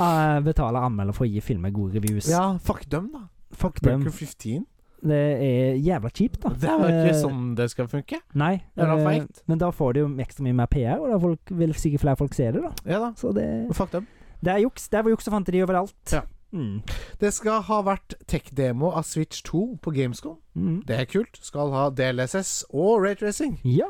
[SPEAKER 2] eh, betaler anmelder for å gi filmer gode reviews.
[SPEAKER 1] ja, fuck dem, da.
[SPEAKER 2] Fuck dem.
[SPEAKER 1] Bunker 15?
[SPEAKER 2] Det er jævla kjipt, da.
[SPEAKER 1] Det er jo ikke
[SPEAKER 2] Eh,
[SPEAKER 1] sånn det skal funke.
[SPEAKER 2] Nei.
[SPEAKER 1] Det er da
[SPEAKER 2] eh,
[SPEAKER 1] feigt.
[SPEAKER 2] men da får de jo ekstra mye mer PR, og da folk, vil sikkert flere folk se det, da.
[SPEAKER 1] Ja da.
[SPEAKER 2] Så det
[SPEAKER 1] Fuck dem.
[SPEAKER 2] Det er juks. Det er juks og fanteri overalt.
[SPEAKER 1] Ja.
[SPEAKER 2] Mm.
[SPEAKER 1] Det skal ha vært tech-demo av Switch 2 på Gamescom.
[SPEAKER 2] Mm.
[SPEAKER 1] Det er kult. Skal ha DLSS og raytracing.
[SPEAKER 2] Ja.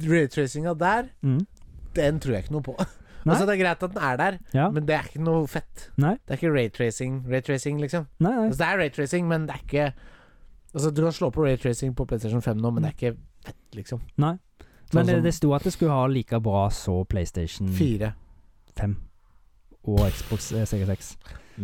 [SPEAKER 1] Raytracinga der,
[SPEAKER 2] Mm.
[SPEAKER 1] den tror jeg ikke noe på.
[SPEAKER 2] Nei.
[SPEAKER 1] Altså, det er greit at den er der,
[SPEAKER 2] ja.
[SPEAKER 1] men det er ikke noe fett.
[SPEAKER 2] Nei.
[SPEAKER 1] Det er ikke raytracing, raytracing liksom.
[SPEAKER 2] Nei, nei.
[SPEAKER 1] Altså, det er raytracing, men det er ikke Altså, du kan slå på raytracing på PlayStation 5 nå, men det er ikke fett, liksom.
[SPEAKER 2] Nei.
[SPEAKER 1] Sånn
[SPEAKER 2] Men det,
[SPEAKER 1] som
[SPEAKER 2] det sto at det skulle ha like bra så PlayStation
[SPEAKER 1] Fire.
[SPEAKER 2] 5 og Xbox eh, Series 6.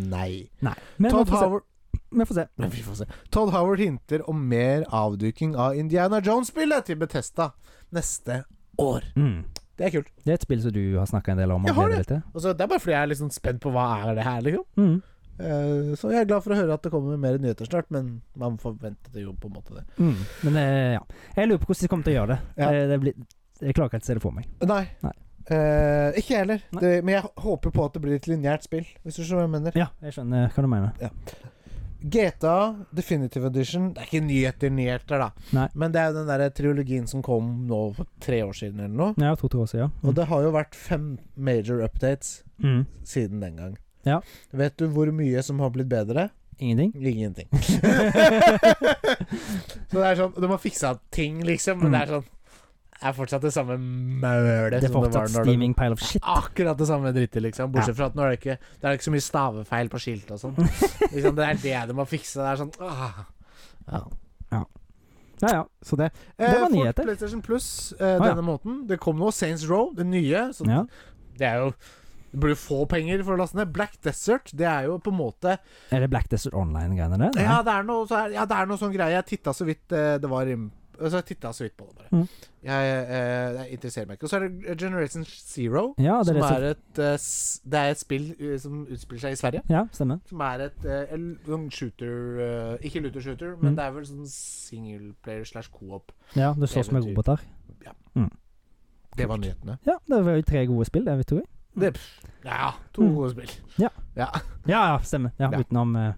[SPEAKER 1] Nei.
[SPEAKER 2] Nei. Men vi
[SPEAKER 1] Todd
[SPEAKER 2] får se.
[SPEAKER 1] Howard
[SPEAKER 2] Vi får se.
[SPEAKER 1] Men vi får se. Todd Howard hinter om mer avduking av Indiana Jones-spillet til Betesta neste år.
[SPEAKER 2] Mm.
[SPEAKER 1] Det er kult.
[SPEAKER 2] Det er et spill som du har snakka en del om. og
[SPEAKER 1] Jeg har
[SPEAKER 2] gleder deg til.
[SPEAKER 1] Og så Det er bare fordi jeg er liksom spent på hva er det her, liksom.
[SPEAKER 2] Mm.
[SPEAKER 1] Eh, så jeg er glad for å høre at det kommer mer nyheter snart, men man forventet jo på en måte det.
[SPEAKER 2] Mm. Men eh, ja. Jeg lurer på hvordan de kommer til å gjøre det.
[SPEAKER 1] Ja.
[SPEAKER 2] Eh, det blir, jeg klarer ikke helt å se det for meg.
[SPEAKER 1] Nei.
[SPEAKER 2] Nei.
[SPEAKER 1] Eh, ikke jeg heller.
[SPEAKER 2] Nei.
[SPEAKER 1] Det, men jeg håper på at det blir et lineært spill, hvis du skjønner hva jeg mener.
[SPEAKER 2] Ja, jeg skjønner hva du mener.
[SPEAKER 1] GTA Definitive Edition Det er ikke nyheter, nyheter, da.
[SPEAKER 2] Nei.
[SPEAKER 1] Men det er jo den der triologien som kom nå for tre år siden, eller noe.
[SPEAKER 2] Ja, to tror også, ja.
[SPEAKER 1] Og det har jo vært fem major updates
[SPEAKER 2] Mm.
[SPEAKER 1] siden den gang.
[SPEAKER 2] Ja.
[SPEAKER 1] Vet du hvor mye som har blitt bedre?
[SPEAKER 2] Ingenting?
[SPEAKER 1] Ingenting. så det er sånn De har fiksa ting, liksom, men det er sånn Det er fortsatt det samme mølet
[SPEAKER 2] Mm. Det er
[SPEAKER 1] som det
[SPEAKER 2] fortsatt
[SPEAKER 1] var når det
[SPEAKER 2] steaming pile of shit.
[SPEAKER 1] Akkurat det samme drittet, liksom. Bortsett fra at nå er det ikke Det er ikke så mye stavefeil på skiltet og sånn. liksom, det er det de har fiksa. Det er sånn ah. ja.
[SPEAKER 2] Ja, ja.
[SPEAKER 1] Så det
[SPEAKER 2] Det var
[SPEAKER 1] eh, for
[SPEAKER 2] nyheter.
[SPEAKER 1] PlayStation Plus eh,
[SPEAKER 2] ja.
[SPEAKER 1] denne måneden. Det kom nå Saints Row, det nye. Så
[SPEAKER 2] Ja.
[SPEAKER 1] Det er jo Du burde jo få penger for å laste ned. Black Desert, det er jo på en måte
[SPEAKER 2] Er det Black Desert Online-greiene der?
[SPEAKER 1] Ja, det er noe, så er, ja, det er noe sånn greie. Jeg titta så vidt eh, det var inn- altså, Jeg titta så vidt på det, bare.
[SPEAKER 2] Mhm.
[SPEAKER 1] Jeg, eh, jeg interesserer meg ikke. Og så er det Generation Zero,
[SPEAKER 2] Ja,
[SPEAKER 1] som
[SPEAKER 2] det er det som
[SPEAKER 1] er et, eh, s- det er et spill eh, som utspiller seg i Sverige.
[SPEAKER 2] Ja, stemmer.
[SPEAKER 1] Som er et eh, en sånn shooter eh, Ikke looter shooter, men
[SPEAKER 2] Mhm.
[SPEAKER 1] det er vel sånn singleplayer slash co-op.
[SPEAKER 2] Ja, det slåss med
[SPEAKER 1] Eventyr.
[SPEAKER 2] roboter.
[SPEAKER 1] Det var nyhetene.
[SPEAKER 2] Ja, det var jo tre gode spill, det, vi tror jeg.
[SPEAKER 1] Det, ja, to
[SPEAKER 2] Mhm.
[SPEAKER 1] gode spill.
[SPEAKER 2] Ja, ja, stemmer. Ja,
[SPEAKER 1] Ja.
[SPEAKER 2] Utenom, eh,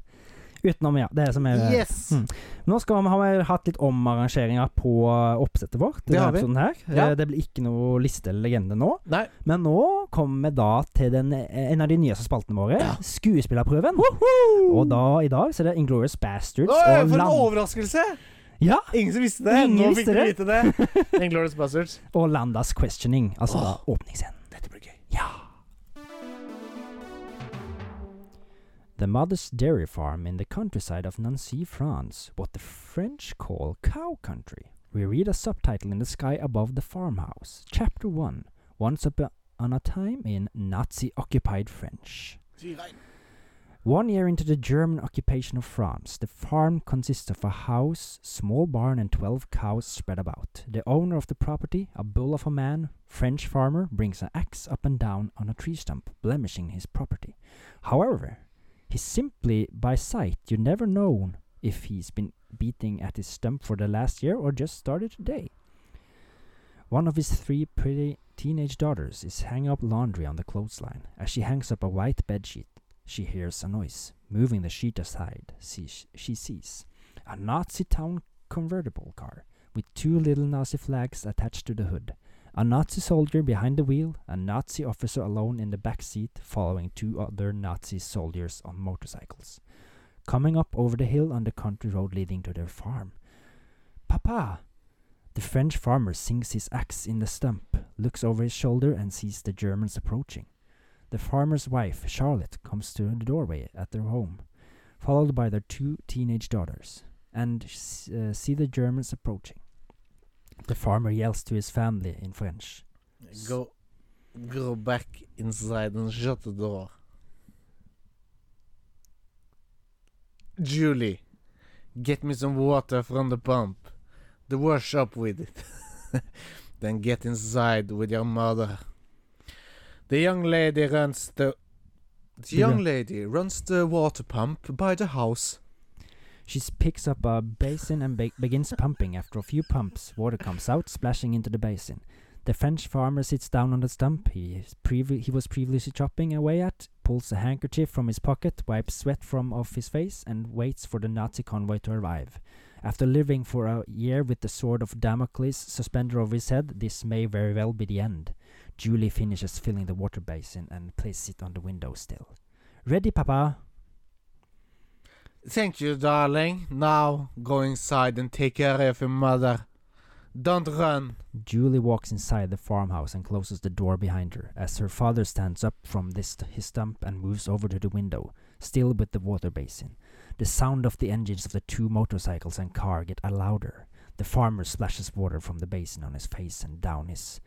[SPEAKER 2] utenom, ja. Det er som er
[SPEAKER 1] Yes!
[SPEAKER 2] Mm. Nå skal vi, har vi hatt litt omarrangeringer på eh, oppsettet vårt. i
[SPEAKER 1] Det har
[SPEAKER 2] denne
[SPEAKER 1] vi.
[SPEAKER 2] episoden Her.
[SPEAKER 1] Ja.
[SPEAKER 2] Eh, Det blir ikke noe liste eller legende nå.
[SPEAKER 1] Nei.
[SPEAKER 2] Men nå kommer vi da til den, eh, en av de nyeste spaltene våre,
[SPEAKER 1] Ja.
[SPEAKER 2] skuespillerprøven. Og da i dag så er det Inglorious Bastards
[SPEAKER 1] Oi,
[SPEAKER 2] og
[SPEAKER 1] for en
[SPEAKER 2] Land
[SPEAKER 1] overraskelse!
[SPEAKER 2] Ja.
[SPEAKER 1] Ingen som visste det.
[SPEAKER 2] Ingen
[SPEAKER 1] Nå fikk
[SPEAKER 2] visste
[SPEAKER 1] dere
[SPEAKER 2] det.
[SPEAKER 1] vite det. Inglourious Buzzards.
[SPEAKER 2] og Landas Questioning. Altså da åpningsscenen.
[SPEAKER 1] Dette blir gøy.
[SPEAKER 2] The mother's dairy farm in the countryside of Nancy, France, what the French call cow country. We read a subtitle in the sky above the farmhouse. Chapter 1 Once upon a time in Nazi occupied France. One year into the German occupation of France, the farm consists of a house, small barn, and 12 cows spread about. The owner of the property, a bull of a man, French farmer, brings an axe up and down on a tree stump, blemishing his property. However, he simply, by sight, you never know if he's been beating at his stump for the last year or just started today. One of his three pretty teenage daughters is hanging up laundry on the clothesline. As she hangs up a white bedsheet, she hears a noise. Moving the sheet aside, she, she sees a Nazi town convertible car with two little Nazi flags attached to the hood. A Nazi soldier behind the wheel, a Nazi officer alone in the back seat, following two other Nazi soldiers on motorcycles. Coming up over the hill on the country road leading to their farm. Papa! The French farmer sinks his axe in the stump, looks over his shoulder, and sees the Germans approaching. The farmer's wife, Charlotte, comes to the doorway at their home, followed by their two teenage daughters, and s- uh, see the Germans approaching. The farmer yells to his family in French.
[SPEAKER 3] Go, go back inside and shut the door. Julie, get me some water from the pump. The wash up with it. then get inside with your mother. The young lady runs the. The young lady runs the water pump by the house.
[SPEAKER 2] She s- picks up a basin and be- begins pumping. After a few pumps, water comes out, splashing into the basin. The French farmer sits down on the stump he, is previ- he was previously chopping away at, pulls a handkerchief from his pocket, wipes sweat from off his face, and waits for the Nazi convoy to arrive. After living for a year with the sword of Damocles suspended over his head, this may very well be the end. Julie finishes filling the water basin and places it on the window sill. Ready, Papa?
[SPEAKER 3] Thank you, darling. Now go inside and take care of your mother. Don't run.
[SPEAKER 2] Julie walks inside the farmhouse and closes the door behind her as her father stands up from this his stump and moves over to the window, still with the water basin. The sound of the engines of the two motorcycles and car get louder. The farmer splashes water from the basin on his face and down his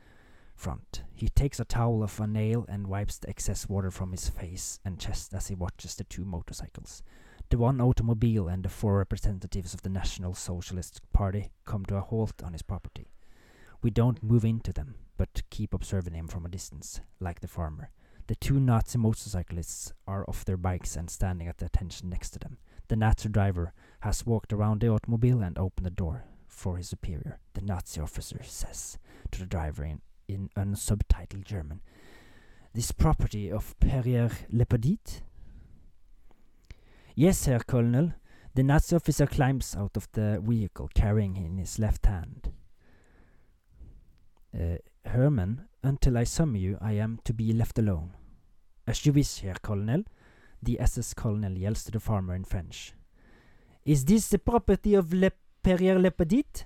[SPEAKER 2] front. He takes a towel of a nail and wipes the excess water from his face and chest as he watches the two motorcycles. The one automobile and the four representatives of the National Socialist Party come to a halt on his property. We don't move into them, but keep observing him from a distance, like the farmer. The two Nazi motorcyclists are off their bikes and standing at attention next to them. The Nazi driver has walked around the automobile and opened the door for his superior. The Nazi officer says to the driver in, in unsubtitled German, This property of Perrier Lepardit? Yes, Herr Colonel. The Nazi officer climbs out of the vehicle carrying in his left hand uh, Herman, until I summon you, I am to be left alone. As you wish, Herr Colonel. The SS Colonel yells to the farmer in French. Is this the property of Le Perrier Lepedit?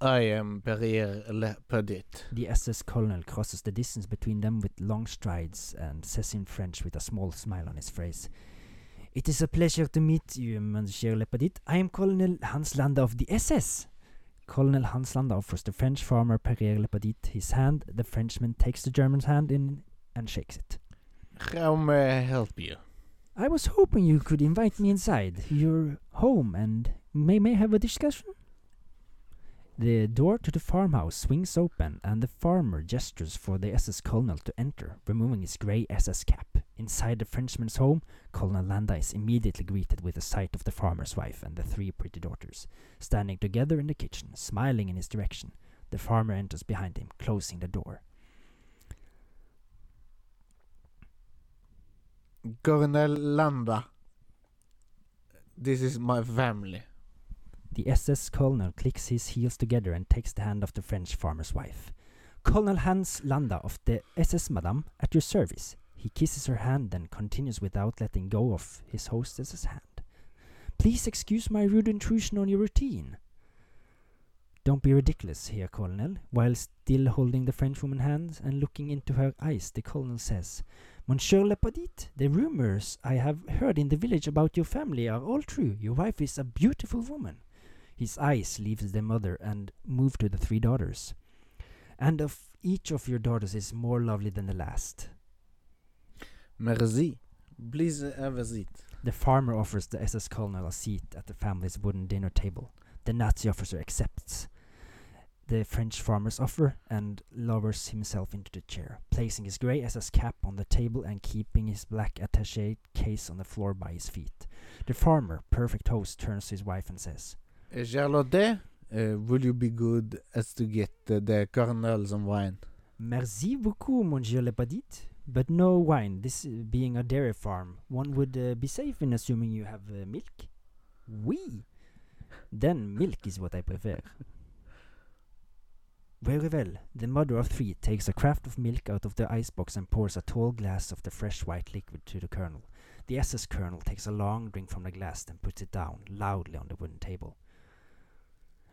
[SPEAKER 3] I am Perrier Lepardit.
[SPEAKER 2] The SS Colonel crosses the distance between them with long strides and says in French with a small smile on his face. It is a pleasure to meet you, Monsieur Lepedit. I am Colonel Hanslander of the SS. Colonel Hanslander offers the French farmer Perrier Lepedit his hand. The Frenchman takes the German's hand in and shakes it.
[SPEAKER 3] How may I help you?
[SPEAKER 2] I was hoping you could invite me inside your home and may may have a discussion. The door to the farmhouse swings open, and the farmer gestures for the SS colonel to enter, removing his grey SS cap. Inside the Frenchman's home, Colonel Landa is immediately greeted with the sight of the farmer's wife and the three pretty daughters, standing together in the kitchen, smiling in his direction. The farmer enters behind him, closing the door.
[SPEAKER 3] Colonel Landa. This is my family.
[SPEAKER 2] The SS colonel clicks his heels together and takes the hand of the French farmer's wife. Colonel Hans Landa of the SS Madame, at your service. He kisses her hand and continues without letting go of his hostess's hand. Please excuse my rude intrusion on your routine. Don't be ridiculous here, Colonel. While still holding the Frenchwoman's hand and looking into her eyes, the Colonel says, Monsieur Lepardit, the rumors I have heard in the village about your family are all true. Your wife is a beautiful woman. His eyes leaves the mother and move to the three daughters. And of each of your daughters is more lovely than the last.
[SPEAKER 3] Merci. Please have a seat.
[SPEAKER 2] The farmer offers the SS colonel a seat at the family's wooden dinner table. The Nazi officer accepts the French farmer's offer and lowers himself into the chair, placing his grey SS cap on the table and keeping his black attaché case on the floor by his feet. The farmer, perfect host, turns to his wife and says,
[SPEAKER 3] Uh, Charlotte, uh, will you be good as to get uh, the colonel some wine?
[SPEAKER 2] Merci beaucoup, Monsieur Lepadit. But no wine. This uh, being a dairy farm, one would uh, be safe in assuming you have uh, milk. We. Oui. Then milk is what I prefer. Very well. The mother of three takes a craft of milk out of the icebox and pours a tall glass of the fresh white liquid to the colonel. The SS colonel takes a long drink from the glass and puts it down loudly on the wooden table.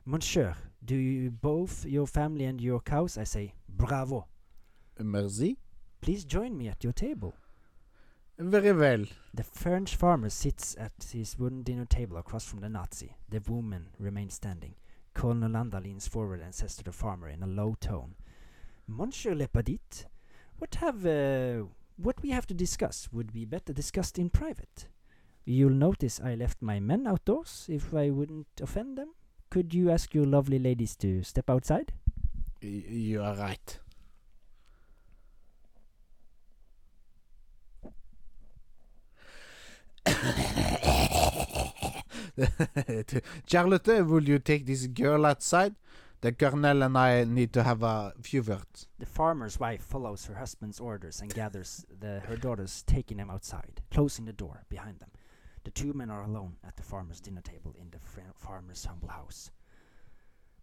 [SPEAKER 2] Monsieur, do you both your family and your cows, I say, bravo.
[SPEAKER 3] Uh, Merci.
[SPEAKER 2] Please join me at your table.
[SPEAKER 3] Very well.
[SPEAKER 2] The French farmer sits at his wooden dinner table across from the Nazi. The woman remains standing. Colonel Landa leans forward and says to the farmer in a low tone, Monsieur Lepadit, what have uh, what we have to discuss would be better discussed in private. You'll notice I left my men outdoors if I wouldn't offend them. Could you ask your lovely ladies to step outside?
[SPEAKER 1] You are right. Charlotte, will you take this girl outside? The colonel and I need to have a few words.
[SPEAKER 2] The farmer's wife follows her husband's orders and gathers the, her daughters, taking them outside, closing the door behind them. The two men are alone at the farmer's dinner table in the fr- farmer's humble house.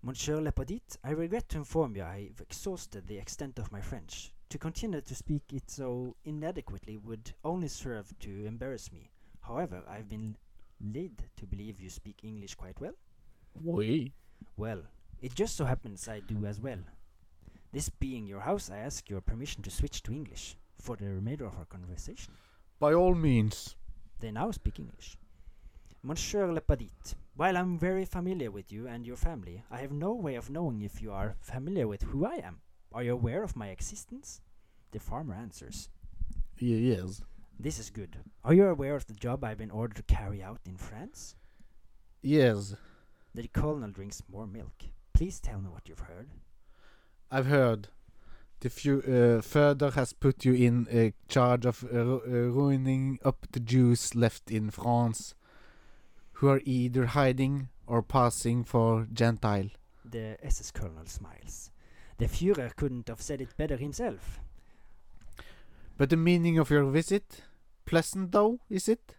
[SPEAKER 2] Monsieur Lepadit, I regret to inform you I've exhausted the extent of my French. To continue to speak it so inadequately would only serve to embarrass me. However, I've been led to believe you speak English quite well.
[SPEAKER 1] Oui.
[SPEAKER 2] Well, it just so happens I do as well. This being your house, I ask your permission to switch to English for the remainder of our conversation.
[SPEAKER 1] By all means.
[SPEAKER 2] They now speak English. Monsieur Lepadit, while I'm very familiar with you and your family, I have no way of knowing if you are familiar with who I am. Are you aware of my existence? The farmer answers.
[SPEAKER 1] Yes.
[SPEAKER 2] This is good. Are you aware of the job I've been ordered to carry out in France?
[SPEAKER 1] Yes.
[SPEAKER 2] The colonel drinks more milk. Please tell me what you've heard.
[SPEAKER 1] I've heard. The few, uh, further has put you in uh, charge of uh, ru- uh, ruining up the Jews left in France, who are either hiding or passing for Gentile.
[SPEAKER 2] The SS colonel smiles. The Führer couldn't have said it better himself.
[SPEAKER 1] But the meaning of your visit, pleasant though, is it?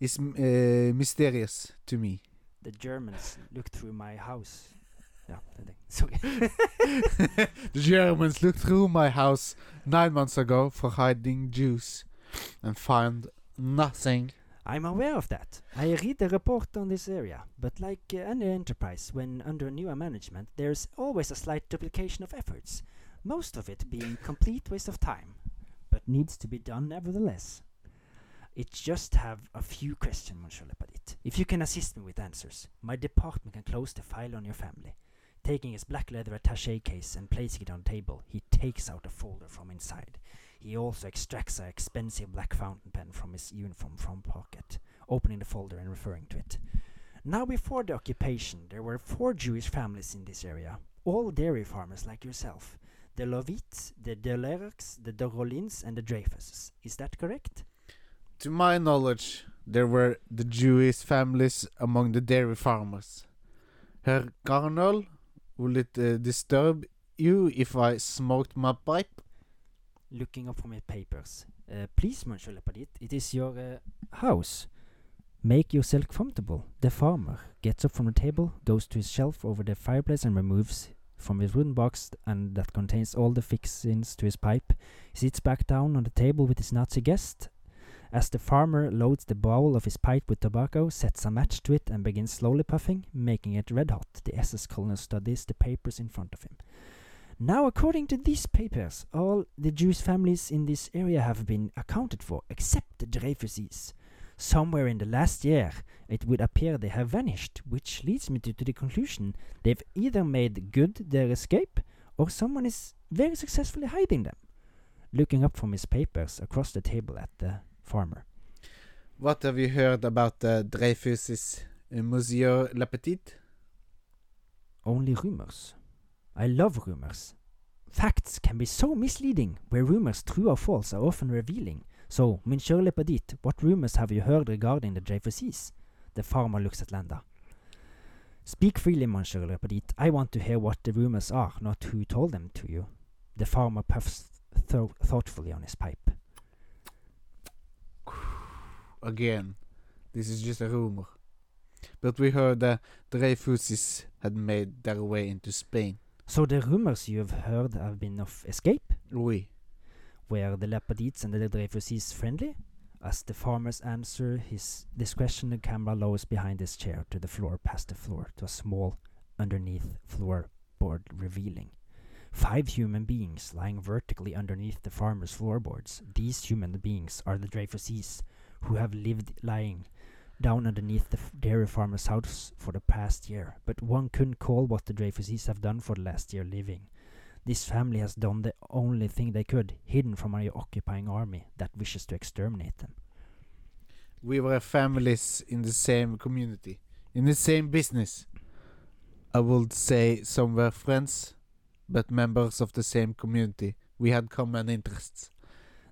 [SPEAKER 1] Is m- uh, mysterious to me.
[SPEAKER 2] The Germans looked through my house. Ja, det er det. Sorry.
[SPEAKER 1] The Germans looked through my house nine months ago for hiding Jews and found nothing.
[SPEAKER 2] I'm aware of that. I read the report on this area, but like uh, any enterprise, when under newer management, there's always a slight duplication of efforts, most of it being complete waste of time, but needs to be done nevertheless. It just have a few questions, Monsieur Lepadit. If you can assist me with answers, my department can close the file on your family. Taking his black leather attaché case and placing it on the table, he takes out a folder from inside. He also extracts an expensive black fountain pen from his uniform front pocket, opening the folder and referring to it. Now, before the occupation, there were four Jewish families in this area, all dairy farmers like yourself. The Lovitz, the Delerks, the Dorolins, and the Dreyfuses. Is that correct?
[SPEAKER 1] To my knowledge, there were the Jewish families among the dairy farmers. Herr Colonel, will it uh, disturb you if I smoked my pipe?
[SPEAKER 2] Looking up from his papers. Uh, please, Monsieur Lepadit, it is your uh, house. Make yourself comfortable. The farmer gets up from the table, goes to his shelf over the fireplace, and removes from his wooden box th- and that contains all the fixings to his pipe. He sits back down on the table with his Nazi guest. As the farmer loads the bowl of his pipe with tobacco, sets a match to it, and begins slowly puffing, making it red hot, the SS colonel studies the papers in front of him. Now, according to these papers, all the Jewish families in this area have been accounted for, except the Dreyfuses. Somewhere in the last year, it would appear they have vanished, which leads me to, to the conclusion they've either made good their escape, or someone is very successfully hiding them. Looking up from his papers across the table at the farmer.
[SPEAKER 1] What have you heard about the Dreyfus's uh, Monsieur Lapetit?
[SPEAKER 2] Only rumors. I love rumors. Facts can be so misleading, where rumors, true or false, are often revealing. So, Monsieur Lepadit, what rumors have you heard regarding the Dreyfuses? The farmer looks at Landa. Speak freely, Monsieur Lepadit. I want to hear what the rumors are, not who told them to you. The farmer puffs tho- thoughtfully on his pipe.
[SPEAKER 1] Again, this is just a rumor. But we heard the Dreyfuses had made their way into Spain.
[SPEAKER 2] So the rumors you have heard have been of escape?
[SPEAKER 1] Oui.
[SPEAKER 2] Were the Lepadits and the Dreyfuses friendly? As the farmers answer his this question, the camera lowers behind his chair to the floor, past the floor, to a small underneath floorboard revealing. Five human beings lying vertically underneath the farmer's floorboards. These human beings are the Dreyfuses, who have lived lying down underneath the f- dairy farmer's house for the past year, but one couldn't call what the Dreyfuses have done for the last year living. This family has done the only thing they could, hidden from an occupying army that wishes to exterminate them.
[SPEAKER 1] We were families in the same community, in the same business. I would say some were friends, but members of the same community. We had common interests.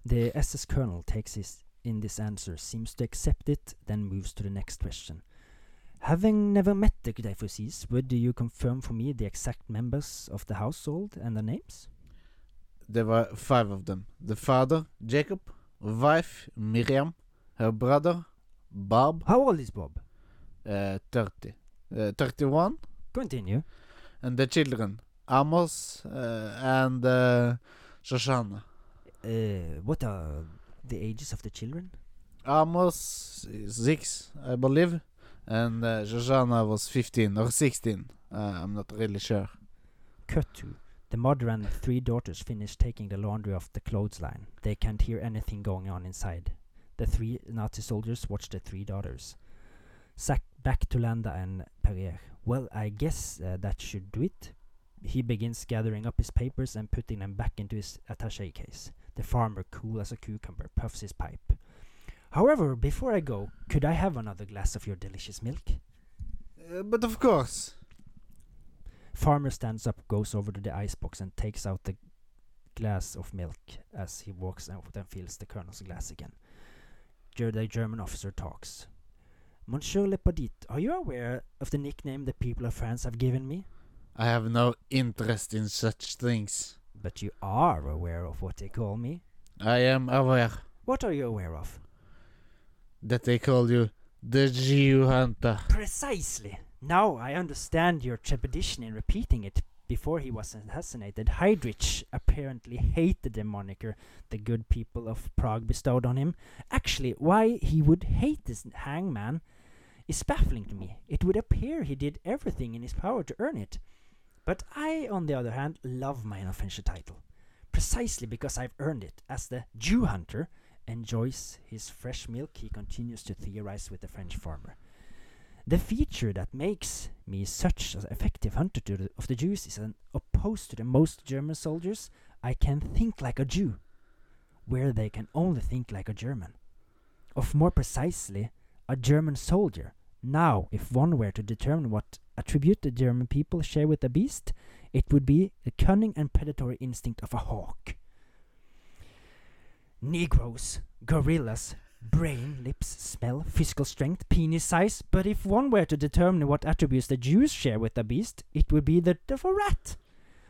[SPEAKER 2] The SS colonel takes his in this answer, seems to accept it, then moves to the next question. Having never met the Dreyfuses, would you confirm for me the exact members of the household and their names?
[SPEAKER 1] There were five of them the father, Jacob, wife, Miriam, her brother, Bob,
[SPEAKER 2] How old is Bob?
[SPEAKER 1] uh, 30, uh, 31,
[SPEAKER 2] Continue.
[SPEAKER 1] and the children, Amos uh, and uh, Shoshana.
[SPEAKER 2] Uh, what are the ages of the children?
[SPEAKER 1] Amos is six, I believe, and uh, Shoshana was 15 or 16. Uh, I'm not really sure.
[SPEAKER 2] Cut to. The mother and the three daughters finish taking the laundry off the clothesline. They can't hear anything going on inside. The three Nazi soldiers watch the three daughters. Sack back to Landa and Perrier. Well, I guess uh, that should do it. He begins gathering up his papers and putting them back into his attaché case. The farmer, cool as a cucumber, puffs his pipe. However, before I go, could I have another glass of your delicious milk?
[SPEAKER 1] Uh, but of course,
[SPEAKER 2] Farmer stands up, goes over to the icebox, and takes out the glass of milk as he walks out and fills the colonel's glass again. Ger- The German officer talks. Monsieur Lepadit, are you aware of the nickname the people of France have given me?
[SPEAKER 1] I have no interest in such things.
[SPEAKER 2] But you are aware of what they call me.
[SPEAKER 1] I am aware
[SPEAKER 2] What are you aware of?
[SPEAKER 1] that they call you the Jew Hunter.
[SPEAKER 2] Precisely. Now I understand your trepidation in repeating it. Before he was assassinated, Heydrich apparently hated the moniker the good people of Prague bestowed on him. Actually, why he would hate this hangman is baffling to me. It would appear he did everything in his power to earn it. But I, on the other hand, love my inoffensive title. Precisely because I've earned it, as the Jew hunter enjoys his fresh milk, he continues to theorize with the French farmer. The feature that makes me such an effective hunter to the, of the Jews is an opposed to the most German soldiers, I can think like a Jew, where they can only think like a German. Of more precisely, a German soldier. Now, if one were to determine what attribute the German people share with the beast, it would be the cunning and predatory instinct of a hawk. Negroes, gorillas, brain, lips, smell, physical strength, penis size, but if one were to determine what attributes the Jews share with the beast, it would be that of a rat.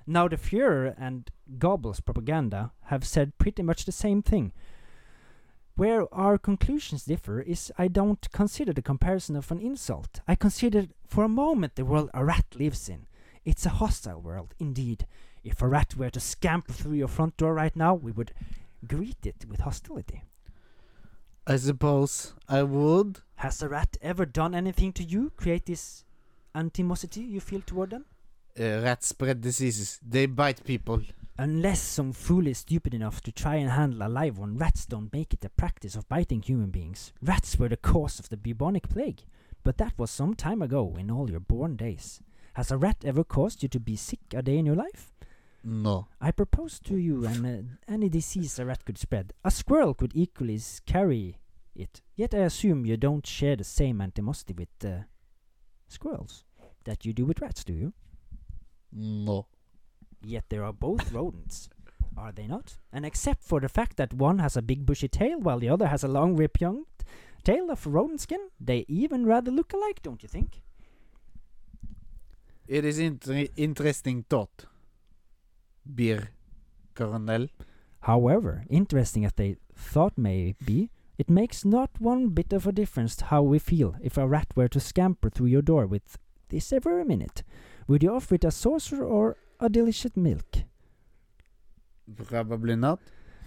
[SPEAKER 2] Now, the Fuhrer and Goebbels propaganda have said pretty much the same thing. Where our conclusions differ is I don't consider the comparison of an insult. I consider for a moment the world a rat lives in. It's a hostile world, indeed. If a rat were to scamper through your front door right now, we would greet it with hostility.
[SPEAKER 1] I suppose I would.
[SPEAKER 2] Has a rat ever done anything to you? Create this antimosity you feel toward them?
[SPEAKER 1] Uh, rats spread diseases. They bite people.
[SPEAKER 2] Unless some fool is stupid enough to try and handle a live one, rats don't make it a practice of biting human beings. Rats were the cause of the bubonic plague, but that was some time ago in all your born days. Has a rat ever caused you to be sick a day in your life?
[SPEAKER 1] No.
[SPEAKER 2] I propose to you an, uh, any disease a rat could spread. A squirrel could equally s- carry it. Yet I assume you don't share the same animosity with uh, squirrels that you do with rats, do you?
[SPEAKER 1] No.
[SPEAKER 2] Yet they are both rodents, are they not? And except for the fact that one has a big bushy tail while the other has a long repyonged tail of rodent skin, they even rather look alike, don't you think?
[SPEAKER 1] It is inter- interesting thought. Beer, Colonel.
[SPEAKER 2] However, interesting as they thought may be, it makes not one bit of a difference how we feel if a rat were to scamper through your door with this every minute. Would you offer it a saucer or a delicious milk?
[SPEAKER 1] Probably not.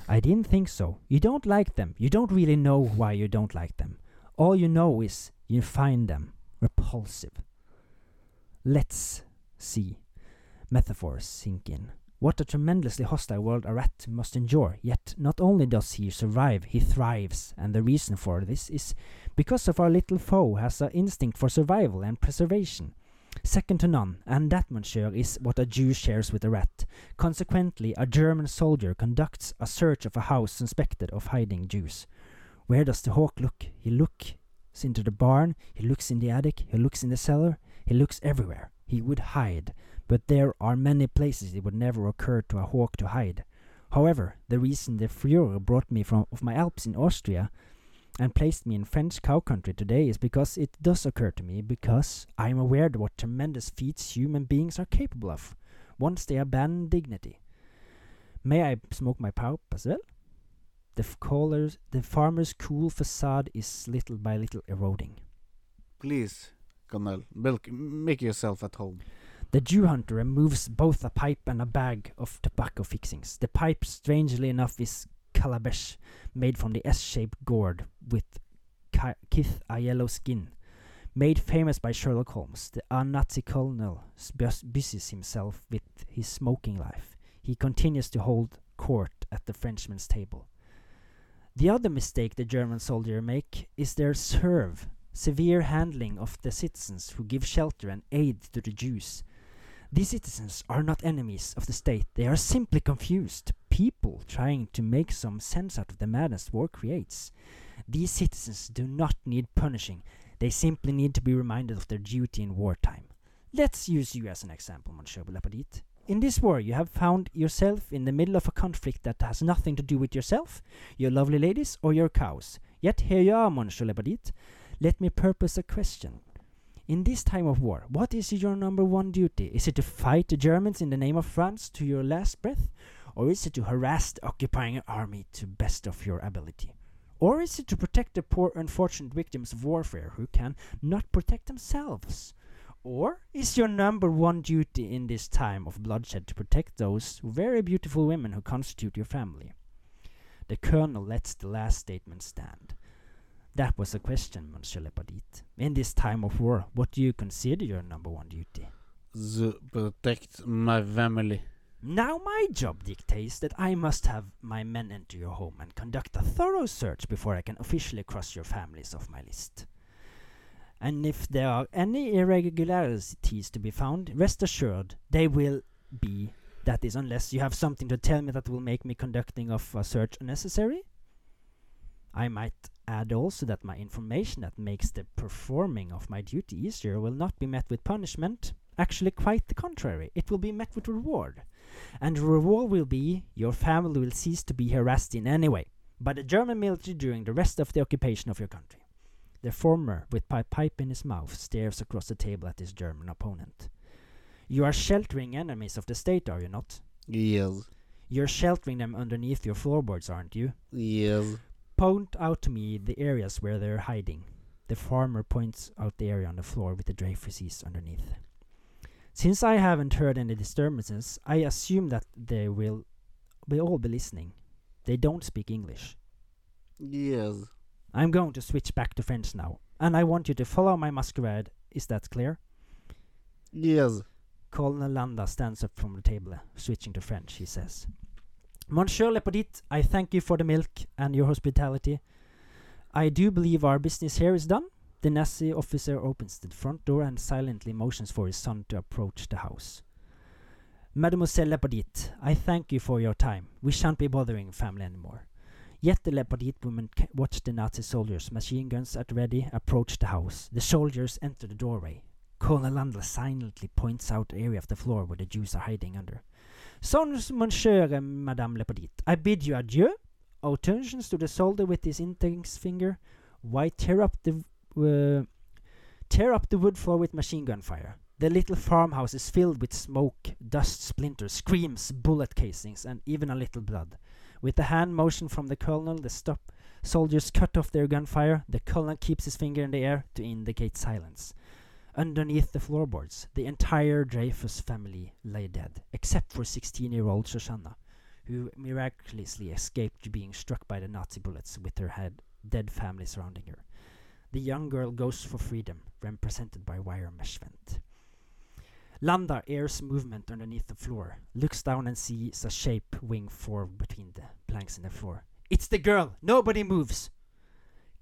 [SPEAKER 2] I didn't think so. You don't like them. You don't really know why you don't like them. All you know is you find them repulsive. Let's see. Metaphors sink in. What a tremendously hostile world a rat must endure. Yet not only does he survive, he thrives. And the reason for this is because of our little foe has an instinct for survival and preservation. Second to none, and that, monsieur, is what a Jew shares with a rat. Consequently, a German soldier conducts a search of a house suspected of hiding Jews. Where does the hawk look? He looks into the barn, he looks in the attic, he looks in the cellar, he looks everywhere. He would hide but there are many places it would never occur to a hawk to hide. However, the reason the Führer brought me from of my Alps in Austria and placed me in French cow country today is because it does occur to me because I am aware of what tremendous feats human beings are capable of once they abandon dignity. May I smoke my pipe as well? The, f- callers, the farmer's cool facade is little by little eroding.
[SPEAKER 1] Please, Gunnel, milk, make yourself at home.
[SPEAKER 2] The Jew hunter removes both a pipe and a bag of tobacco fixings. The pipe, strangely enough, is calabash, made from the S-shaped gourd with ki- kith a yellow skin, made famous by Sherlock Holmes. The a Nazi colonel s- bus- busies himself with his smoking life. He continues to hold court at the Frenchman's table. The other mistake the German soldier make is their serve, severe handling of the citizens who give shelter and aid to the Jews. These citizens are not enemies of the state, they are simply confused people trying to make some sense out of the madness war creates. These citizens do not need punishing, they simply need to be reminded of their duty in wartime. Let's use you as an example, Monsieur Belapadit. In this war, you have found yourself in the middle of a conflict that has nothing to do with yourself, your lovely ladies, or your cows. Yet here you are, Monsieur Belapadit. Let me purpose a question. In this time of war, what is your number one duty? Is it to fight the Germans in the name of France to your last breath? Or is it to harass the occupying army to best of your ability? Or is it to protect the poor unfortunate victims of warfare who can not protect themselves? Or is your number one duty in this time of bloodshed to protect those very beautiful women who constitute your family? The colonel lets the last statement stand. That was a question, Monsieur Lepadit. In this time of war, what do you consider your number one duty?
[SPEAKER 1] To protect my family.
[SPEAKER 2] Now my job dictates that I must have my men enter your home and conduct a thorough search before I can officially cross your families off my list. And if there are any irregularities to be found, rest assured they will be. That is, unless you have something to tell me that will make me conducting of a search unnecessary. I might add also that my information that makes the performing of my duty easier will not be met with punishment. Actually, quite the contrary. It will be met with reward. And the reward will be your family will cease to be harassed in any way by the German military during the rest of the occupation of your country. The former, with pi- pipe in his mouth, stares across the table at his German opponent. You are sheltering enemies of the state, are you not?
[SPEAKER 1] Yes.
[SPEAKER 2] You're sheltering them underneath your floorboards, aren't you?
[SPEAKER 1] Yes.
[SPEAKER 2] Point out to me the areas where they're hiding. The farmer points out the area on the floor with the Dreyfuses underneath. Since I haven't heard any disturbances, I assume that they will be all be listening. They don't speak English.
[SPEAKER 1] Yes.
[SPEAKER 2] I'm going to switch back to French now, and I want you to follow my masquerade. Is that clear?
[SPEAKER 1] Yes.
[SPEAKER 2] Colonel Landa stands up from the table, eh? switching to French, he says. Monsieur Lepadit, I thank you for the milk and your hospitality. I do believe our business here is done. The Nazi officer opens the front door and silently motions for his son to approach the house. Mademoiselle Lepadit, I thank you for your time. We shan't be bothering family anymore. Yet the Lepadit woman ca- watched the Nazi soldiers, machine guns at ready, approach the house. The soldiers enter the doorway. Colonel Landl silently points out the area of the floor where the Jews are hiding under. Sons, monsieur and madame Lepadit, I bid you adieu. Our attentions to the soldier with his index finger. Why tear up the w- uh, tear up the wood floor with machine gun fire? The little farmhouse is filled with smoke, dust, splinters, screams, bullet casings, and even a little blood. With a hand motion from the colonel, the stop soldiers cut off their gunfire. The colonel keeps his finger in the air to indicate silence. Underneath the floorboards, the entire Dreyfus family lay dead, except for 16 year old Shoshana, who miraculously escaped being struck by the Nazi bullets with her head, dead family surrounding her. The young girl goes for freedom, represented by wire mesh vent. Landa airs movement underneath the floor, looks down and sees a shape wing forward between the planks in the floor. It's the girl! Nobody moves!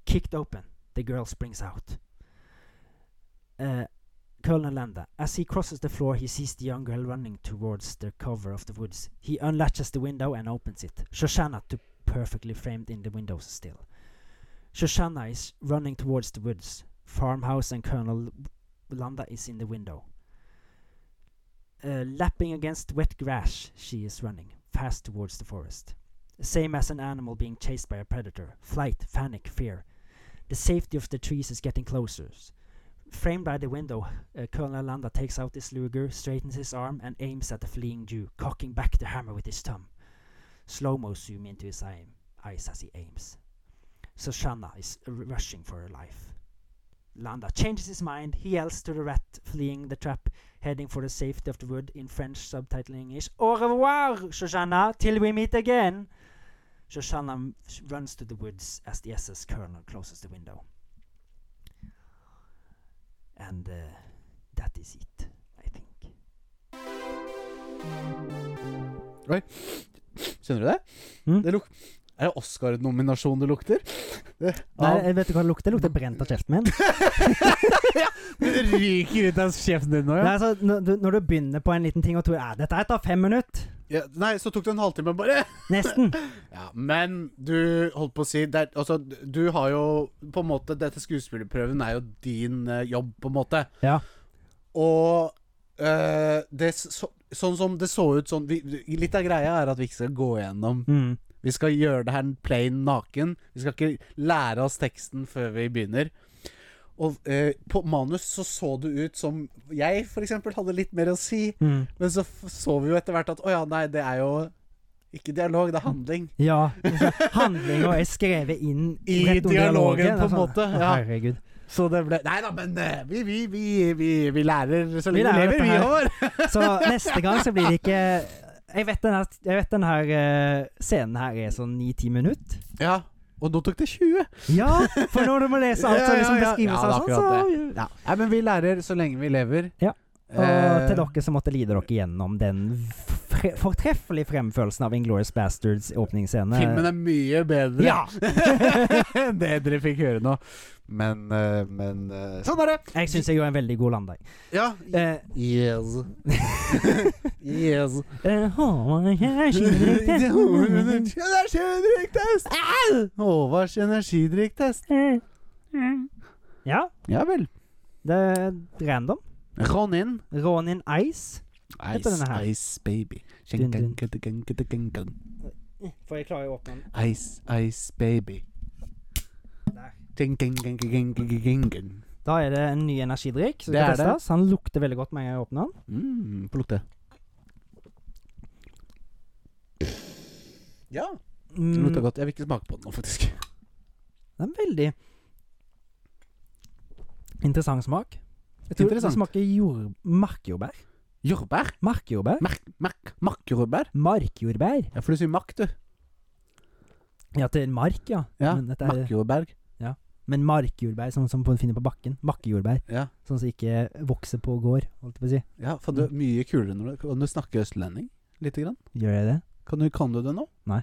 [SPEAKER 2] Kicked open, the girl springs out. Uh, Colonel Landa, as he crosses the floor, he sees the young girl running towards the cover of the woods. He unlatches the window and opens it. Shoshana, too perfectly framed in the windows still. Shoshana is running towards the woods. Farmhouse and Colonel Landa is in the window. Uh, lapping against wet grass, she is running, fast towards the forest. Same as an animal being chased by a predator. Flight, panic, fear. The safety of the trees is getting closer. Framed by the window, uh, Colonel Landa takes out his luger, straightens his arm, and aims at the fleeing Jew, cocking back the hammer with his thumb. Slow mo zoom into his eye, eyes as he aims. Shoshana is r- rushing for her life. Landa changes his mind. He yells to the rat fleeing the trap, heading for the safety of the wood in French subtitling is Au revoir, Shoshana, till we meet again. Shoshana m- sh- runs to the woods as the SS colonel closes the window. And uh, that is it, I think.
[SPEAKER 1] Skjønner du det?
[SPEAKER 2] Mm.
[SPEAKER 1] Det luk er det Oscar-nominasjon du lukter?
[SPEAKER 2] Nei, jeg vet du hva det lukter? Det lukter brent av kjeften min.
[SPEAKER 1] Det ryker ut av kjeften din nå,
[SPEAKER 2] Nei, altså, når, du, når du begynner på en liten ting og tror at dette her tar fem minutter,
[SPEAKER 1] Ja, nei, så tok det en halvtime bare.
[SPEAKER 2] nesten
[SPEAKER 1] Ja, men du holdt på å si det, er- altså, Du har jo på en måte Dette skuespillerprøven er jo din eh, jobb, på en måte.
[SPEAKER 2] Ja.
[SPEAKER 1] Og eh, det s- så, Sånn som det så ut sånn vi, vi- Litt av greia er at vi ikke skal gå gjennom.
[SPEAKER 2] mm.
[SPEAKER 1] Vi skal gjøre det her plain naken. Vi skal ikke lære oss teksten før vi begynner. Og eh, på manus så så det ut som jeg for eksempel hadde litt mer å si.
[SPEAKER 2] Mm.
[SPEAKER 1] Men så f- så vi jo etter hvert at å ja, nei, det er jo ikke dialog, det er handling.
[SPEAKER 2] Ja. Altså, handlinga er skrevet inn
[SPEAKER 1] I
[SPEAKER 2] rett under
[SPEAKER 1] dialogen, på en
[SPEAKER 2] altså.
[SPEAKER 1] måte,
[SPEAKER 2] Å,
[SPEAKER 1] ja.
[SPEAKER 2] Herregud.
[SPEAKER 1] Så det ble Nei da, men eh, vi, vi, vi, vi, vi lærer så
[SPEAKER 2] Vi
[SPEAKER 1] lenge vi lever,
[SPEAKER 2] lærer dette
[SPEAKER 1] vi
[SPEAKER 2] her.
[SPEAKER 1] år.
[SPEAKER 2] Så neste gang så blir det ikke Jeg vet den her, jeg vet den her eh, scenen her er sånn ni-ti minutter.
[SPEAKER 1] Ja. Og nå tok det 20.
[SPEAKER 2] Ja, for når du må lese alt
[SPEAKER 1] Ja,
[SPEAKER 2] som
[SPEAKER 1] ja,
[SPEAKER 2] liksom
[SPEAKER 1] ja.
[SPEAKER 2] beskrives
[SPEAKER 1] Ja, det er
[SPEAKER 2] av sånn,
[SPEAKER 1] akkurat
[SPEAKER 2] så ja.
[SPEAKER 1] Nei, men vi lærer så lenge vi lever.
[SPEAKER 2] Ja. Og
[SPEAKER 1] Eh,
[SPEAKER 2] til dere som måtte lide dere gjennom den fre fortreffelige fremførelsen av Inglorious Bastards åpningsscene
[SPEAKER 1] Filmen er mye bedre
[SPEAKER 2] Ja!
[SPEAKER 1] enn det dere fikk høre nå. Men, eh, men eh, Sånn er det.
[SPEAKER 2] Jeg syns jeg gjorde en veldig god landing.
[SPEAKER 1] Ja.
[SPEAKER 2] Eh,
[SPEAKER 1] Yes. yes.
[SPEAKER 2] eh, Håvard, jeg skyter ut.
[SPEAKER 1] Energidrikktest! Håvards energidrikktest.
[SPEAKER 2] Eh. Ja,
[SPEAKER 1] Ja vel.
[SPEAKER 2] det er random.
[SPEAKER 1] Ronin.
[SPEAKER 2] Ronin Ice. Heter
[SPEAKER 1] Ice,
[SPEAKER 2] denne her.
[SPEAKER 1] ice baby.
[SPEAKER 2] Dun, dun.
[SPEAKER 1] Skjenkenkenkenkenken.
[SPEAKER 2] For jeg klarer å åpne den.
[SPEAKER 1] Ice, ice baby.
[SPEAKER 2] Der.
[SPEAKER 1] Ding, ding, ding, ding, ding, ding, ding.
[SPEAKER 2] Da er det en ny energidrikk. Som
[SPEAKER 1] Det
[SPEAKER 2] skal
[SPEAKER 1] er det.
[SPEAKER 2] testes. Han lukter veldig godt med en gang jeg åpner den.
[SPEAKER 1] Mm, på lukte. Ja, det lukter
[SPEAKER 2] Mm,
[SPEAKER 1] godt. Jeg vil ikke smake på den nå, faktisk.
[SPEAKER 2] det er en veldig interessant smak. Jeg tror
[SPEAKER 1] Interessant.
[SPEAKER 2] det smaker jord... markjordbær.
[SPEAKER 1] Jordbær?
[SPEAKER 2] Markjordbær?
[SPEAKER 1] Merk, merk, makkjordbær?
[SPEAKER 2] Markjordbær?
[SPEAKER 1] Ja, for du sier makk, du.
[SPEAKER 2] Ja, til mark, ja.
[SPEAKER 1] Ja,
[SPEAKER 2] Men, dette er,
[SPEAKER 1] Makkjordbær.
[SPEAKER 2] men markjordbær, sånn som man finner på bakken. Makkejordbær.
[SPEAKER 1] Ja.
[SPEAKER 2] Sånn som ikke vokser på gård, holdt jeg på å si.
[SPEAKER 1] ja, for
[SPEAKER 2] Mm.
[SPEAKER 1] det er mye kulere når du, kan du snakke østlending lite grann.
[SPEAKER 2] Gjør jeg det?
[SPEAKER 1] Kan du, kan du det nå?
[SPEAKER 2] Nei.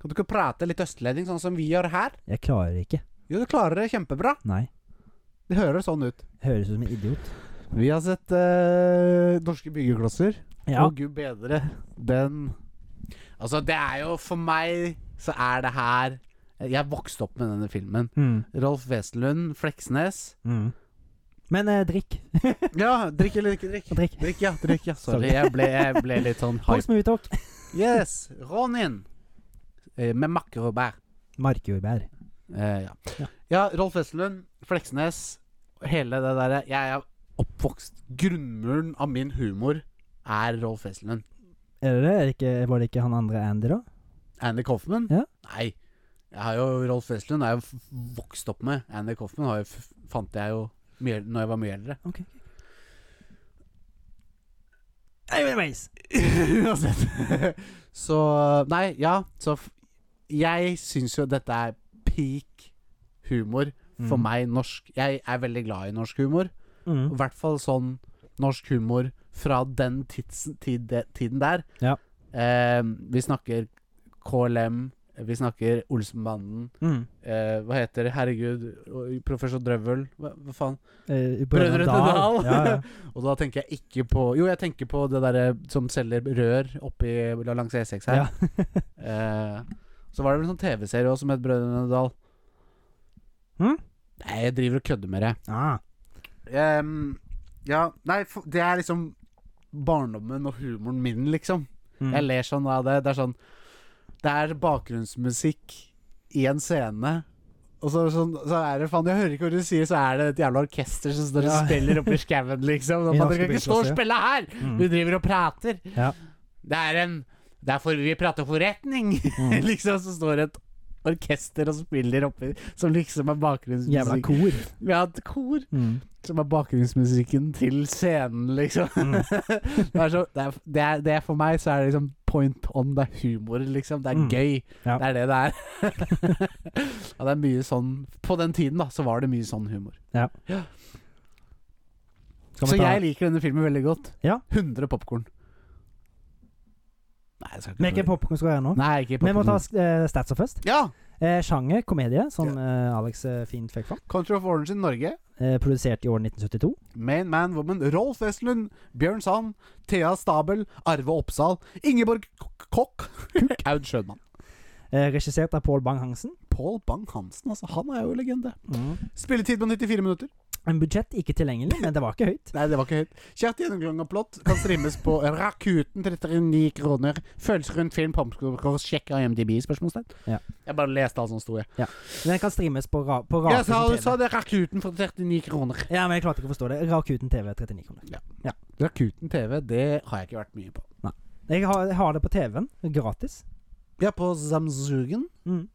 [SPEAKER 1] Kan du ikke prate litt østlending, sånn som vi gjør her?
[SPEAKER 2] Jeg klarer det ikke.
[SPEAKER 1] Jo, du klarer det kjempebra.
[SPEAKER 2] Nei.
[SPEAKER 1] Det hører sånn ut.
[SPEAKER 2] Høres ut som en idiot.
[SPEAKER 1] Vi har sett eh, norske byggeklosser.
[SPEAKER 2] Ja.
[SPEAKER 1] Å, gud bedre. Den Altså, det er jo For meg så er det her Jeg vokste opp med denne filmen.
[SPEAKER 2] Mm.
[SPEAKER 1] Rolf Wesenlund, Fleksnes.
[SPEAKER 2] Mm. Men eh, drikk.
[SPEAKER 1] Ja, drikk eller ikke drikk?
[SPEAKER 2] Drikk.
[SPEAKER 1] Drikk, ja. drikk, ja Sorry,
[SPEAKER 2] Sorry.
[SPEAKER 1] jeg ble, jeg ble litt sånn
[SPEAKER 2] Kos
[SPEAKER 1] hype.
[SPEAKER 2] med uttak.
[SPEAKER 1] Yes, Ronin. Eh, Med makker og bær.
[SPEAKER 2] Markjordbær.
[SPEAKER 1] Eh,
[SPEAKER 2] Ja.
[SPEAKER 1] ja. ja, Rolf Wesenlund, Fleksnes, hele det derre Jeg er oppvokst Grunnmuren av min humor er Rolf Wesenlund.
[SPEAKER 2] Er det det? Er det ikke, var det ikke han andre Andy, da?
[SPEAKER 1] Andy Coffman?
[SPEAKER 2] Ja.
[SPEAKER 1] Nei. Jeg har jo, Rolf Wesenlund er jo f- vokst opp med. Andy Coffman har jo, f- fant jeg jo mye, når jeg var mye eldre.
[SPEAKER 2] Ok. Anyways.
[SPEAKER 1] Uansett. så Nei, ja. Så f- jeg syns jo dette er peak humor for
[SPEAKER 2] Mm.
[SPEAKER 1] meg, norsk. Jeg er veldig glad i norsk humor.
[SPEAKER 2] Mm.
[SPEAKER 1] I hvert fall sånn norsk humor fra den tids, tid, tiden der.
[SPEAKER 2] Ja.
[SPEAKER 1] Eh, vi snakker KLM, vi snakker Olsenbanden.
[SPEAKER 2] Mm.
[SPEAKER 1] Eh, hva heter det? Herregud, og Professor Drøvel. Hva, hva faen?
[SPEAKER 2] Eh,
[SPEAKER 1] Brødrene Dal.
[SPEAKER 2] Ja, ja.
[SPEAKER 1] Og da tenker jeg ikke på Jo, jeg tenker på det derre som selger rør oppi langs E6 her. Eh, så var det vel en sånn TV-serie også som het Brødrene Dal.
[SPEAKER 2] Hm?
[SPEAKER 1] Nei, jeg driver og kødder med det.
[SPEAKER 2] Ah.
[SPEAKER 1] Ehm, ja, nei, f- det er liksom barndommen og humoren min, liksom.
[SPEAKER 2] Mm.
[SPEAKER 1] Jeg ler sånn av det. Det er sånn Det er bakgrunnsmusikk i en scene. Og så, sånn, så er det faen, Jeg hører ikke hva du sier, så er det et jævla orkester som står og
[SPEAKER 2] Ja.
[SPEAKER 1] spiller oppi skauen, liksom.
[SPEAKER 2] I
[SPEAKER 1] Sånn, man, dere
[SPEAKER 2] norske
[SPEAKER 1] kan ikke stå og
[SPEAKER 2] byggplasser, ja.
[SPEAKER 1] spille her!
[SPEAKER 2] Mm.
[SPEAKER 1] Vi driver og prater.
[SPEAKER 2] Ja.
[SPEAKER 1] Det er en Det er for vi prater forretning!
[SPEAKER 2] Mm.
[SPEAKER 1] liksom, så står et orkester og spiller oppi, som liksom er
[SPEAKER 2] Jævla
[SPEAKER 1] bakgrunnsmusikk.
[SPEAKER 2] kor.
[SPEAKER 1] Vi har et kor
[SPEAKER 2] Mm.
[SPEAKER 1] som er bakgrunnsmusikken til scenen, liksom.
[SPEAKER 2] Mm.
[SPEAKER 1] Det er, så, det, er, det, er, det er for meg så er det liksom point on. Det er humor, liksom. Det er
[SPEAKER 2] Mm.
[SPEAKER 1] gøy.
[SPEAKER 2] Ja.
[SPEAKER 1] Det er det det er. ja, det er mye sånn På den tiden, da, så var det mye sånn humor.
[SPEAKER 2] Skal vi
[SPEAKER 1] Så
[SPEAKER 2] ta-
[SPEAKER 1] jeg liker denne filmen veldig godt.
[SPEAKER 2] Ja.
[SPEAKER 1] 100 popkorn. Nei, jeg skal
[SPEAKER 2] Men ikke
[SPEAKER 1] ikke
[SPEAKER 2] popkorn skal være nå.
[SPEAKER 1] Nei, ikke
[SPEAKER 2] Vi må ta
[SPEAKER 1] popkorn.
[SPEAKER 2] eh, statsa først.
[SPEAKER 1] Ja!
[SPEAKER 2] Eh, sjanger komedie, som eh, Alex eh, fint fikk fram.
[SPEAKER 1] Country of Orange i Norge.
[SPEAKER 2] Eh, produsert i år 1972.
[SPEAKER 1] Main Man Woman, Rolf Westlund, Bjørn Sand, Thea Stabel, Arve Oppsal, Ingeborg K- Kokk, Aud Schødmann.
[SPEAKER 2] Eh, regissert av Pål Bang-Hansen.
[SPEAKER 1] Pål Bang-Hansen, altså. Han er jo legende.
[SPEAKER 2] Mm.
[SPEAKER 1] Spilletid på 94 minutter.
[SPEAKER 2] En budsjett ikke tilgjengelig, men det var ikke høyt.
[SPEAKER 1] Nei, det var ikke høyt. Kjært gjennomgang av plott kan streames på Rakuten 39 kroner. Føles rundt film, popkorn, sjekk IMDb? spørsmålstegn.
[SPEAKER 2] Ja.
[SPEAKER 1] Jeg bare leste alt som sto, jeg.
[SPEAKER 2] Den kan streames på, ra på
[SPEAKER 1] Jeg
[SPEAKER 2] Rakuten
[SPEAKER 1] sa,
[SPEAKER 2] TV.
[SPEAKER 1] sa det Rakuten for 39 kroner.
[SPEAKER 2] Ja, men jeg klarte ikke å forstå det. Rakuten TV 39 kroner.
[SPEAKER 1] Rakuten TV, det har jeg ikke vært mye på.
[SPEAKER 2] Jeg har, jeg har det på TV-en, gratis.
[SPEAKER 1] Ja, på Zamzugen.
[SPEAKER 2] Mm.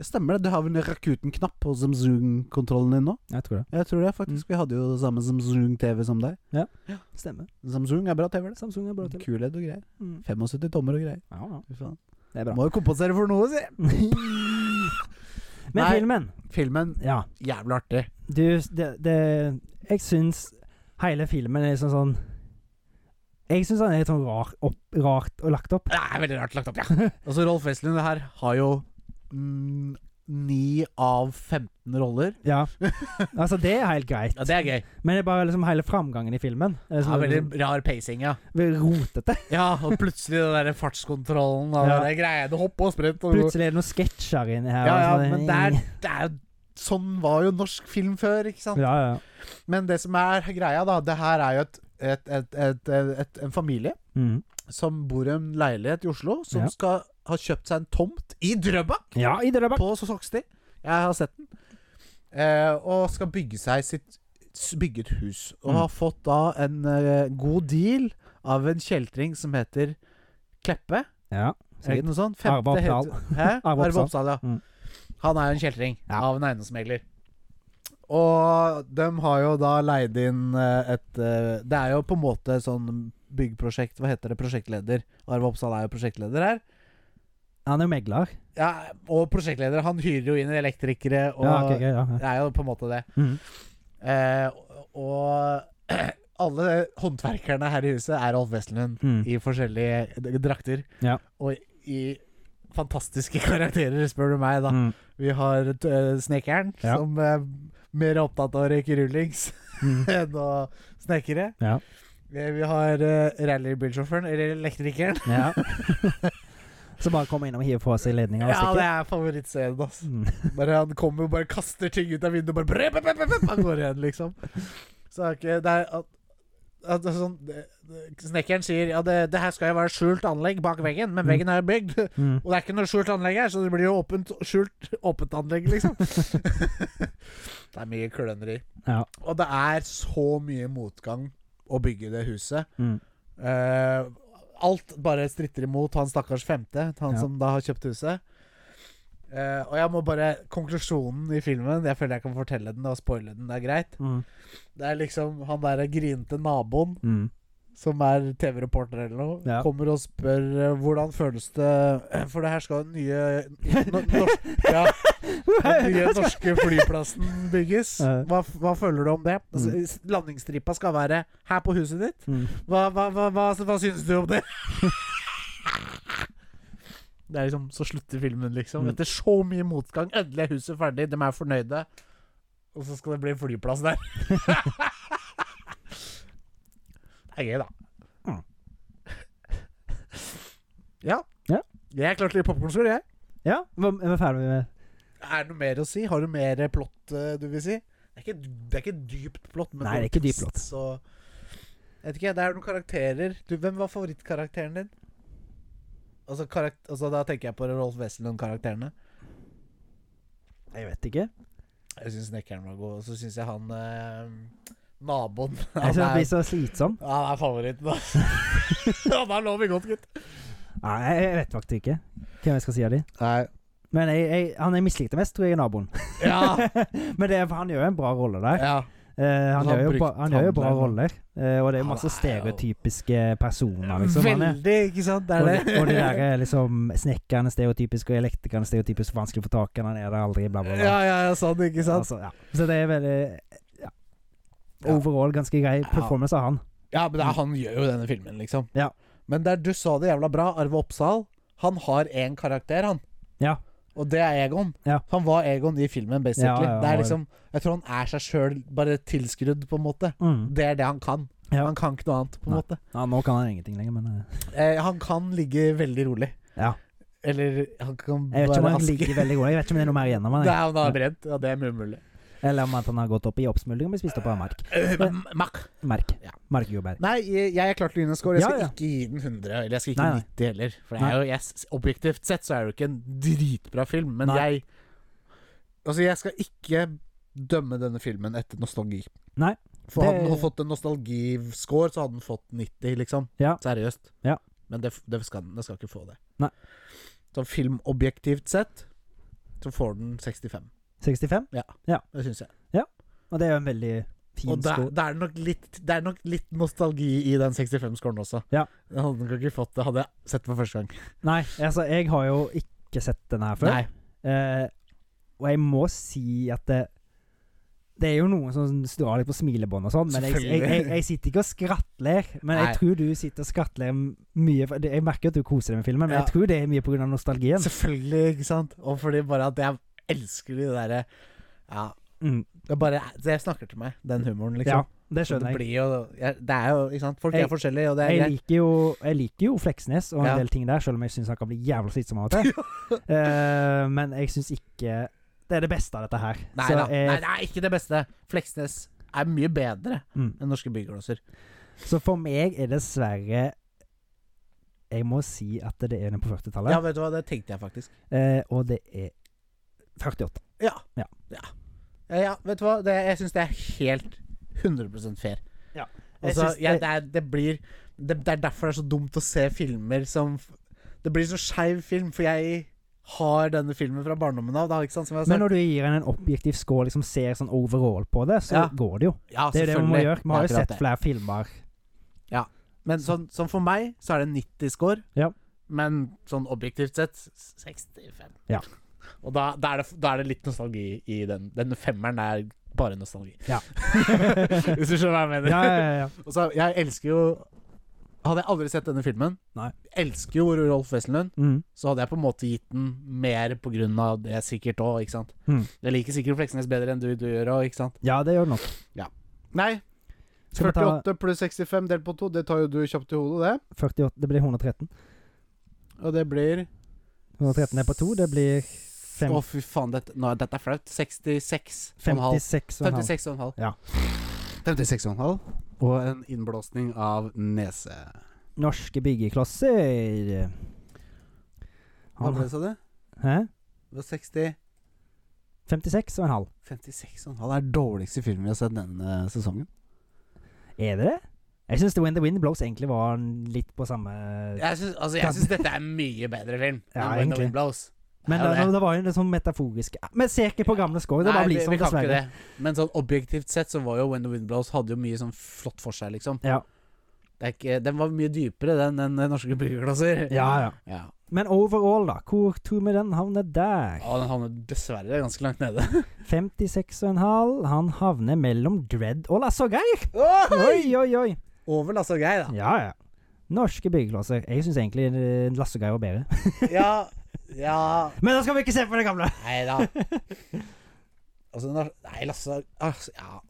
[SPEAKER 1] Det stemmer det. Du har vel en Rakuten-knapp på Zamzugen-kontrollen din nå?
[SPEAKER 2] Jeg tror det.
[SPEAKER 1] Jeg tror det, faktisk. Vi hadde jo det samme Samsung-TV som deg.
[SPEAKER 2] Stemmer.
[SPEAKER 1] Samsung er bra TV, det.
[SPEAKER 2] Samsung er bra TV.
[SPEAKER 1] Kulhet og greier.
[SPEAKER 2] Mm.
[SPEAKER 1] 75 tommer og greier.
[SPEAKER 2] Ja, ja.
[SPEAKER 1] Fy faen.
[SPEAKER 2] Det er bra.
[SPEAKER 1] Må jo kompensere for noe, si!
[SPEAKER 2] Men
[SPEAKER 1] Nei.
[SPEAKER 2] filmen,
[SPEAKER 1] Filmen
[SPEAKER 2] ja.
[SPEAKER 1] jævlig artig.
[SPEAKER 2] Du, det, det Jeg syns hele filmen er liksom sånn Jeg syns den er litt sånn rar, opp, rart og lagt opp.
[SPEAKER 1] Det er veldig rart lagt opp, ja. Altså, Rolf Westlund her har jo mm, 9 av 15 roller.
[SPEAKER 2] Ja. Altså, det er helt greit.
[SPEAKER 1] Ja, Det er gøy.
[SPEAKER 2] Men det er bare liksom hele framgangen i filmen.
[SPEAKER 1] Det
[SPEAKER 2] Det er liksom,
[SPEAKER 1] er sånn veldig rar pacing, ja.
[SPEAKER 2] veldig rotete.
[SPEAKER 1] Ja, Og plutselig den der fartskontrollen og
[SPEAKER 2] Ja.
[SPEAKER 1] det greiene. Hoppe og sprett. Og
[SPEAKER 2] Plutselig er det noen sketsjer inni her.
[SPEAKER 1] ja, ja,
[SPEAKER 2] og sånn.
[SPEAKER 1] men det er, det er jo Sånn var jo norsk film før, ikke sant?
[SPEAKER 2] Ja, ja.
[SPEAKER 1] Men det som er greia, da Det her er jo et, et, et, et, et, en familie
[SPEAKER 2] Mm.
[SPEAKER 1] som bor i en leilighet i Oslo, som
[SPEAKER 2] Ja.
[SPEAKER 1] skal ha kjøpt seg en tomt i Drøbak,
[SPEAKER 2] ja i det der bak.
[SPEAKER 1] på Soksti. Jeg har sett den. Eh, og skal bygge seg sitt s- Bygge et hus. Og
[SPEAKER 2] Mm.
[SPEAKER 1] har fått da en eh, god deal av en kjeltring som heter Kleppe.
[SPEAKER 2] Ja,
[SPEAKER 1] Er det
[SPEAKER 2] sikkert.
[SPEAKER 1] ikke noe sånt? Femte
[SPEAKER 2] Arve Oppdal.
[SPEAKER 1] heter- Hæ?
[SPEAKER 2] Arve
[SPEAKER 1] Arve
[SPEAKER 2] Oppdal.
[SPEAKER 1] Oppdal, ja.
[SPEAKER 2] Mm.
[SPEAKER 1] Han er jo en kjeltring
[SPEAKER 2] Ja.
[SPEAKER 1] av en eiendomsmegler. Og de har jo da leid inn eh, et eh, Det er jo på en måte sånn byggprosjekt Hva heter det? Prosjektleder. Arve Oppsal er jo prosjektleder her.
[SPEAKER 2] Han er jo megler.
[SPEAKER 1] Ja, og prosjektleder, han hyrer jo inn elektrikere og
[SPEAKER 2] Ja, ok, ok, ja, ja.
[SPEAKER 1] Det er jo på en måte det.
[SPEAKER 2] Mm.
[SPEAKER 1] Eh, og- og alle håndverkerne her i huset er Alf Westlund
[SPEAKER 2] Mm.
[SPEAKER 1] i forskjellige d- drakter.
[SPEAKER 2] Ja.
[SPEAKER 1] Og i fantastiske karakterer, spør du meg, da.
[SPEAKER 2] Mm.
[SPEAKER 1] Vi har eh, snekkeren,
[SPEAKER 2] Ja.
[SPEAKER 1] som er mer er opptatt av å røyke rullings
[SPEAKER 2] Mm.
[SPEAKER 1] enn å snekre.
[SPEAKER 2] Ja.
[SPEAKER 1] Eh, Vi har eh, rallybilsjåføren, eller elektrikeren.
[SPEAKER 2] ja. Så bare komme innom og hive på seg ledninga og
[SPEAKER 1] Ja, det
[SPEAKER 2] stikke.
[SPEAKER 1] er favorittscenen, altså.
[SPEAKER 2] Mm.
[SPEAKER 1] Bare han kommer og bare kaster ting ut av vinduet, bare brep, brep, brep, brep, Han går igjen, liksom. Så er ikke Det er at, at det er sånn det, det, Snekkeren sier ja, det, det her skal jo være skjult anlegg bak veggen, men veggen er jo bygd.
[SPEAKER 2] Mm.
[SPEAKER 1] Og det er ikke noe skjult anlegg her, så det blir jo åpent, skjult åpent anlegg, liksom. det er mye kløneri.
[SPEAKER 2] Ja.
[SPEAKER 1] Og det er så mye motgang å bygge det huset.
[SPEAKER 2] Mm.
[SPEAKER 1] Eh, alt bare stritter imot han stakkars femte, han
[SPEAKER 2] Ja.
[SPEAKER 1] som da har kjøpt huset. Eh, og jeg må bare Konklusjonen i filmen Jeg føler jeg kan fortelle den og spoile den. Det er greit.
[SPEAKER 2] Mm.
[SPEAKER 1] Det er liksom han derre grinete naboen
[SPEAKER 2] Mm.
[SPEAKER 1] som er TV-reporter eller noe,
[SPEAKER 2] Ja.
[SPEAKER 1] kommer og spør eh, hvordan føles det For det her skal den nye, no, norsk, ja, den nye norske flyplassen bygges.
[SPEAKER 2] Ja.
[SPEAKER 1] Hva, f- hva føler du om det? Altså,
[SPEAKER 2] Mm.
[SPEAKER 1] s- landingsstripa skal være her på huset ditt.
[SPEAKER 2] Mm.
[SPEAKER 1] Hva, hva, hva, hva, altså, hva syns du om det? Det er liksom, Så slutter filmen, liksom.
[SPEAKER 2] Mm.
[SPEAKER 1] Etter så mye motgang. Endelig er huset ferdig, de er fornøyde. Og så skal det bli en flyplass der. det er gøy, da.
[SPEAKER 2] Mm.
[SPEAKER 1] Ja.
[SPEAKER 2] Ja.
[SPEAKER 1] Jeg klarte litt popkornskål, jeg.
[SPEAKER 2] Ja, hva hva er vi ferdig med
[SPEAKER 1] Er det noe mer å si? Har du mer plott eh, du vil si? Det er ikke, det er ikke dypt plott. Men
[SPEAKER 2] Nei, det er ikke dypt plott.
[SPEAKER 1] Så, jeg vet ikke, det er noen karakterer. Du, hvem var favorittkarakteren din? Altså, karak- altså Da tenker jeg på Rolf Wesselund-karakterene.
[SPEAKER 2] Jeg vet ikke.
[SPEAKER 1] Jeg syns snekkeren var god. Og så syns jeg han eh, naboen
[SPEAKER 2] Jeg
[SPEAKER 1] han
[SPEAKER 2] syns han
[SPEAKER 1] er,
[SPEAKER 2] blir så slitsom.
[SPEAKER 1] han er favoritten, da. han er lov i godt, gutt.
[SPEAKER 2] Nei, jeg jeg vet faktisk ikke hvem jeg skal si av de.
[SPEAKER 1] Nei.
[SPEAKER 2] Men jeg, jeg, han jeg mislikte mest, tror jeg er naboen.
[SPEAKER 1] Ja.
[SPEAKER 2] Men det, er- han gjør jo en bra rolle der.
[SPEAKER 1] ja.
[SPEAKER 2] Eh,
[SPEAKER 1] Han
[SPEAKER 2] han,
[SPEAKER 1] har
[SPEAKER 2] gjør jo
[SPEAKER 1] brukt
[SPEAKER 2] ba, han gjør jo bra
[SPEAKER 1] handleren.
[SPEAKER 2] roller. Eh, og det er jo
[SPEAKER 1] Han er
[SPEAKER 2] masse
[SPEAKER 1] jo-
[SPEAKER 2] stereotypiske personer, liksom. Han er.
[SPEAKER 1] Veldig, ikke sant? Det
[SPEAKER 2] Og,
[SPEAKER 1] er
[SPEAKER 2] de-
[SPEAKER 1] det.
[SPEAKER 2] og de der er liksom snekkerne stereotypiske, og elektrikerne stereotypiske, vanskelig å få tak i, han er der aldri, bla, bla, bla.
[SPEAKER 1] Ja, ja, ja, sånn, ikke sant?
[SPEAKER 2] Altså, ja. Så det er veldig ja. Overall ganske grei performance av han.
[SPEAKER 1] Ja, men det er, han gjør jo denne filmen, liksom.
[SPEAKER 2] Mm. Ja.
[SPEAKER 1] Men der du sa det jævla bra, Arve Oppsal, han har én karakter, han.
[SPEAKER 2] Ja.
[SPEAKER 1] Og det er Egon.
[SPEAKER 2] Ja.
[SPEAKER 1] Han var Egon i filmen, basically. det
[SPEAKER 2] Ja, ja, han
[SPEAKER 1] er
[SPEAKER 2] var-
[SPEAKER 1] liksom Jeg tror han er seg sjøl bare tilskrudd, på en måte.
[SPEAKER 2] Mm.
[SPEAKER 1] Det er det han kan.
[SPEAKER 2] Ja.
[SPEAKER 1] Han kan ikke noe annet, på en
[SPEAKER 2] Nei.
[SPEAKER 1] måte.
[SPEAKER 2] ja, nå kan han ingenting lenger, men eh,
[SPEAKER 1] Eh, han kan ligge veldig rolig.
[SPEAKER 2] ja.
[SPEAKER 1] Eller han kan
[SPEAKER 2] Jeg vet
[SPEAKER 1] være
[SPEAKER 2] ikke om han
[SPEAKER 1] aske.
[SPEAKER 2] ligger veldig god. Jeg vet ikke om det er noe mer igjen av han.
[SPEAKER 1] Det
[SPEAKER 2] jeg.
[SPEAKER 1] er om han har brent. Ja, det er mye mulig.
[SPEAKER 2] Eller om at han har gått opp i oppsmuldring og blitt spist opp av mark.
[SPEAKER 1] Eh, men- Mack.
[SPEAKER 2] Merk.
[SPEAKER 1] Ja.
[SPEAKER 2] Markjordbær.
[SPEAKER 1] Nei, jeg, jeg er klart til å gi den en score. Jeg
[SPEAKER 2] Ja,
[SPEAKER 1] skal
[SPEAKER 2] ja.
[SPEAKER 1] ikke gi den 100, eller jeg skal ikke
[SPEAKER 2] Nei, nei.
[SPEAKER 1] 90 heller. For det er jo, jeg, s- objektivt sett så er det jo ikke en dritbra film, men
[SPEAKER 2] Nei.
[SPEAKER 1] jeg Altså, jeg skal ikke dømme denne filmen etter nostalgi.
[SPEAKER 2] Nei,
[SPEAKER 1] For hadde den
[SPEAKER 2] det-
[SPEAKER 1] fått en nostalgiscore, så hadde den fått 90, liksom.
[SPEAKER 2] Ja.
[SPEAKER 1] Seriøst.
[SPEAKER 2] Ja.
[SPEAKER 1] Men det, f- det skal den det skal ikke få det.
[SPEAKER 2] Nei.
[SPEAKER 1] Så filmobjektivt sett så får den 65.
[SPEAKER 2] 65.
[SPEAKER 1] Det syns jeg.
[SPEAKER 2] Og det er jo en veldig fin
[SPEAKER 1] Og det,
[SPEAKER 2] score.
[SPEAKER 1] det, er nok litt, det er nok litt nostalgi i den 65-scoren også.
[SPEAKER 2] Ja.
[SPEAKER 1] Den hadde nok ikke fått det, hadde jeg sett det for første gang.
[SPEAKER 2] Nei, altså, jeg har jo ikke sett den her før.
[SPEAKER 1] Nei.
[SPEAKER 2] Eh, og jeg må si at det, det er jo noen som drar litt på smilebånd og sånn, men jeg, jeg, jeg, jeg sitter ikke og skrattler. Men
[SPEAKER 1] Nei.
[SPEAKER 2] jeg tror du sitter og skrattler m- mye. for det- Jeg merker at du koser deg med filmen, men
[SPEAKER 1] Ja.
[SPEAKER 2] jeg tror det er mye pga. nostalgien.
[SPEAKER 1] Selvfølgelig, ikke sant? Og fordi bare at jeg elsker de derre Ja.
[SPEAKER 2] Mm.
[SPEAKER 1] Det er bare Det snakker til meg, den humoren,
[SPEAKER 2] Ja,
[SPEAKER 1] liksom.
[SPEAKER 2] det
[SPEAKER 1] Så det
[SPEAKER 2] skjønner jeg.
[SPEAKER 1] blir jo jeg- Det er jo Ikke sant? Folk
[SPEAKER 2] Jeg-
[SPEAKER 1] er forskjellige, og det er
[SPEAKER 2] Jeg
[SPEAKER 1] greit.
[SPEAKER 2] liker, jo, jeg liker jo Fleksnes og en
[SPEAKER 1] Ja.
[SPEAKER 2] del ting der, selv om jeg syns han kan bli jævla slitsom av og til. Eh, men jeg syns ikke det er det beste av dette her.
[SPEAKER 1] Nei
[SPEAKER 2] Så eh,
[SPEAKER 1] da.
[SPEAKER 2] jeg-
[SPEAKER 1] Nei, det er ikke det beste. Fleksnes er mye bedre
[SPEAKER 2] Mm.
[SPEAKER 1] enn norske byggeklosser.
[SPEAKER 2] Så for meg er dessverre Jeg må si at det er den på 40-tallet.
[SPEAKER 1] Ja, vet du hva, det tenkte jeg faktisk.
[SPEAKER 2] Eh, og det er 48.
[SPEAKER 1] Ja.
[SPEAKER 2] Ja.
[SPEAKER 1] ja. Ja, ja, vet du hva? Det, jeg syns det er helt 100 fair.
[SPEAKER 2] Ja. Jeg
[SPEAKER 1] Altså,
[SPEAKER 2] syns
[SPEAKER 1] jeg,
[SPEAKER 2] det-
[SPEAKER 1] det, er, det blir det, det er derfor det er så dumt å se filmer som f- Det blir så skeiv film, for jeg har denne filmen fra barndommen av, da, ikke sant? Som jeg har
[SPEAKER 2] Men
[SPEAKER 1] sagt.
[SPEAKER 2] når du gir en en objektiv score, liksom ser sånn overall på det, så
[SPEAKER 1] Ja.
[SPEAKER 2] går det jo.
[SPEAKER 1] ja,
[SPEAKER 2] Det er det vi må
[SPEAKER 1] selvfølgelig.
[SPEAKER 2] gjøre. Vi har jo
[SPEAKER 1] Akkurat
[SPEAKER 2] sett
[SPEAKER 1] det.
[SPEAKER 2] flere filmer.
[SPEAKER 1] Men sånn, sånn for meg, så er det 90 score.
[SPEAKER 2] Ja.
[SPEAKER 1] Men sånn objektivt sett, s- 65.
[SPEAKER 2] Ja.
[SPEAKER 1] Og da, da, er det, da er det litt nostalgi i den. Den femmeren er bare nostalgi.
[SPEAKER 2] Ja.
[SPEAKER 1] Hvis du skjønner hva jeg mener.
[SPEAKER 2] Ja, ja, ja.
[SPEAKER 1] Og så, jeg elsker jo Hadde jeg aldri sett denne filmen
[SPEAKER 2] Nei.
[SPEAKER 1] Elsker jo Rolf Wesselund
[SPEAKER 2] Mm.
[SPEAKER 1] Så hadde jeg på en måte gitt den mer På grunn av det sikkert også, ikke sant?
[SPEAKER 2] Mm.
[SPEAKER 1] Jeg liker sikkert Fleksnes bedre enn du, du gjør også, ikke sant?
[SPEAKER 2] ja det gjør det nok.
[SPEAKER 1] Nei
[SPEAKER 2] Skal vi ta
[SPEAKER 4] 48 pluss 65 delt på 2, det tar jo du kjapt i hodet,
[SPEAKER 2] 48, det blir 113.
[SPEAKER 4] det. Og det blir
[SPEAKER 2] 113 er på to, det blir fem-
[SPEAKER 1] Å fy faen, dette, nå, dette er flaut 66 56
[SPEAKER 2] 56,5.
[SPEAKER 1] 56 og en halv
[SPEAKER 2] Ja.
[SPEAKER 4] 56,5. Og en innblåsning av nese.
[SPEAKER 2] Norske byggeklosser.
[SPEAKER 4] Hva ble
[SPEAKER 2] Han,
[SPEAKER 4] det, sa du?
[SPEAKER 2] hæ?
[SPEAKER 4] Det var 60
[SPEAKER 2] 56,5.
[SPEAKER 4] 56,5 er dårligste filmen vi har sett denne sesongen.
[SPEAKER 2] Er det det? Jeg syns The Wind The Wind Blows egentlig var en- litt på samme
[SPEAKER 1] Jeg synes, altså, jeg synes dette er en mye bedre film
[SPEAKER 2] Ja,
[SPEAKER 1] enn When the
[SPEAKER 2] egentlig.
[SPEAKER 1] Wind Blows
[SPEAKER 2] Men
[SPEAKER 1] Det er jo
[SPEAKER 2] det,
[SPEAKER 1] det.
[SPEAKER 2] det var jo en sånn metaforisk Men se ikke på gamle score. Det
[SPEAKER 1] Nei,
[SPEAKER 2] bare
[SPEAKER 1] vi-
[SPEAKER 2] blir sånn,
[SPEAKER 1] vi kan ikke
[SPEAKER 2] dessverre.
[SPEAKER 1] det. Men sånn objektivt sett så var jo When the Wind Blows Hadde jo mye sånn flott for seg liksom
[SPEAKER 2] Ja.
[SPEAKER 1] Det er ikke, den var mye dypere, den, enn norske byggeklasser.
[SPEAKER 2] Ja, ja.
[SPEAKER 5] Ja.
[SPEAKER 2] Men overall, da. Hvor tror vi den havner der?
[SPEAKER 1] Å, den havnet dessverre ganske langt nede.
[SPEAKER 2] 56,5. Han havner mellom Dread og Lasse og Geir. Oi, oi, oi.
[SPEAKER 1] Over Lasse og Geir, da.
[SPEAKER 2] Ja, ja. Norske byggeklosser. Jeg syns egentlig eh, Lasse og Geir var bedre.
[SPEAKER 1] Ja, ja
[SPEAKER 2] Men da skal vi ikke se på det gamle!
[SPEAKER 1] Nei da. Altså, når- nei, Lasse altså, Ja.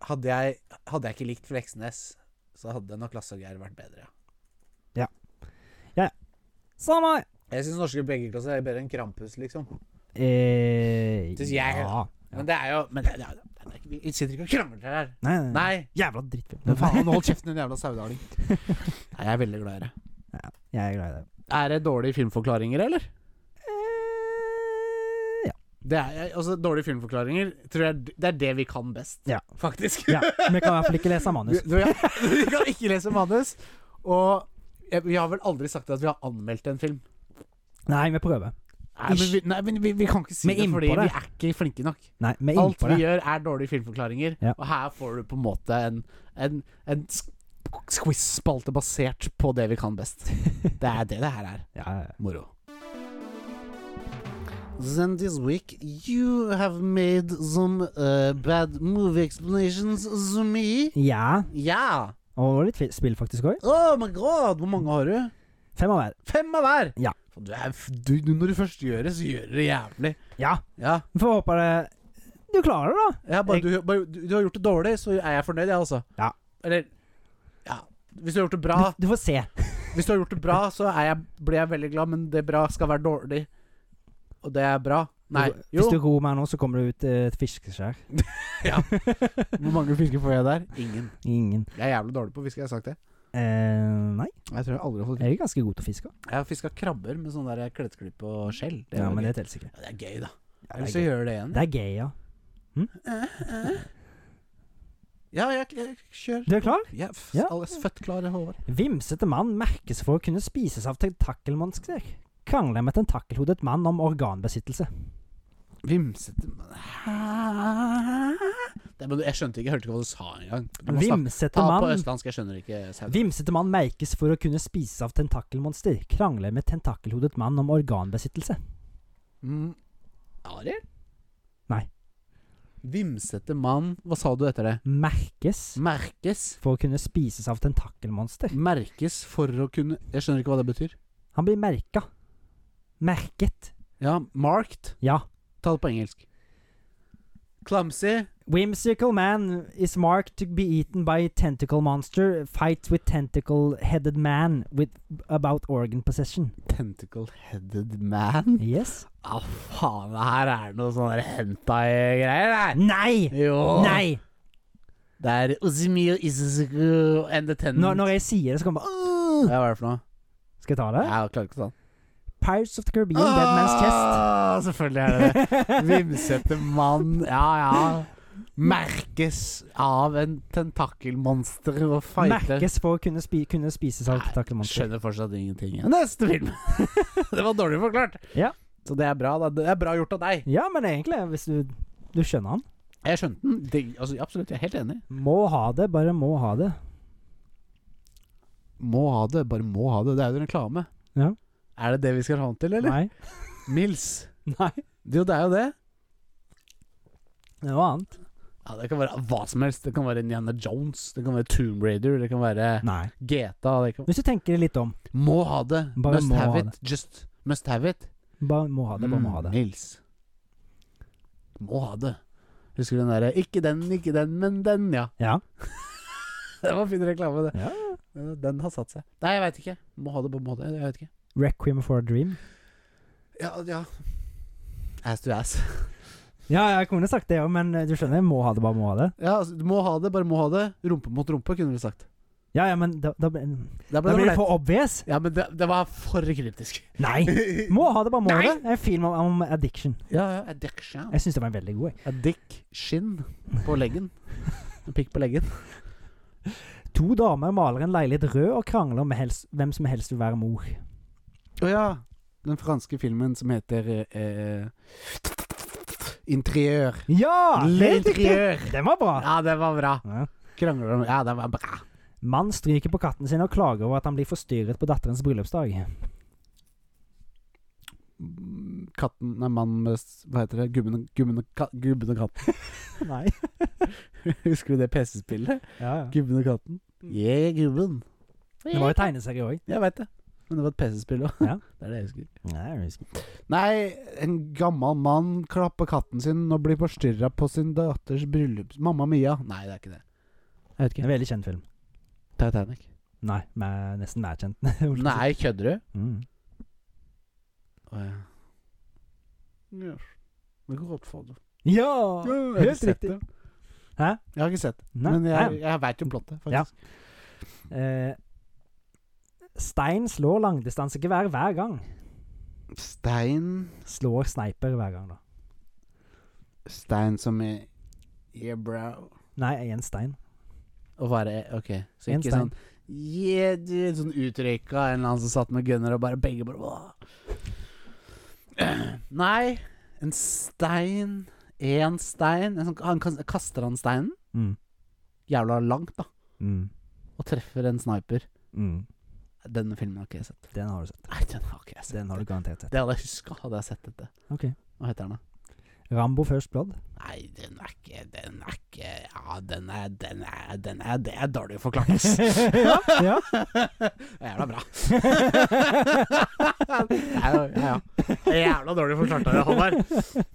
[SPEAKER 1] Hadde jeg, hadde jeg ikke likt Fleksnes, så hadde nok Lasse og Geir vært bedre. ja.
[SPEAKER 2] Samme!
[SPEAKER 1] Jeg syns norske beggerklasser er bedre enn Krampus, liksom.
[SPEAKER 2] Eh,
[SPEAKER 1] Synes jeg,
[SPEAKER 2] ja.
[SPEAKER 1] Men det er jo men det, det, det, det, er ikke- Vi sitter ikke og krangler her.
[SPEAKER 2] Nei, nei, nei.
[SPEAKER 1] Nei.
[SPEAKER 2] Jævla drittfilm.
[SPEAKER 5] Men faen, hold kjeften din, jævla saudaling.
[SPEAKER 1] nei, jeg er veldig glad i det.
[SPEAKER 2] Jeg er glad i det.
[SPEAKER 1] Er det dårlige filmforklaringer, eller?
[SPEAKER 2] Eh, ja.
[SPEAKER 1] Det er, altså, dårlige filmforklaringer tror jeg det er det vi kan best,
[SPEAKER 2] Ja.
[SPEAKER 1] faktisk.
[SPEAKER 2] ja. Vi kan i hvert fall ikke lese
[SPEAKER 1] Du,
[SPEAKER 2] manus.
[SPEAKER 1] du, ja. Vi kan ikke lese manus. Og jeg, vi har vel aldri sagt at vi har anmeldt en film.
[SPEAKER 2] Nei, vi prøver.
[SPEAKER 1] Nei, men, vi, nei, men vi, vi kan ikke si
[SPEAKER 2] Men
[SPEAKER 1] det,
[SPEAKER 2] innpå
[SPEAKER 1] fordi
[SPEAKER 2] det.
[SPEAKER 1] vi er ikke flinke nok.
[SPEAKER 2] Nei, vi er inne
[SPEAKER 1] Alt
[SPEAKER 2] på
[SPEAKER 1] vi
[SPEAKER 2] det.
[SPEAKER 1] gjør, er dårlige filmforklaringer.
[SPEAKER 2] Ja.
[SPEAKER 1] Og her får du på en måte en, en, en sk- quiz-spalte basert på det vi kan best. Det er det det her er.
[SPEAKER 2] Ja, ja, ja.
[SPEAKER 1] Moro. Then this week you have made some uh, bad movie explanations to me.
[SPEAKER 2] ja.
[SPEAKER 1] Ja!
[SPEAKER 2] Og litt fi- spill, faktisk òg.
[SPEAKER 1] Oh my god, hvor mange har du?
[SPEAKER 2] Fem av hver.
[SPEAKER 1] Fem av hver!
[SPEAKER 2] Ja.
[SPEAKER 1] For Du er, f- du, du- når du først gjør det, så gjør du det jævlig.
[SPEAKER 2] Ja.
[SPEAKER 1] Ja,
[SPEAKER 2] Vi får håpe det Du klarer det, da.
[SPEAKER 1] ja bare, du, bare, du, du har gjort det dårlig, så er jeg fornøyd, jeg også.
[SPEAKER 2] Ja.
[SPEAKER 1] Eller Ja. Hvis du har gjort det bra,
[SPEAKER 2] Du, du får se.
[SPEAKER 1] hvis du har gjort det bra så er jeg, blir jeg veldig glad, men det bra skal være dårlig. Og det er bra. Nei.
[SPEAKER 2] Hvis
[SPEAKER 1] Jo.
[SPEAKER 2] du ror meg nå, så kommer du ut eh, et fiskeskjær.
[SPEAKER 1] Hvor mange fisker får jeg der? Ingen.
[SPEAKER 2] Ingen.
[SPEAKER 1] Jeg er jævlig dårlig på å fiske, jeg har sagt det.
[SPEAKER 2] Eh, nei,
[SPEAKER 1] Jeg tror jeg aldri har fått
[SPEAKER 2] jeg er ganske god til å fiske.
[SPEAKER 1] Jeg har fiska krabber med sånn der klettklipp og skjell. Det er,
[SPEAKER 2] Ja,
[SPEAKER 1] jo
[SPEAKER 2] men
[SPEAKER 1] gøy.
[SPEAKER 2] det teller ikke.
[SPEAKER 1] Ja, det er gøy, da. Jeg
[SPEAKER 2] Ja,
[SPEAKER 1] har
[SPEAKER 2] det,
[SPEAKER 1] lyst
[SPEAKER 2] er
[SPEAKER 1] til å
[SPEAKER 2] gøy.
[SPEAKER 1] gjøre det igjen.
[SPEAKER 2] det er gøy, ja.
[SPEAKER 1] Ja, jeg, jeg, kjør.
[SPEAKER 2] Du er klar?
[SPEAKER 1] Jeg er f-
[SPEAKER 2] Ja.
[SPEAKER 1] alles født klare, Håvard.
[SPEAKER 2] Vimsete mann merkes for å kunne spises av tentakelmonster. Krangler med tentakkelhodet mann om organbesittelse.
[SPEAKER 1] Vimsete men- Hæ? Det, men du- Jeg skjønte ikke, jeg hørte ikke hva du sa engang. Du må snakke-
[SPEAKER 2] Vimsete
[SPEAKER 1] Ta på
[SPEAKER 2] mann
[SPEAKER 1] østlandsk, jeg skjønner ikke sau.
[SPEAKER 2] Vimsete mann merkes for å kunne spises av tentakelmonster. Krangler med tentakelhodet mann om organbesittelse.
[SPEAKER 1] Mm. Ariel?
[SPEAKER 2] Nei.
[SPEAKER 1] Vimsete mann Hva sa du etter det?
[SPEAKER 2] Merkes
[SPEAKER 1] Merkes.
[SPEAKER 2] for å kunne spises av tentakelmonster.
[SPEAKER 1] Merkes for å kunne Jeg skjønner ikke hva det betyr.
[SPEAKER 2] Han blir merka. Merket.
[SPEAKER 1] Ja, marked.
[SPEAKER 2] Ja.
[SPEAKER 1] Ta det på engelsk. Clumsy.
[SPEAKER 2] Whimsical man is marked to be eaten by tentacle monster. Fights with tentacle-headed man with about organ possession.
[SPEAKER 1] Tentacle-headed man.
[SPEAKER 2] Yes.
[SPEAKER 1] Ja, Ah, faen, det her er noe sånn der hentai-greier her.
[SPEAKER 2] Nei!
[SPEAKER 1] Jo.
[SPEAKER 2] Nei!
[SPEAKER 1] Det er Ozimio Isuzuku and the Tendon.
[SPEAKER 2] Når, når jeg sier det, så kommer
[SPEAKER 1] Ja,
[SPEAKER 2] bare
[SPEAKER 1] hva er det for noe?
[SPEAKER 2] Skal jeg ta det?
[SPEAKER 1] Jeg klarer ikke å ta den.
[SPEAKER 2] Pirates of the Caribbean, Dead Man's Chest.
[SPEAKER 1] Ah, Selvfølgelig er det det. Ah! Vimsete mann. Ja, ja. Merkes av en tentakelmonster og fighter.
[SPEAKER 2] Merkes for å kunne, spi kunne spises av
[SPEAKER 1] Nei,
[SPEAKER 2] tentakelmonster.
[SPEAKER 1] Skjønner fortsatt ingenting. Neste film! det var dårlig forklart.
[SPEAKER 2] Ja.
[SPEAKER 1] Så det er bra. Da. Det er bra gjort av deg.
[SPEAKER 2] Ja, men egentlig, hvis du, du skjønner han.
[SPEAKER 1] Jeg skjønte den. Det, altså, absolutt, jeg er helt enig.
[SPEAKER 2] Må ha det, bare må ha det.
[SPEAKER 1] Må ha det, bare må ha det. Det er jo en reklame.
[SPEAKER 2] Ja.
[SPEAKER 1] Er det det vi skal ha den til, eller?
[SPEAKER 2] Nei.
[SPEAKER 1] Mils.
[SPEAKER 2] Nei.
[SPEAKER 1] Jo, det er jo det.
[SPEAKER 2] Det er noe annet.
[SPEAKER 1] Ja, det kan være hva som helst. Det kan være Indiana Jones, det kan være Tomb Raider, det kan være
[SPEAKER 2] Nei.
[SPEAKER 1] GTA. Det kan...
[SPEAKER 2] Hvis du tenker deg litt om.
[SPEAKER 1] Må ha det.
[SPEAKER 2] Bare
[SPEAKER 1] must
[SPEAKER 2] må
[SPEAKER 1] have
[SPEAKER 2] ha
[SPEAKER 1] it. Just must have it.
[SPEAKER 2] Bare må ha det, bare må ha det.
[SPEAKER 1] Mils. Må ha det. Husker du den derre 'ikke den, ikke den, men den', ja.
[SPEAKER 2] Ja.
[SPEAKER 1] Det var fin reklame, det.
[SPEAKER 2] ja.
[SPEAKER 1] Den har satt seg. Nei, jeg veit ikke. Må ha det, bare må ha det. Jeg vet ikke.
[SPEAKER 2] Requiem for a dream.
[SPEAKER 1] Ja, ja. Ass to ass.
[SPEAKER 2] Ja, jeg kunne sagt det òg, men eh, du skjønner, jeg må ha det, bare må ha det.
[SPEAKER 1] Ja, altså, du må ha det, bare må ha det. Rumpe mot rumpe, kunne du sagt.
[SPEAKER 2] Ja, ja, men da, da, ble-
[SPEAKER 1] Da
[SPEAKER 2] da
[SPEAKER 1] det
[SPEAKER 2] blir det
[SPEAKER 1] for-
[SPEAKER 2] for obvious.
[SPEAKER 1] Ja, men det, det var for kryptisk.
[SPEAKER 2] Nei! Må ha det, bare må ha
[SPEAKER 1] Nei.
[SPEAKER 2] det. En film om, om addiction.
[SPEAKER 1] Ja, ja. Addiction.
[SPEAKER 2] Jeg syns det var en veldig god. jeg.
[SPEAKER 1] Addiction på leggen. En pikk på leggen.
[SPEAKER 2] To damer maler en leilighet rød og krangler om helst, hvem som helst vil være mor.
[SPEAKER 1] Å ja. Den franske filmen som heter eh, Interiør.
[SPEAKER 2] Ja! helt riktig.
[SPEAKER 1] L'Interieur.
[SPEAKER 2] Den var bra.
[SPEAKER 1] Ja, det var bra.
[SPEAKER 2] Ja.
[SPEAKER 1] Krangler om Ja, det var bra.
[SPEAKER 2] Mann stryker på katten sin og klager over at han blir forstyrret på datterens bryllupsdag.
[SPEAKER 1] Mm, Katten Nei, mannen med s- Hva heter det? Gubben og- gubben og ka- gubben og katten.
[SPEAKER 2] Nei.
[SPEAKER 1] Husker du det PC-spillet?
[SPEAKER 2] Ja, ja.
[SPEAKER 1] Gubben og katten. Yeah, gubben.
[SPEAKER 2] Det var jo tegneserie òg.
[SPEAKER 1] Jeg veit det. Men det var et PC-spill òg.
[SPEAKER 2] Ja.
[SPEAKER 1] Det er det jeg husker.
[SPEAKER 2] Nei,
[SPEAKER 1] Nei, en gammel mann klapper katten sin og blir forstyrra på sin datters bryllups... Mamma Mia. Nei, det er ikke det. Jeg vet
[SPEAKER 2] en veldig kjent film.
[SPEAKER 1] Titanic.
[SPEAKER 2] Nei, med nesten mer kjent. holdt jeg på å si.
[SPEAKER 3] Nei, kødder du?
[SPEAKER 2] Mm.
[SPEAKER 1] Å ja. Yes. Det kan godt få det.
[SPEAKER 2] Ja!
[SPEAKER 1] Jeg har
[SPEAKER 2] Helt
[SPEAKER 1] ikke sett
[SPEAKER 2] riktig.
[SPEAKER 1] det.
[SPEAKER 2] Hæ?
[SPEAKER 1] Jeg har ikke sett det,
[SPEAKER 2] Nei.
[SPEAKER 1] men jeg,
[SPEAKER 2] nei.
[SPEAKER 1] jeg veit jo plottet,
[SPEAKER 2] Ja.
[SPEAKER 1] faktisk.
[SPEAKER 2] Eh, Stein slår langdistansegevær hver gang.
[SPEAKER 1] Stein
[SPEAKER 2] Slår sniper hver gang, da.
[SPEAKER 1] Stein som i Yeah, bro.
[SPEAKER 2] Nei, én stein.
[SPEAKER 1] Og bare OK. Så
[SPEAKER 2] En
[SPEAKER 1] ikke sånn
[SPEAKER 2] stein.
[SPEAKER 1] Yeah, dude. Sånn utrykka en eller annen som satt med gunner og bare begge bare «Åh». Nei, en stein Én stein en sånn, han, kan- Kaster han steinen
[SPEAKER 2] Mm.
[SPEAKER 1] jævla langt, da,
[SPEAKER 2] Mm.
[SPEAKER 1] og treffer en sniper.
[SPEAKER 2] Mm.
[SPEAKER 1] Denne filmen har ikke jeg sett.
[SPEAKER 2] Den har du sett.
[SPEAKER 1] Nei, den har ikke jeg sett.
[SPEAKER 2] Den har du garantert sett.
[SPEAKER 1] Det hadde jeg huska, hadde jeg sett dette.
[SPEAKER 2] Ok.
[SPEAKER 1] Hva heter den, da?
[SPEAKER 2] Rambo First Blood.
[SPEAKER 1] Nei, den er ikke Den er ikke Ja, den er Den er, den er, det er dårlig forklart, ass.
[SPEAKER 2] ja.
[SPEAKER 1] Jævla bra. Nei, ja, ja. Jævla dårlig forklart av deg, Håvard.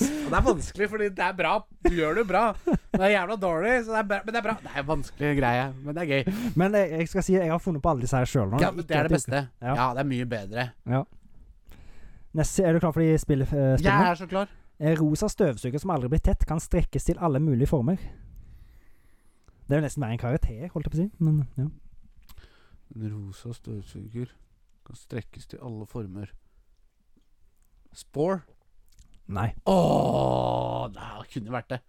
[SPEAKER 1] Det er vanskelig, fordi det er bra. Du gjør det bra. Det er jævla dårlig, så det er bra. men det er bra. Det er en vanskelig greie, men det er gøy.
[SPEAKER 2] Men jeg, jeg skal si jeg har funnet på alle disse her sjøl nå.
[SPEAKER 1] Ja, men
[SPEAKER 2] Ikke
[SPEAKER 1] det er
[SPEAKER 2] at
[SPEAKER 1] det
[SPEAKER 2] jeg-
[SPEAKER 1] beste.
[SPEAKER 2] Ja.
[SPEAKER 1] Ja, det er mye bedre.
[SPEAKER 2] Neste, er du klar for de spill, eh,
[SPEAKER 1] Jeg
[SPEAKER 2] spillene?
[SPEAKER 1] er så klar.
[SPEAKER 2] En Rosa støvsuger som aldri blir tett, kan strekkes til alle mulige former. Det er jo nesten mer en karakter, holdt jeg på å si. Men ja.
[SPEAKER 1] En rosa støvsuger kan strekkes til alle former. Spore?
[SPEAKER 2] Nei.
[SPEAKER 1] Ååå, det kunne vært det.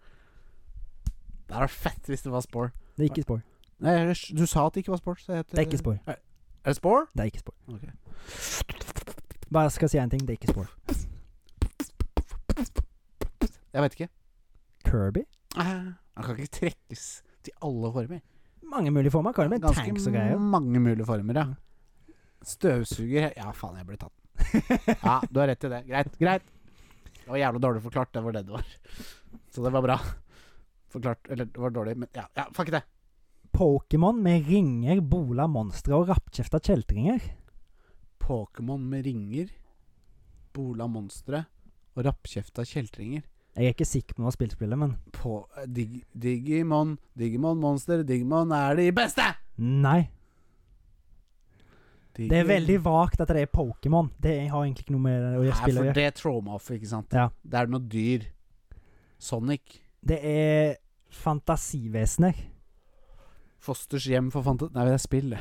[SPEAKER 1] Det hadde vært fett hvis det var Spore.
[SPEAKER 2] Det er ikke spor.
[SPEAKER 1] Nei, jeg- du sa at det ikke var sport. Så jeg heter,
[SPEAKER 2] Det er ikke spor.
[SPEAKER 1] Er det sport?
[SPEAKER 2] Det er ikke spor.
[SPEAKER 1] Ok.
[SPEAKER 2] Bare skal si én ting, det er ikke spor.
[SPEAKER 1] Jeg veit ikke.
[SPEAKER 2] Kirby?
[SPEAKER 1] Han kan ikke trekkes til alle former.
[SPEAKER 2] Mange mulige former. Kan jo bli tanks og greier.
[SPEAKER 1] mange mulige former, ja. Støvsuger Ja, faen, jeg ble tatt. Ja, du har rett i det. Greit. greit Det var jævla dårlig forklart, det var det det var. Så det var bra. Forklart Eller, det var dårlig, men ja, ja fuck det.
[SPEAKER 2] Pokémon med ringer, bola, monstre og rappkjefta kjeltringer.
[SPEAKER 1] Pokémon med ringer, bola monstre og rappkjefta kjeltringer.
[SPEAKER 2] Jeg er ikke sikker på om jeg har spilt spillet, men
[SPEAKER 1] på eh, dig, Digimon, Digimon Monster, Digimon er de beste!
[SPEAKER 2] Nei. Det er veldig vagt at det er Pokémon. Det har egentlig ikke noe med å
[SPEAKER 1] Nei,
[SPEAKER 2] gjøre spillet å
[SPEAKER 1] for
[SPEAKER 2] gjøre.
[SPEAKER 1] det er trauma-off, ikke sant?
[SPEAKER 2] Ja.
[SPEAKER 1] Det er noe dyr. Sonic.
[SPEAKER 2] Det er fantasivesener.
[SPEAKER 1] Fosters hjem for fanta... Nei, det er spill, det.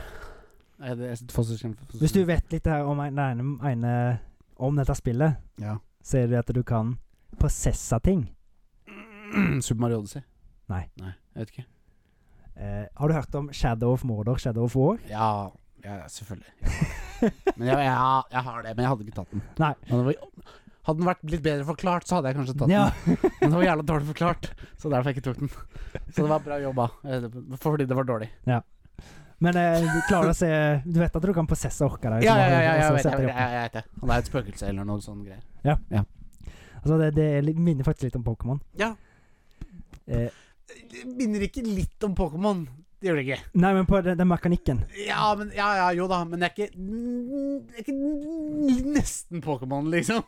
[SPEAKER 1] Nei, det er Fosters hjem for fantasi.
[SPEAKER 2] Hvis du vet litt her om, en- den ene- ene- om dette spillet,
[SPEAKER 1] Ja.
[SPEAKER 2] så er det at du kan prosesse ting.
[SPEAKER 1] Super Mario Odyssey.
[SPEAKER 2] Nei.
[SPEAKER 1] Nei, jeg vet ikke.
[SPEAKER 2] Eh, har du hørt om Shadow of Mordor, Shadow of War?
[SPEAKER 1] Ja, ja ja, selvfølgelig. Jeg har det. men jeg, ja, jeg har det, men jeg hadde ikke tatt den.
[SPEAKER 2] Nei.
[SPEAKER 1] Men det var, hadde den vært litt bedre forklart, så hadde jeg kanskje tatt den.
[SPEAKER 2] Ja.
[SPEAKER 1] Men det var jævla dårlig forklart, så derfor jeg ikke tok den. Så det var bra jobba, eh, fordi det var dårlig.
[SPEAKER 2] Men eh, du klarer å se Du vet at du kan prosesse orka der?
[SPEAKER 1] Ja, ja,
[SPEAKER 2] som har-
[SPEAKER 1] ja, ja, jeg
[SPEAKER 2] og så
[SPEAKER 1] vet det. Jeg
[SPEAKER 2] sette
[SPEAKER 1] vet,
[SPEAKER 2] det opp.
[SPEAKER 1] det, jeg vet det. Han er et spøkelse eller noe sånn greier.
[SPEAKER 2] Altså, det, det er litt- minner faktisk litt om Pokémon.
[SPEAKER 1] Ja.
[SPEAKER 2] Eh,
[SPEAKER 1] Det minner ikke litt om Pokémon. Det gjør det ikke.
[SPEAKER 2] nei, men på den, den mekanikken.
[SPEAKER 1] Ja, men, ja, ja, jo da, men det er ikke, det er ikke nesten Pokémon, liksom.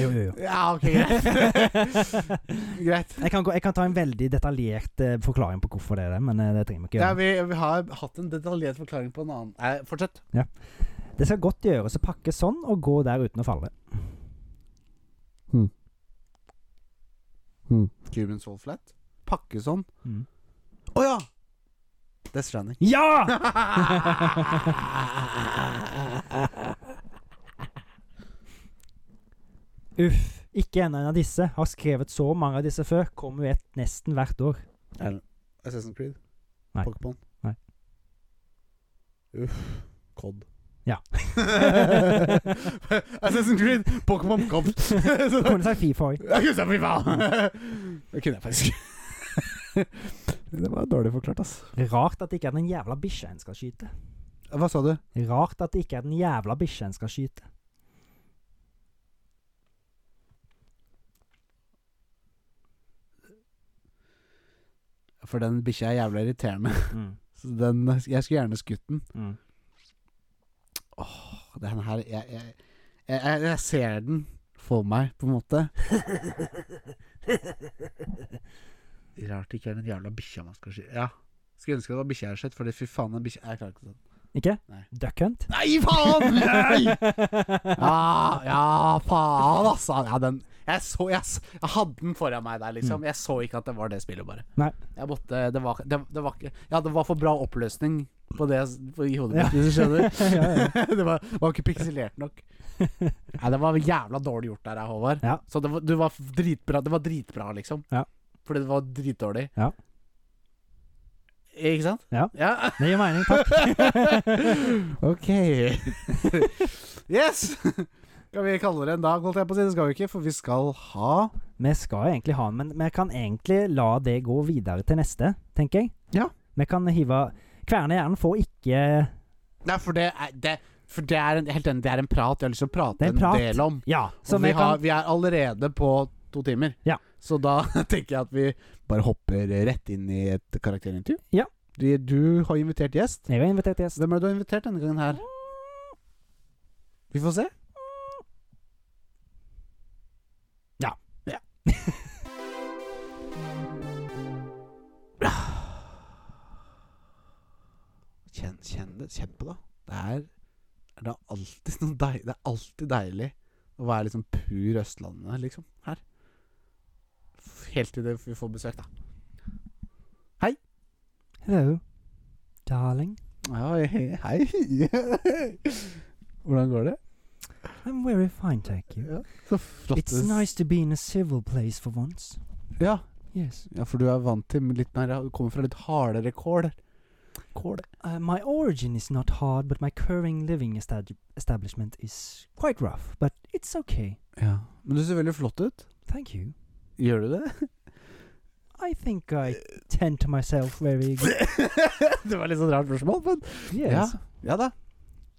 [SPEAKER 2] Jo, jo, jo.
[SPEAKER 1] Ja, ok, greit. greit.
[SPEAKER 2] Jeg kan, gå, jeg kan ta en veldig detaljert eh, forklaring på hvorfor det er det, men eh, det trenger vi ikke
[SPEAKER 1] Ja,
[SPEAKER 2] gjøre.
[SPEAKER 1] vi, vi har hatt en detaljert forklaring på en annen Nei, Fortsett.
[SPEAKER 2] Det skal godt gjøres å pakke sånn og gå der uten å falle.
[SPEAKER 1] Cuban Soul Flat. Pakke sånn. Å ja! Death Stranding.
[SPEAKER 2] Ja! Uff. Ikke enda en av disse. Har skrevet så mange av disse før. Kommer jo et nesten hvert år.
[SPEAKER 1] Assassin's Creed?
[SPEAKER 2] Nei.
[SPEAKER 1] Pokémon?
[SPEAKER 2] Nei.
[SPEAKER 1] Uff. Cod.
[SPEAKER 2] Ja.
[SPEAKER 1] Assassin's Creed, Pokémon, Cod. Så-
[SPEAKER 2] Kunne sagt Fifa òg.
[SPEAKER 1] Jeg kunne sagt fy faen! Det kunne jeg faktisk.
[SPEAKER 6] Det var dårlig forklart, ass.
[SPEAKER 2] Rart at det ikke er den jævla bikkja en skal skyte.
[SPEAKER 1] Hva sa du?
[SPEAKER 2] Rart at det ikke er den jævla bikkja en skal skyte.
[SPEAKER 1] For den bikkja er jævla irriterende.
[SPEAKER 2] Mm.
[SPEAKER 1] Så den, jeg skulle gjerne skutt den.
[SPEAKER 2] Mm.
[SPEAKER 1] Den her jeg, jeg, jeg, jeg, jeg ser den for meg, på en måte. Rart det ikke er den jævla bikkja man skal skyte. Ja. Skulle ønske det var bikkja jeg hadde sett, Fordi fy faen, den bikkja Jeg klarer ikke sånn.
[SPEAKER 2] Ikke?
[SPEAKER 1] Nei.
[SPEAKER 2] Duck Hunt?
[SPEAKER 1] Nei, faen! Nei! Ja, ja, faen, altså. Ja, den jeg, så, jeg, s- jeg hadde den foran meg der, liksom. Jeg så ikke at det var det spillet, bare.
[SPEAKER 2] Mm. Nei.
[SPEAKER 1] Jeg måtte, det, var, det, det var ikke Ja, det var for bra oppløsning på det s- på, i hodet mitt, hvis du skjønner. det var, var ikke pikselert nok. Nei, det var jævla dårlig gjort der, Håvard.
[SPEAKER 2] Ja.
[SPEAKER 1] Så det var, du var dritbra, det var dritbra, liksom.
[SPEAKER 2] Ja.
[SPEAKER 1] Fordi det var dritdårlig.
[SPEAKER 2] Ja.
[SPEAKER 1] Ikke sant?
[SPEAKER 2] Ja.
[SPEAKER 1] ja.
[SPEAKER 2] Det gir mening, takk.
[SPEAKER 1] Ok Yes Skal vi kalle det en dag, holdt jeg på å si Det skal vi ikke, for vi skal ha
[SPEAKER 2] Vi skal egentlig ha den, men vi kan egentlig la det gå videre til neste, tenker jeg.
[SPEAKER 1] Ja.
[SPEAKER 2] Vi kan hive Kverne hjernen får ikke
[SPEAKER 1] Nei, for det er, det, for det er en, helt enig, det er en prat Jeg har lyst til å prate
[SPEAKER 2] Det er en
[SPEAKER 1] en,
[SPEAKER 2] prat.
[SPEAKER 1] del om
[SPEAKER 2] Ja. Så
[SPEAKER 1] Og
[SPEAKER 2] vi
[SPEAKER 1] vi, har,
[SPEAKER 2] kan
[SPEAKER 1] vi er allerede på to timer
[SPEAKER 2] Ja.
[SPEAKER 1] Så da tenker jeg at vi bare hopper rett inn i et karakterintervju
[SPEAKER 2] Ja.
[SPEAKER 1] du, du har invitert gjest
[SPEAKER 2] Jeg har invitert gjest.
[SPEAKER 1] Hvem er det du har invitert denne gangen her? Vi får se
[SPEAKER 2] Ja.
[SPEAKER 1] Ja Kjenn, kjenn det, kjenn på det Det er, er det, alltid noe deil, det er alltid deilig Å være liksom pur Østlandet liksom her Helt til det vi får besøk da
[SPEAKER 2] Hello, darling.
[SPEAKER 1] Oi, Hei Hvordan går det?
[SPEAKER 2] I'm very fine, thank you.
[SPEAKER 1] Ja, så flott
[SPEAKER 2] It's nice to be in a civil place for once.
[SPEAKER 1] ja.
[SPEAKER 2] Yes.
[SPEAKER 1] ja, for du er vant til litt mer Du kommer fra litt hardere kål. Kål.
[SPEAKER 2] Uh, my origin is not hard, but my current living estab establishment is quite rough, but it's okay.
[SPEAKER 1] Ja. Men du ser veldig flott ut.
[SPEAKER 2] Thank you.
[SPEAKER 1] Gjør du det?
[SPEAKER 2] I think I tend to myself very good.
[SPEAKER 1] det var litt sånn rart spørsmål, men ja.
[SPEAKER 2] Yes.
[SPEAKER 1] ja da.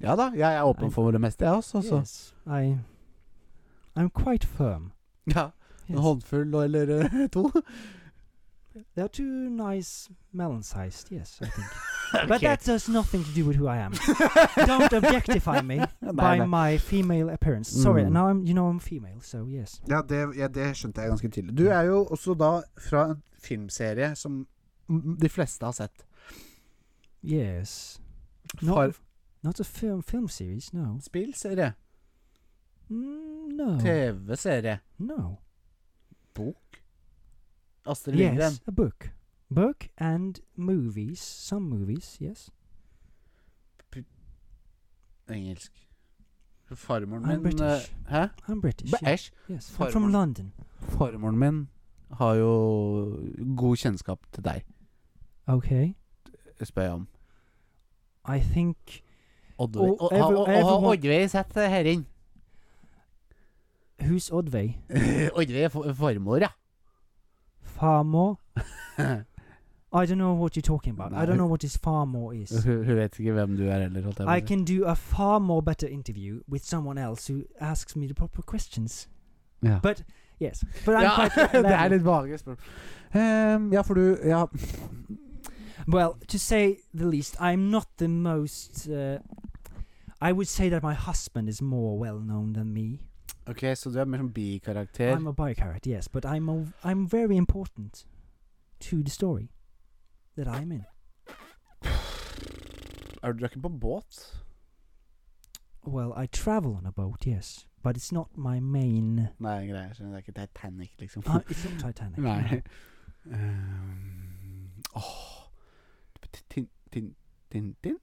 [SPEAKER 1] Ja da, jeg er åpen for det meste, jeg også. Så.
[SPEAKER 2] Yes. I I'm quite firm.
[SPEAKER 1] Ja, En
[SPEAKER 2] Yes.
[SPEAKER 1] håndfull og- eller eh, to.
[SPEAKER 2] They are too nice melon sized, yes, I think. But that has nothing to do with who I am. Don't objectify me by
[SPEAKER 1] nei.
[SPEAKER 2] my female appearance. Sorry,
[SPEAKER 1] Mm.
[SPEAKER 2] now I'm you know I'm female, so yes.
[SPEAKER 1] Ja det, ja, det skjønte jeg ganske tidlig. Du er jo også da fra en filmserie som m- de fleste har sett.
[SPEAKER 2] Yes. Not
[SPEAKER 1] Far...
[SPEAKER 2] not a film film series, no.
[SPEAKER 1] Spillserie.
[SPEAKER 2] Mm, no.
[SPEAKER 1] TV-serie.
[SPEAKER 2] No.
[SPEAKER 1] Bok. Astrid Lindgren.
[SPEAKER 2] Yes, a book. Book and movies, some movies, yes.
[SPEAKER 1] Engelsk. Farmoren min
[SPEAKER 2] I'm
[SPEAKER 1] eh,
[SPEAKER 2] British.
[SPEAKER 1] Hæ?
[SPEAKER 2] I'm British. yeah.
[SPEAKER 1] Æsj.
[SPEAKER 2] Yes, I'm from
[SPEAKER 1] Farmor.
[SPEAKER 2] London.
[SPEAKER 1] Farmoren min har jo god kjennskap til deg,
[SPEAKER 2] Okay.
[SPEAKER 1] spør jeg om.
[SPEAKER 2] I think
[SPEAKER 1] Oddveig.
[SPEAKER 2] Og
[SPEAKER 1] Og har-
[SPEAKER 2] every-
[SPEAKER 1] og- og har
[SPEAKER 2] everyone-
[SPEAKER 1] Oddveig sett eh, Herring?
[SPEAKER 2] who's Odvei?
[SPEAKER 1] Oddveig er fa- farmor, ja.
[SPEAKER 2] Far more? I don't know what you're talking about. I don't know what his far more is.
[SPEAKER 1] Hun hun vet ikke hvem du er heller, holdt jeg
[SPEAKER 2] I
[SPEAKER 1] på å si.
[SPEAKER 2] can do a far more better interview with someone else who asks me the proper questions.
[SPEAKER 1] Ja.
[SPEAKER 2] But yes, but I'm
[SPEAKER 1] Ja,
[SPEAKER 2] quite level.
[SPEAKER 1] det er litt vage spørsmål. Ehm, ja, for du Ja.
[SPEAKER 2] well. To say the least, I'm not the most. Uh, I would say that my husband is more well known than me.
[SPEAKER 1] Ok, så du er mer sånn bikarakter.
[SPEAKER 2] I'm a bicarrot, yes, but I'm a, I'm very important to the story that I'm in.
[SPEAKER 1] Er du er ikke på båt?
[SPEAKER 2] Well, I travel on a boat, yes, but it's not my main.
[SPEAKER 1] Nei, greier. skjønner. Det er ikke Titanic, liksom.
[SPEAKER 2] Uh, it's not Titanic. no.
[SPEAKER 1] Nei. Ehm, Åh Tin- tin- Tintin?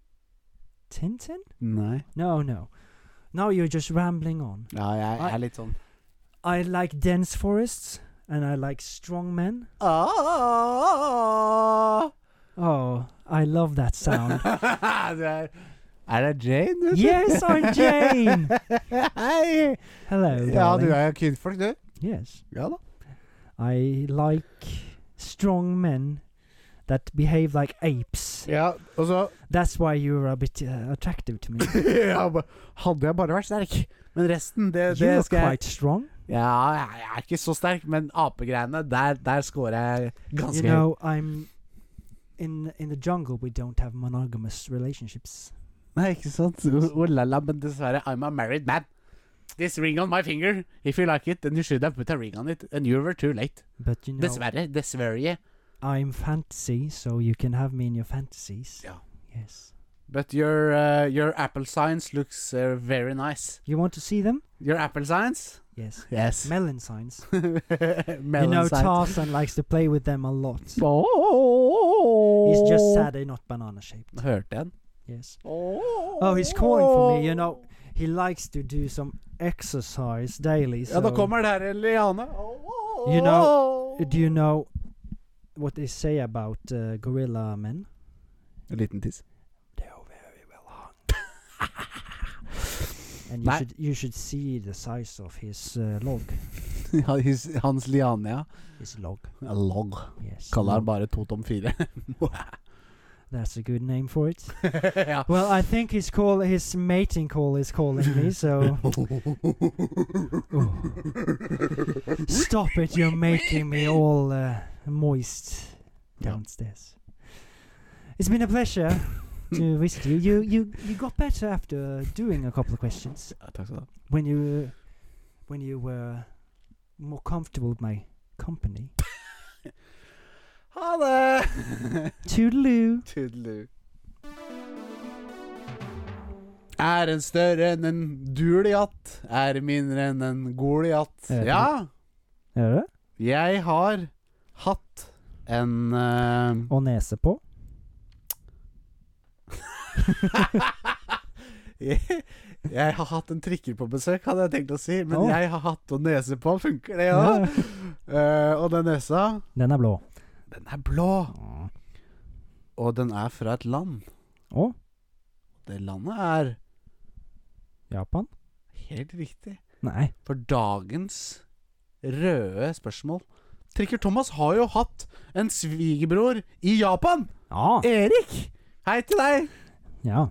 [SPEAKER 2] Tintin?
[SPEAKER 1] Nei.
[SPEAKER 2] No, no. Now you're just rambling on.
[SPEAKER 1] Ja, jeg
[SPEAKER 2] Nei.
[SPEAKER 1] er litt sånn
[SPEAKER 2] I like dense forests and I like strong men.
[SPEAKER 1] "Ah!"
[SPEAKER 2] Oh, I love that sound.
[SPEAKER 1] Du er Er det Jane, du?
[SPEAKER 2] Yes, I'm Jane.
[SPEAKER 1] Hei!
[SPEAKER 2] Hello.
[SPEAKER 1] Ja, du
[SPEAKER 2] darling.
[SPEAKER 1] er jo kvinnfolk, du.
[SPEAKER 2] Yes.
[SPEAKER 1] Ja da.
[SPEAKER 2] I like strong men that behave like apes.
[SPEAKER 3] Ja, og så
[SPEAKER 2] That's why you're a bit uh, attractive to me.
[SPEAKER 1] ja, ba- Hadde jeg bare vært sterk. Men resten, det, det
[SPEAKER 2] You're
[SPEAKER 1] skal jeg
[SPEAKER 2] quite strong.
[SPEAKER 1] Ja, jeg jeg er ikke så sterk, men apegreiene, der, der scorer jeg
[SPEAKER 2] You
[SPEAKER 1] ganske høyt.
[SPEAKER 2] know, I'm in in the jungle. We don't have monogamous relationships.
[SPEAKER 1] Nei, ikke sant? Oh la la, men dessverre, I'm a married man. This ring on my finger. If you like it, then you should have put a ring on it, and you were too late.
[SPEAKER 2] But you know,
[SPEAKER 1] Dessverre. Dessverre.
[SPEAKER 2] I'm fantasy, so you can have me in your fantasies.
[SPEAKER 1] Yeah.
[SPEAKER 2] Yes.
[SPEAKER 1] But your, uh, your apple signs looks uh, very nice.
[SPEAKER 2] You want to see them?
[SPEAKER 1] Your apple signs?
[SPEAKER 2] Yes.
[SPEAKER 1] Yes.
[SPEAKER 2] Melon signs.
[SPEAKER 1] Melon
[SPEAKER 2] you know,
[SPEAKER 1] signs.
[SPEAKER 2] Tarzan likes to play with them a lot.
[SPEAKER 1] Oh.
[SPEAKER 2] He's just sad they're not banana shaped.
[SPEAKER 1] Hørte jeg den?
[SPEAKER 2] Yes.
[SPEAKER 1] Oh.
[SPEAKER 2] Oh, he's calling for me. You know, he likes to do some exercise daily. So
[SPEAKER 1] Ja, da kommer det her en liane.
[SPEAKER 2] You know- Do you know what they say about uh, gorilla men?
[SPEAKER 1] En liten tiss.
[SPEAKER 2] They are very well hung. and you
[SPEAKER 1] Nei.
[SPEAKER 2] should you should see the size of his uh, log.
[SPEAKER 1] Hans, hans liane, ja.
[SPEAKER 2] His log.
[SPEAKER 1] Log.
[SPEAKER 2] Yes.
[SPEAKER 1] Kaller han
[SPEAKER 2] log.
[SPEAKER 1] bare to tom fire.
[SPEAKER 2] That's a good name for it.
[SPEAKER 1] ja.
[SPEAKER 2] Well, I think his call, his mating call, is calling me. So
[SPEAKER 1] Oh.
[SPEAKER 2] stop it! You're making me all uh, moist
[SPEAKER 1] Yeah.
[SPEAKER 2] downstairs. It's been a pleasure to visit you. You you you got better after doing a couple of questions
[SPEAKER 1] Ja, Takk skal du ha.
[SPEAKER 2] when you when you were more comfortable with my company.
[SPEAKER 1] Ha det!
[SPEAKER 2] Toodaloo.
[SPEAKER 1] Tudelu. Er en større enn en duliat, er mindre enn en goliat.
[SPEAKER 2] Eh,
[SPEAKER 1] Ja,
[SPEAKER 2] Er det?
[SPEAKER 1] jeg har hatt en eh,
[SPEAKER 2] Og nese på.
[SPEAKER 1] jeg, jeg har hatt en trikker på besøk, hadde jeg tenkt å si. Men
[SPEAKER 2] Å.
[SPEAKER 1] jeg har hatt og nese på. Funker det, ja? Eh, og den nesa,
[SPEAKER 2] Den er blå.
[SPEAKER 1] den er blå.
[SPEAKER 2] Å?
[SPEAKER 1] Og den er fra et land. Det landet er
[SPEAKER 2] Japan?
[SPEAKER 1] helt riktig.
[SPEAKER 2] Nei.
[SPEAKER 1] For dagens røde spørsmål Trikker Thomas har jo hatt en svigerbror i Japan!
[SPEAKER 2] Ja.
[SPEAKER 1] Erik! Hei til deg!
[SPEAKER 2] ja.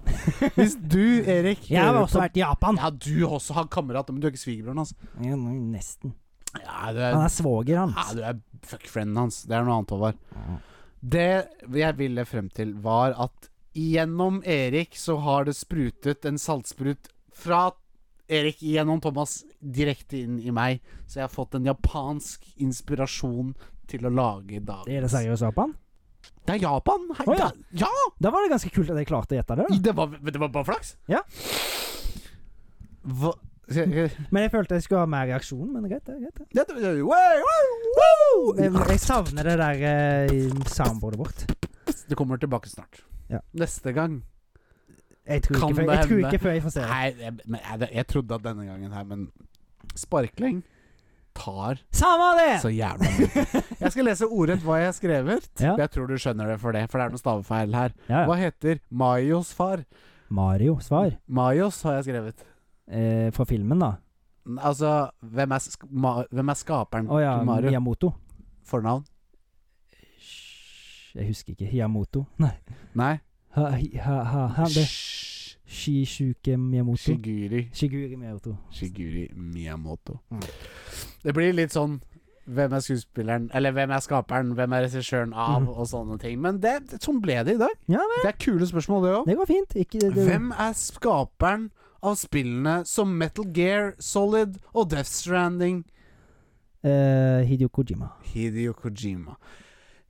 [SPEAKER 1] Hvis du, Erik
[SPEAKER 2] Jeg har
[SPEAKER 1] hører
[SPEAKER 2] også
[SPEAKER 1] på-
[SPEAKER 2] vært i Japan.
[SPEAKER 1] Ja, du også har kamerat, men du er ikke svigerbroren hans.
[SPEAKER 2] Ja, n- Nesten.
[SPEAKER 1] Ja, du
[SPEAKER 2] Han
[SPEAKER 1] er,
[SPEAKER 2] er svoger, han.
[SPEAKER 1] ja, du er fuckfrienden hans. Det er noe annet, Håvard. Det jeg ville frem til, var at gjennom Erik så har det sprutet en saltsprut fra Erik gjennom Thomas direkte inn i meg. Så jeg har fått en japansk inspirasjon til å lage dag.
[SPEAKER 2] Er det seriøst Japan?
[SPEAKER 1] Det er Japan! Hei,
[SPEAKER 2] Å, ja.
[SPEAKER 1] da- ja.
[SPEAKER 2] Da var det ganske kult at jeg klarte å gjette det. da.
[SPEAKER 1] Det var, det var bare flaks.
[SPEAKER 2] Ja.
[SPEAKER 1] Hva jeg,
[SPEAKER 2] Men jeg følte jeg skulle ha mer reaksjon, men greit, det er greit. det. Jeg,
[SPEAKER 1] jeg,
[SPEAKER 2] jeg savner det der eh, i soundboardet vårt.
[SPEAKER 1] Det kommer tilbake snart.
[SPEAKER 2] Ja.
[SPEAKER 1] Neste gang.
[SPEAKER 2] Jeg tror,
[SPEAKER 1] Kan
[SPEAKER 2] ikke før,
[SPEAKER 1] det
[SPEAKER 2] jeg tror
[SPEAKER 1] hende?
[SPEAKER 2] ikke før jeg får se det.
[SPEAKER 1] Nei, jeg, men jeg, jeg trodde at denne gangen her, men sparkling tar
[SPEAKER 2] Samme det!
[SPEAKER 1] så jævla mye. Jeg skal lese ordrett hva jeg har skrevet.
[SPEAKER 2] Ja.
[SPEAKER 1] Jeg tror du skjønner det for det, for det er noen stavefeil her.
[SPEAKER 2] Ja, ja.
[SPEAKER 1] Hva heter Mayos far?
[SPEAKER 2] Mario, svar.
[SPEAKER 1] Mayos har jeg skrevet.
[SPEAKER 2] Eh, fra filmen, da.
[SPEAKER 1] N- Altså, hvem er, sk ma hvem er skaperen
[SPEAKER 2] Å ja,
[SPEAKER 1] til Mario?
[SPEAKER 2] Miyamoto.
[SPEAKER 1] Fornavn?
[SPEAKER 2] Sh- Jeg husker ikke. Hiyamoto. Nei.
[SPEAKER 1] Nei.
[SPEAKER 2] Ha, hi, ha, ha, han det.
[SPEAKER 1] Sh-
[SPEAKER 2] Shishuke Miyamoto.
[SPEAKER 1] Shiguri.
[SPEAKER 2] Shiguri Miyamoto.
[SPEAKER 1] Shiguri Miyamoto.
[SPEAKER 2] Mm.
[SPEAKER 1] Det blir litt sånn hvem er skuespilleren, eller hvem er skaperen, hvem er regissøren av,
[SPEAKER 2] Mhm.
[SPEAKER 1] og sånne ting. Men det, det- sånn ble det i dag.
[SPEAKER 2] Ja,
[SPEAKER 1] det er kule spørsmål, det òg.
[SPEAKER 2] Det går fint. Ikke, det, det,
[SPEAKER 1] Hvem er skaperen av spillene som Metal Gear, Solid og Death Stranding?
[SPEAKER 2] Eh, Hideo Kojima.
[SPEAKER 1] Hideo Kojima.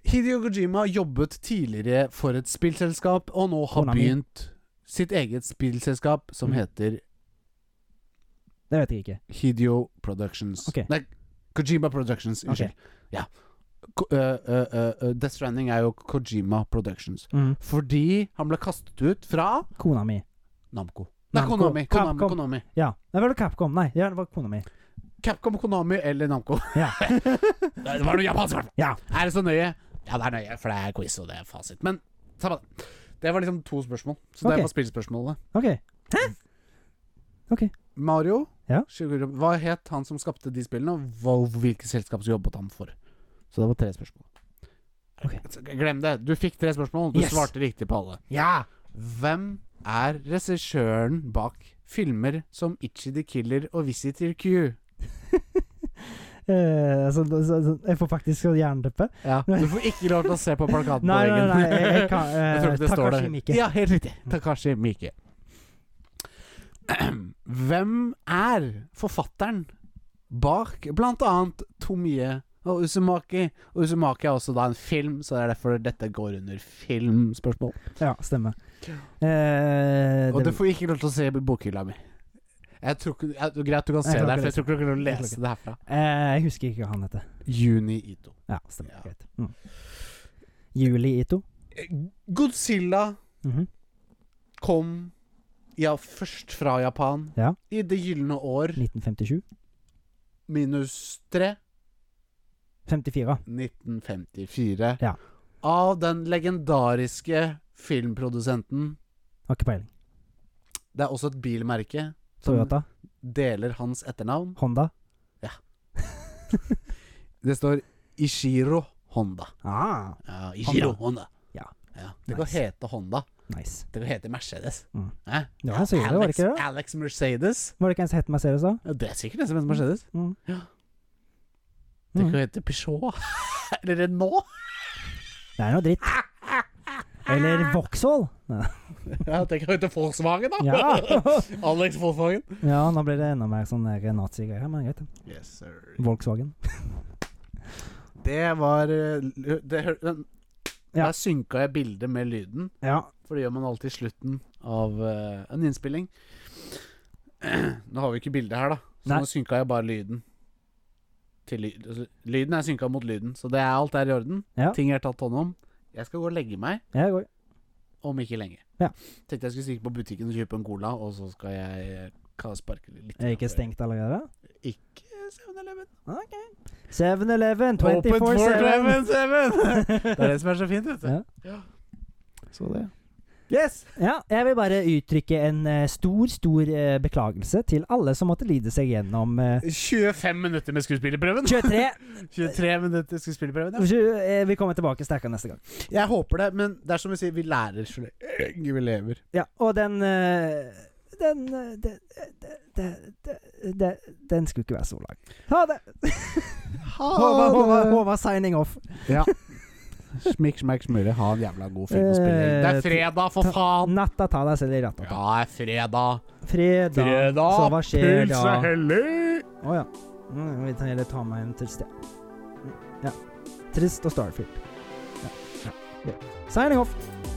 [SPEAKER 1] Hideo Kojima jobbet tidligere for et spillselskap, og nå har
[SPEAKER 2] Konami.
[SPEAKER 1] begynt sitt eget spillselskap som
[SPEAKER 2] Mm.
[SPEAKER 1] heter
[SPEAKER 2] Det vet jeg ikke.
[SPEAKER 1] Hideo Productions.
[SPEAKER 2] Ok.
[SPEAKER 1] Nei, Kojima Productions. Unnskyld. Ja. Ko- øh, øh, øh, øh, Death Stranding er jo Kojima Productions.
[SPEAKER 2] Mm.
[SPEAKER 1] Fordi han ble kastet ut fra
[SPEAKER 2] Kona mi.
[SPEAKER 1] Namco. Nei,
[SPEAKER 2] Namco.
[SPEAKER 1] Konami. Konami,
[SPEAKER 2] Capcom.
[SPEAKER 1] Konami.
[SPEAKER 2] Ja. Nei, var det Capcom? Nei, ja, det var kona mi.
[SPEAKER 1] Capcom, Konami eller Namco.
[SPEAKER 2] Ja.
[SPEAKER 1] Nei, det var noe japansk, i hvert fall.
[SPEAKER 2] Ja.
[SPEAKER 1] Er det så nøye? Ja, det er nøye, for det er quiz og det er fasit. Men samme det. Det var liksom to spørsmål. Så
[SPEAKER 2] Ok.
[SPEAKER 1] det var spillspørsmålene.
[SPEAKER 2] OK.
[SPEAKER 1] Mario,
[SPEAKER 2] Ja.
[SPEAKER 1] Shiguro- hva het han som skapte de spillene, og hva, hvilket selskap jobbet han for? Så det var tre spørsmål.
[SPEAKER 2] Ok.
[SPEAKER 1] Glem det. Du fikk tre spørsmål. Du
[SPEAKER 2] Yes.
[SPEAKER 1] svarte riktig på alle.
[SPEAKER 2] Ja!
[SPEAKER 1] Hvem er regissøren bak filmer som Itchy the Killer og Visitor Q?
[SPEAKER 2] Eh, altså, så- så- jeg får faktisk sånn jernteppe.
[SPEAKER 1] Ja. Du får ikke lov til å se på plakaten
[SPEAKER 2] Nei,
[SPEAKER 1] på
[SPEAKER 2] nei,
[SPEAKER 1] veggen.
[SPEAKER 2] nei, jeg, jeg kan eh,
[SPEAKER 1] Jeg tror ikke det står
[SPEAKER 2] Takashi
[SPEAKER 1] der.
[SPEAKER 2] Miike.
[SPEAKER 1] Ja, helt riktig. Takashi Miike. Hvem er forfatteren bak blant annet Tomie og Uzumaki? Og Uzumaki er også da en film, så det er derfor dette går under filmspørsmål.
[SPEAKER 2] Ja, stemmer. Eh,
[SPEAKER 1] Og
[SPEAKER 2] det-
[SPEAKER 1] du får ikke lov til å se i bokhylla mi. Jeg tror ikke, jeg, greit du kan
[SPEAKER 2] Jeg
[SPEAKER 1] se det,
[SPEAKER 2] klarer
[SPEAKER 1] her,
[SPEAKER 2] ikke
[SPEAKER 1] for jeg tror ikke du klarer å
[SPEAKER 2] Jeg klarer
[SPEAKER 1] lese det herfra.
[SPEAKER 2] eh, jeg husker ikke hva han heter.
[SPEAKER 1] Juni Ito.
[SPEAKER 2] Ja, stemmer.
[SPEAKER 1] Ja.
[SPEAKER 2] Greit. Mm. Juli Ito.
[SPEAKER 1] Godzilla
[SPEAKER 2] Mhm.
[SPEAKER 1] kom ja, først fra Japan
[SPEAKER 2] Ja.
[SPEAKER 1] i det gylne år
[SPEAKER 2] 1957.
[SPEAKER 1] minus 3,
[SPEAKER 2] 54.
[SPEAKER 1] 1954.
[SPEAKER 2] Ja.
[SPEAKER 1] Av den legendariske filmprodusenten
[SPEAKER 2] Har ikke peiling.
[SPEAKER 1] Det er også et bilmerke som
[SPEAKER 2] Toyota.
[SPEAKER 1] deler hans etternavn.
[SPEAKER 2] Honda.
[SPEAKER 1] Det står Ishiro Honda.
[SPEAKER 2] Ah,
[SPEAKER 1] Ja, Ishiro Honda.
[SPEAKER 2] Ja.
[SPEAKER 1] Det kan
[SPEAKER 2] Nice.
[SPEAKER 1] hete Honda.
[SPEAKER 2] nice.
[SPEAKER 1] Det kan hete Mercedes.
[SPEAKER 2] Mm.
[SPEAKER 1] Hæ?
[SPEAKER 2] Det var en søyle, var det
[SPEAKER 1] Alex,
[SPEAKER 2] ikke det?
[SPEAKER 1] Alex Mercedes.
[SPEAKER 2] Var det ikke en som het Mercedes da?
[SPEAKER 1] Ja, det er sikkert en som heter Mercedes.
[SPEAKER 2] Mm.
[SPEAKER 1] Ja. Det
[SPEAKER 2] Mm.
[SPEAKER 1] kan hete Peugeot. Eller Renault.
[SPEAKER 2] Det er noe dritt. Eller Vauxhall. Nei.
[SPEAKER 1] Ja, det kan hete Volkswagen, da.
[SPEAKER 2] Ja.
[SPEAKER 1] Alex Volkswagen.
[SPEAKER 2] ja, nå blir det enda mer sånn der nazigreier, men greit.
[SPEAKER 1] Yes, sir.
[SPEAKER 2] Volkswagen.
[SPEAKER 1] Det var eh, l- det, hør- den,
[SPEAKER 2] Ja.
[SPEAKER 1] Der synka jeg bildet med lyden,
[SPEAKER 2] Ja.
[SPEAKER 1] for det gjør man alltid i slutten av eh, en innspilling. Nå har vi ikke bildet her, da, så
[SPEAKER 2] Nei.
[SPEAKER 1] nå synka jeg bare lyden. Til lyd. altså, Lyden er synka mot lyden, så det er alt er i orden.
[SPEAKER 2] Ja.
[SPEAKER 1] Ting er tatt hånd om. Jeg skal gå og legge meg
[SPEAKER 2] Jeg går.
[SPEAKER 1] om ikke lenge.
[SPEAKER 2] Ja.
[SPEAKER 1] Tenkte jeg skulle stikke på butikken og kjøpe en cola, og så skal jeg eh, ka- sparke litt. Eh,
[SPEAKER 2] Er det ikke stengt allerede?
[SPEAKER 1] Ikke 7-Eleven.
[SPEAKER 2] 7-Eleven,
[SPEAKER 1] Open for
[SPEAKER 2] 24-7.
[SPEAKER 1] 7-Eleven! Det er det som er så fint, vet du.
[SPEAKER 2] Ja.
[SPEAKER 1] Så det. Yes!
[SPEAKER 2] Ja, jeg vil bare uttrykke en eh, stor, stor eh, beklagelse til alle som måtte lide seg gjennom eh,
[SPEAKER 1] 25 minutter med skuespillerprøven.
[SPEAKER 2] 23.
[SPEAKER 1] 23 minutter med skuespillerprøven, ja.
[SPEAKER 2] Sju, eh, Vi kommer tilbake sterkere neste gang.
[SPEAKER 1] Jeg håper det, men det er som vi sier, vi lærer så lenge vi lever.
[SPEAKER 2] Ja, og den eh, den, eh, den, den, den, den, den skulle ikke være så lang. Ha det! Håvard, Håvard, Håvard signing off.
[SPEAKER 1] Smikk, smakk, smøre. Ha en jævla god filmspilling. Det er fredag, for faen!
[SPEAKER 2] Natta ta deg selv i
[SPEAKER 1] Ja,
[SPEAKER 2] ratta.
[SPEAKER 1] det er fredag.
[SPEAKER 2] Fredag. Så hva skjer
[SPEAKER 1] Pils
[SPEAKER 2] da?
[SPEAKER 1] er hellig!
[SPEAKER 2] Å ja. Mm, vi tar heller ta meg en til sted. Mm, Ja. Trist og Starfield. Ja. Ja. Signing off.